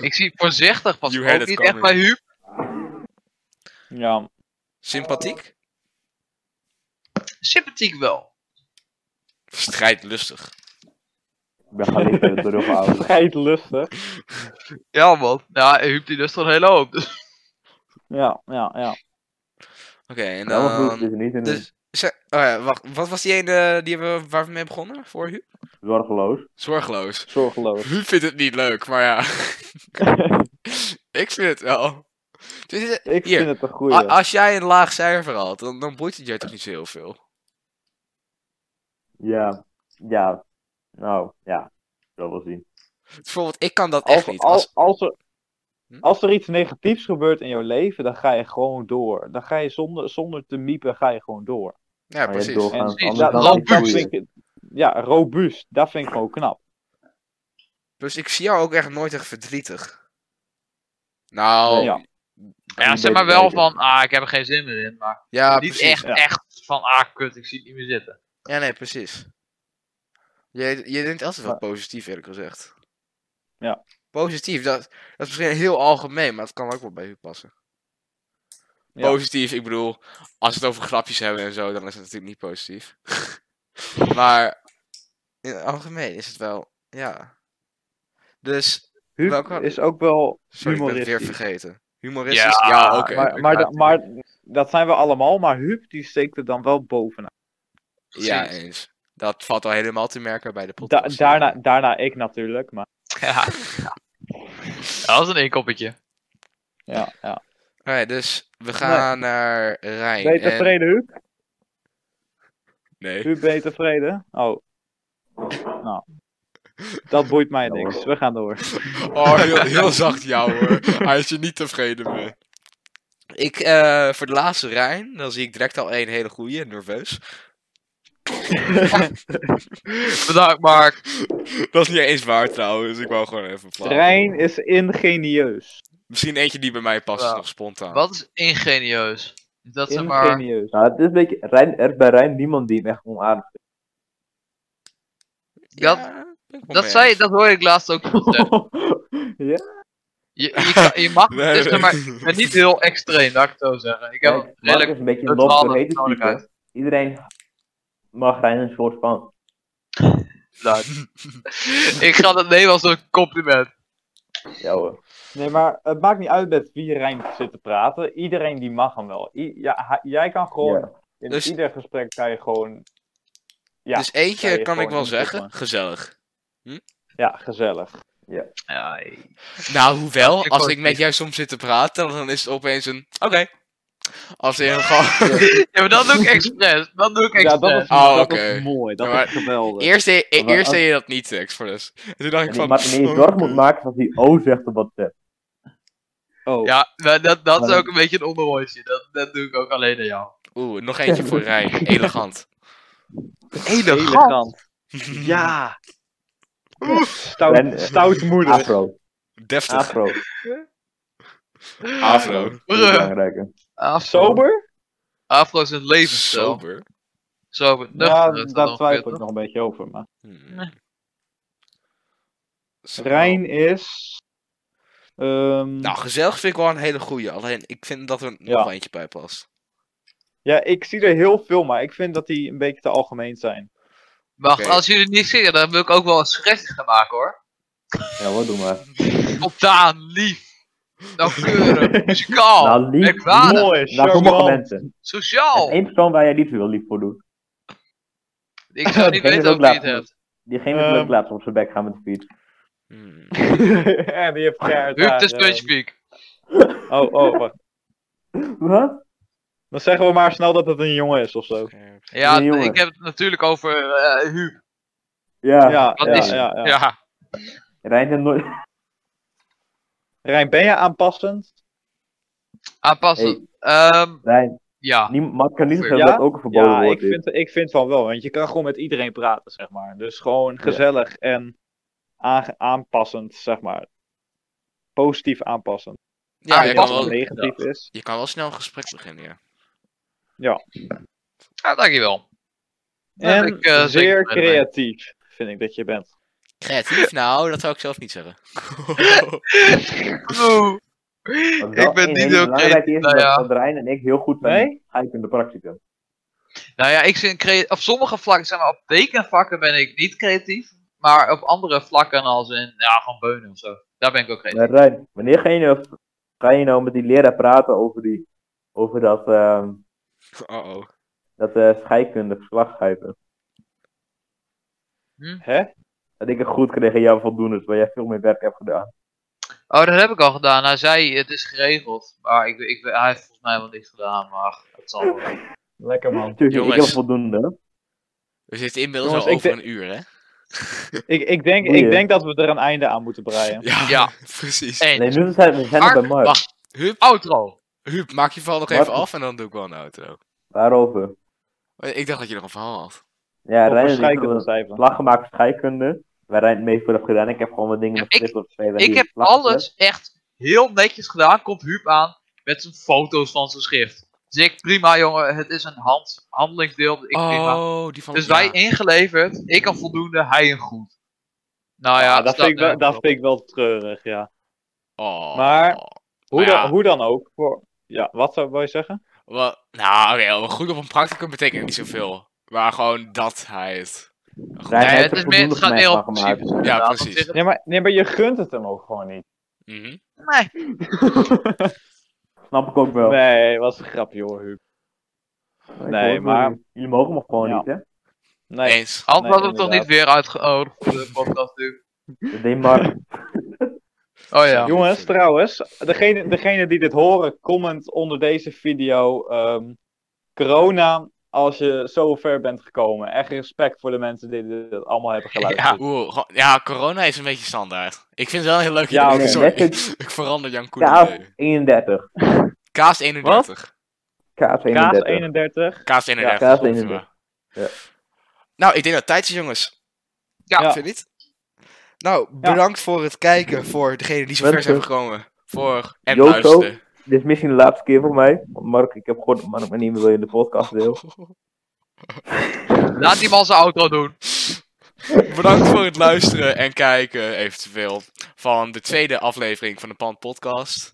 Speaker 3: Ik zie voorzichtig pas
Speaker 1: You had
Speaker 3: ook
Speaker 1: it
Speaker 3: niet echt
Speaker 1: coming.
Speaker 3: bij Huub.
Speaker 2: Ja,
Speaker 1: Sympathiek?
Speaker 3: Sympathiek wel.
Speaker 1: Strijdlustig.
Speaker 4: Ik ben gaan liggen door de rug
Speaker 2: scheidlustig.
Speaker 3: Ja man. Nou, Huub die lust al een hele hoop. Dus.
Speaker 2: Ja, ja, ja.
Speaker 1: Oké, en
Speaker 4: Nou, goed,
Speaker 1: dan.
Speaker 4: dus niet in
Speaker 1: Dus, ze- oh ja, wacht. Wat was die ene eh, die we, waar we mee begonnen voor Huub?
Speaker 4: zorgeloos.
Speaker 1: Zorgeloos.
Speaker 2: Zorgeloos.
Speaker 1: Huub vindt het niet leuk, maar ja. ik vind het wel. Dus, eh,
Speaker 2: Ik
Speaker 1: Hier. ah,
Speaker 2: vind het een
Speaker 1: a-
Speaker 2: goeie.
Speaker 1: als jij een laag cijfer had, dan, dan boeit het je toch niet zo heel veel.
Speaker 4: Ja, ja. Nou, ja. Ik zal wel zien.
Speaker 1: Bijvoorbeeld, ik kan dat echt
Speaker 2: Als,
Speaker 1: niet. Als,
Speaker 2: als, als, er,
Speaker 1: Hm?
Speaker 2: als er iets negatiefs gebeurt in jouw leven, dan ga je gewoon door. Dan ga je zonder, zonder te miepen, ga je gewoon door.
Speaker 1: ja,
Speaker 4: Maar je hebt
Speaker 1: precies.
Speaker 4: doorgaans
Speaker 3: Precies,
Speaker 4: anders
Speaker 3: ja,
Speaker 4: dan
Speaker 3: dat
Speaker 4: ik
Speaker 3: robuust.
Speaker 4: doe
Speaker 2: vind
Speaker 4: je.
Speaker 2: ik, ja, robuust. Dat vind ik gewoon knap.
Speaker 1: Dus ik zie jou ook echt nooit echt verdrietig. Nou,
Speaker 4: Nee,
Speaker 1: ja,
Speaker 2: ja.
Speaker 3: Ja,
Speaker 4: Niet
Speaker 3: zeg maar
Speaker 4: beter
Speaker 3: wel
Speaker 4: kijken.
Speaker 3: van, ah, ik heb er geen zin meer in. Maar niet
Speaker 1: precies.
Speaker 3: echt,
Speaker 2: ja.
Speaker 3: echt van, ah, kut, ik zie het niet meer zitten.
Speaker 1: Ja, nee, precies. Je, je denkt altijd wel positief, eerlijk gezegd.
Speaker 2: Ja.
Speaker 1: Positief, dat, dat is misschien heel algemeen, maar het kan ook wel bij u passen.
Speaker 2: Ja.
Speaker 1: Positief, ik bedoel, als we het over grapjes hebben en zo, dan is het natuurlijk niet positief. maar in het algemeen is het wel, ja. Dus,
Speaker 2: Huub
Speaker 1: Welke-
Speaker 2: is ook wel
Speaker 1: sorry, ik ben het weer
Speaker 2: Humoristisch.
Speaker 1: vergeten. Humoristisch? Ja,
Speaker 3: Ja,
Speaker 1: oké.
Speaker 2: maar, maar, da- maar dat zijn we allemaal, maar Huub die steekt er dan wel bovenuit.
Speaker 1: Ja,
Speaker 3: Precies.
Speaker 1: eens. Dat valt al helemaal te merken bij de
Speaker 2: Da-
Speaker 1: podcast.
Speaker 2: daarna, daarna ik natuurlijk, maar
Speaker 3: Ja. Dat was een inkoppetje.
Speaker 2: ja. ja.
Speaker 1: Alright, dus we gaan naar Rijn.
Speaker 2: Ben je
Speaker 1: en-
Speaker 2: tevreden, Huub?
Speaker 1: Nee.
Speaker 2: Huub, ben je tevreden? Oh. Nou. Dat boeit mij
Speaker 4: Ja,
Speaker 2: niks. We gaan door.
Speaker 1: Oh, heel, heel zacht jou hoor. Hij is je niet tevreden mee. Ik, eh, voor de laatste Rijn, dan zie ik direct al één hele goeie, nerveus.
Speaker 3: Bedankt, Mark.
Speaker 1: Dat is niet eens waar trouwens. dus Ik wou gewoon even plaatsen.
Speaker 2: Trein is ingenieus.
Speaker 1: Misschien eentje die bij mij past, is
Speaker 3: Ja.
Speaker 1: nog spontaan.
Speaker 3: Wat is ingenieus? Is dat zeg maar.
Speaker 2: Ingenieus.
Speaker 4: Nou, het is een beetje... Rijn, er is bij Rijn niemand die hem echt onaardig vindt.
Speaker 3: Dat,
Speaker 1: Ja, ben ik wel
Speaker 3: dat,
Speaker 1: mee
Speaker 3: zei,
Speaker 1: eens.
Speaker 3: dat hoorde ik laatst ook. nog zeggen.
Speaker 2: ja?
Speaker 3: Je, je, kan- je mag.
Speaker 1: Nee,
Speaker 3: Het is zeg maar,
Speaker 1: nee.
Speaker 3: ik ben niet heel extreem, laat ik het zo zeggen. Ik heb
Speaker 4: Kijk,
Speaker 3: een
Speaker 4: Mark
Speaker 3: redelijk.
Speaker 4: is een beetje een
Speaker 3: neutrale
Speaker 4: lobster, heet het
Speaker 3: persoonlijkheid.
Speaker 4: type. Iedereen mag Rijn een soort van.
Speaker 3: geluid. ik ga dat nemen als een compliment.
Speaker 4: Ja hoor.
Speaker 2: Nee, maar het maakt niet uit met wie Rijn zit te praten. Iedereen die mag hem wel. I- ja, hij- jij kan gewoon...
Speaker 4: Ja.
Speaker 2: In
Speaker 1: Dus-
Speaker 2: ieder gesprek kan je gewoon... Ja,
Speaker 1: Dus eentje
Speaker 2: Ja, je
Speaker 1: kan ik
Speaker 2: gewoon
Speaker 1: wel
Speaker 2: in de
Speaker 1: zeggen.
Speaker 2: groep,
Speaker 1: Gezellig.
Speaker 2: ja gezellig.
Speaker 3: Ja, ik-
Speaker 1: Nou, hoewel,
Speaker 3: ik
Speaker 1: als
Speaker 3: wou
Speaker 1: ik met jou soms zit te praten, dan is het opeens een. Oké. Als in gewoon.
Speaker 3: ja, maar dat doe ik expres. Dat doe ik
Speaker 2: Ja,
Speaker 3: expres.
Speaker 2: dat is,
Speaker 1: Oh,
Speaker 2: dat
Speaker 1: oké.
Speaker 2: is mooi. Dat
Speaker 1: Ja, maar
Speaker 2: is geweldig.
Speaker 1: Eerst deed, e-
Speaker 4: Maar
Speaker 1: eerst
Speaker 4: als-
Speaker 1: deed je dat niet, Express. En toen dacht ik
Speaker 4: En
Speaker 1: van.
Speaker 4: maar je zorg moet maken dat hij eh, O zegt op dat chat.
Speaker 2: Oh.
Speaker 3: Ja, maar dat, dat is
Speaker 4: Maar-
Speaker 3: ook een beetje een onderwoordje. Dat, dat doe ik ook alleen aan jou.
Speaker 1: Oeh, nog eentje voor Rijn. Elegant.
Speaker 2: Elegant.
Speaker 3: Ja.
Speaker 2: Stout, stoutmoedig.
Speaker 4: Afro.
Speaker 1: Deftig.
Speaker 4: Afro.
Speaker 1: Afro.
Speaker 4: Dat is belangrijker.
Speaker 3: Afro.
Speaker 2: Sober?
Speaker 3: Afro is een levensstijl.
Speaker 1: Sober.
Speaker 3: Sober.
Speaker 2: Ja,
Speaker 3: nuchter is dat
Speaker 2: daar twijfel ik
Speaker 3: ongeveer,
Speaker 2: nog een beetje over. Maar.
Speaker 1: Hmm. Zo.
Speaker 2: Rijn is... ehm,
Speaker 1: Nou, gezellig vind ik wel een hele goeie. Alleen ik vind dat er
Speaker 2: Ja.
Speaker 1: nog eentje bij past.
Speaker 2: Ja, ik zie er heel veel, maar ik vind dat die een beetje te algemeen zijn.
Speaker 3: Wacht,
Speaker 1: Oké.
Speaker 3: als jullie niet zingen, dan wil ik ook wel een suggestie gaan maken hoor.
Speaker 4: Ja hoor, doe maar.
Speaker 3: Spontaan, lief, nauwkeurig, muzikaal,
Speaker 4: Nou, lief,
Speaker 1: Ah,
Speaker 3: merkwaardig,
Speaker 2: Mooi,
Speaker 4: Naar sommige
Speaker 2: charmant.
Speaker 4: mensen.
Speaker 3: sociaal.
Speaker 4: Eén persoon waar jij liefst wil lief voor doet.
Speaker 3: Ik zou niet
Speaker 4: Degene
Speaker 3: weten
Speaker 4: is
Speaker 3: ook
Speaker 4: ook
Speaker 3: wie het
Speaker 4: laat.
Speaker 3: hebt.
Speaker 4: Diegene is
Speaker 2: Ehm.
Speaker 4: ook laatst op zijn bek gaan met de fiets.
Speaker 1: Hmm.
Speaker 2: en die heeft keihard
Speaker 3: Huub
Speaker 2: haar,
Speaker 3: de
Speaker 2: eh.
Speaker 3: Spongepeak.
Speaker 2: Oh, oh, wacht.
Speaker 4: Wat?
Speaker 2: Dan zeggen we maar snel dat het een jongen is of zo.
Speaker 3: Ja,
Speaker 4: een jongen.
Speaker 3: ik heb het natuurlijk over eh Huub.
Speaker 4: Ja.
Speaker 2: Ja,
Speaker 3: Wat
Speaker 2: ja,
Speaker 3: is-
Speaker 2: ja, ja.
Speaker 3: Ja.
Speaker 4: Rijn heeft nooit...
Speaker 2: Rijn, ben je aanpassend?
Speaker 3: aanpassend. Ehm,
Speaker 4: Rijn,
Speaker 3: ja.
Speaker 4: niemand Mark kan niet zeggen
Speaker 2: Ja?
Speaker 4: dat dat ook een verboden
Speaker 2: ja, ik
Speaker 4: woord is.
Speaker 2: vind, ik vind van wel, want je kan gewoon met iedereen praten, zeg maar. Dus gewoon gezellig en aange- aanpassend, zeg maar. Positief aanpassend.
Speaker 1: Ja, je kan,
Speaker 2: Als
Speaker 3: Aanpassen.
Speaker 2: het
Speaker 1: wel,
Speaker 2: negatief Ah, is.
Speaker 1: je kan wel snel een gesprek beginnen, ja.
Speaker 3: ja, Nou, dankjewel. Daar ben
Speaker 2: En
Speaker 3: ik, eh,
Speaker 2: zeer
Speaker 3: zeker blij mee.
Speaker 2: creatief, vind ik dat je bent.
Speaker 1: Creatief? Nou, dat zou ik zelf niet zeggen.
Speaker 3: Oeh. Ik
Speaker 4: Want dat
Speaker 3: ben
Speaker 4: een
Speaker 3: niet
Speaker 4: hele
Speaker 3: heel
Speaker 4: belangrijke
Speaker 3: creatief,
Speaker 4: is
Speaker 3: nou
Speaker 4: dat-
Speaker 3: ja.
Speaker 4: dat Rijn en ik heel goed zijn
Speaker 2: Nee?
Speaker 4: ga ik in de practica.
Speaker 3: Nou ja, ik vind crea- op sommige vlakken, zeg maar op tekenvakken ben ik niet creatief. Maar op andere vlakken als in, ja, gewoon beunen of zo. Daar ben ik ook creatief.
Speaker 4: Maar Rijn, wanneer ga je nou, ga je nou met die leraar praten over, die, over dat, ehm
Speaker 1: Oh, oh.
Speaker 4: dat eh scheikunde geslachtsgrijpen?
Speaker 2: Hè?
Speaker 4: Dat ik een goed kreeg en jou voldoende, waar jij veel meer werk hebt gedaan.
Speaker 3: Oh, dat heb ik al gedaan. Hij zei, het is geregeld. Maar ik, ik, hij heeft volgens mij wel niks gedaan, maar het zal wel.
Speaker 2: Lekker man.
Speaker 4: Tuurlijk,
Speaker 1: Jongens.
Speaker 4: ik heb voldoende.
Speaker 1: We zitten inmiddels
Speaker 2: Jongens,
Speaker 1: al
Speaker 2: ik
Speaker 1: over
Speaker 2: denk-
Speaker 1: een uur, hè?
Speaker 2: Ik, ik, denk, ik
Speaker 4: Boeien.
Speaker 2: denk dat we er een einde aan moeten breien.
Speaker 3: Ja.
Speaker 1: precies.
Speaker 3: En,
Speaker 4: Nee, nu zijn we zijn
Speaker 3: Mark,
Speaker 4: nog bij Mark.
Speaker 1: Wacht, Huub,
Speaker 3: outro.
Speaker 1: Huub, maak je verhaal nog
Speaker 4: Mark-
Speaker 1: even af en dan doe ik wel een outro.
Speaker 4: Waarover?
Speaker 1: Eh, Ik dacht dat je nog een verhaal had.
Speaker 4: Ja,
Speaker 2: Over
Speaker 4: Rijn en ik
Speaker 2: scheikunde
Speaker 4: hebben een
Speaker 2: cijferen.
Speaker 4: slag gemaakt voor scheikunde. Waar Rijn het meest voor heeft gedaan. Ik heb gewoon wat dingen
Speaker 3: Ja,
Speaker 4: met schrift op spelen.
Speaker 3: Ik heb alles echt heel netjes gedaan. Komt Huub aan met zijn foto's van zijn schrift. Dus ik, prima jongen, het is een hand, handelingsdeel. Ik, prima.
Speaker 1: oh, die van
Speaker 3: Dus
Speaker 1: ja.
Speaker 3: wij ingeleverd. Ik een voldoende, hij een goed. Nou ja,
Speaker 2: Ah, dat,
Speaker 3: staat
Speaker 2: vind ik wel,
Speaker 3: nergens
Speaker 2: dat
Speaker 3: op.
Speaker 2: vind ik wel treurig, ja.
Speaker 1: Oh.
Speaker 2: Maar- Hoe,
Speaker 1: Maar ja.
Speaker 2: dan, hoe dan ook. Voor... Ja, wat zou wil je zeggen?
Speaker 1: Wel, nou, oké, wel goed op een practicum betekent niet zoveel. Maar gewoon dat hij het. Goed,
Speaker 4: Rijn
Speaker 3: Nee,
Speaker 4: heeft
Speaker 3: het,
Speaker 4: er
Speaker 3: is meer, het
Speaker 4: voldoende
Speaker 3: gaat
Speaker 4: van
Speaker 3: meer
Speaker 4: mij
Speaker 3: om
Speaker 4: van
Speaker 3: principes.
Speaker 4: gemaakt.
Speaker 3: inderdaad.
Speaker 1: Ja,
Speaker 3: Op
Speaker 1: precies.
Speaker 3: zich-
Speaker 2: Nee maar, nee, maar je gunt het hem ook gewoon niet.
Speaker 1: mhm.
Speaker 3: Nee,
Speaker 4: Snap ik ook wel.
Speaker 2: Nee, was een grapje hoor, Huub.
Speaker 4: Ik hoor
Speaker 2: nee,
Speaker 4: het
Speaker 2: maar-
Speaker 4: niet. Jullie mogen me gewoon
Speaker 2: Ja.
Speaker 4: niet, hè?
Speaker 2: Nee.
Speaker 1: Eens.
Speaker 3: Hans
Speaker 2: Nee,
Speaker 3: had hem toch
Speaker 2: inderdaad.
Speaker 3: niet weer uitgenodigd voor de podcast nu.
Speaker 4: Dat deed Mark.
Speaker 3: Oh ja.
Speaker 2: Jongens, trouwens, degene, degene die dit horen, comment onder deze video. ehm, corona, als je zo ver bent gekomen. Echt respect voor de mensen die dit allemaal hebben
Speaker 3: Ja.
Speaker 2: geluisterd.
Speaker 1: Oeh, gewoon- ja, corona is een beetje standaard. Ik vind het wel een heel leuk
Speaker 2: Ja,
Speaker 1: idee.
Speaker 2: oké.
Speaker 1: Sorry,
Speaker 4: Net
Speaker 1: ik verander Jan Koen.
Speaker 4: Kaas 31.
Speaker 1: Kaas 31.
Speaker 4: Kaas
Speaker 2: Kaas
Speaker 4: 31.
Speaker 2: 31.
Speaker 1: Kaas 31.
Speaker 4: Ja, Kaas
Speaker 1: klopt,
Speaker 4: 31.
Speaker 1: ja. Nou, ik denk dat het tijd is, jongens.
Speaker 3: Ja.
Speaker 1: Vind je niet? Nou, bedankt voor het kijken. Voor degenen die zo ver zijn
Speaker 4: Mensen.
Speaker 1: gekomen. Voor en
Speaker 4: Joko.
Speaker 1: luisteren.
Speaker 4: Dit is misschien de laatste keer voor mij. Want Mark, ik heb gehoord dat Mark me niet meer wil in de podcast deel.
Speaker 3: Laat die man zijn auto doen.
Speaker 1: Bedankt voor het luisteren en kijken, eventueel, van de tweede aflevering van de Pan Podcast.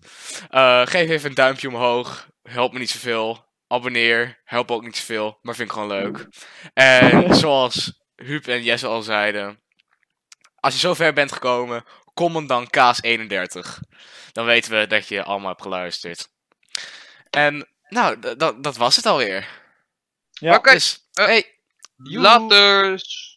Speaker 1: Eh, geef even een duimpje omhoog. Helpt me niet zoveel. Abonneer. Helpt ook niet zoveel, maar vind ik gewoon leuk. En zoals Huub en Jesse al zeiden, als je zo ver bent gekomen, comment dan Kaas31. Dan weten we dat je allemaal hebt geluisterd. En nou, d- dat- dat was het alweer.
Speaker 2: Ja.
Speaker 3: Oké,
Speaker 1: Dus, hey, joe.
Speaker 3: Laters.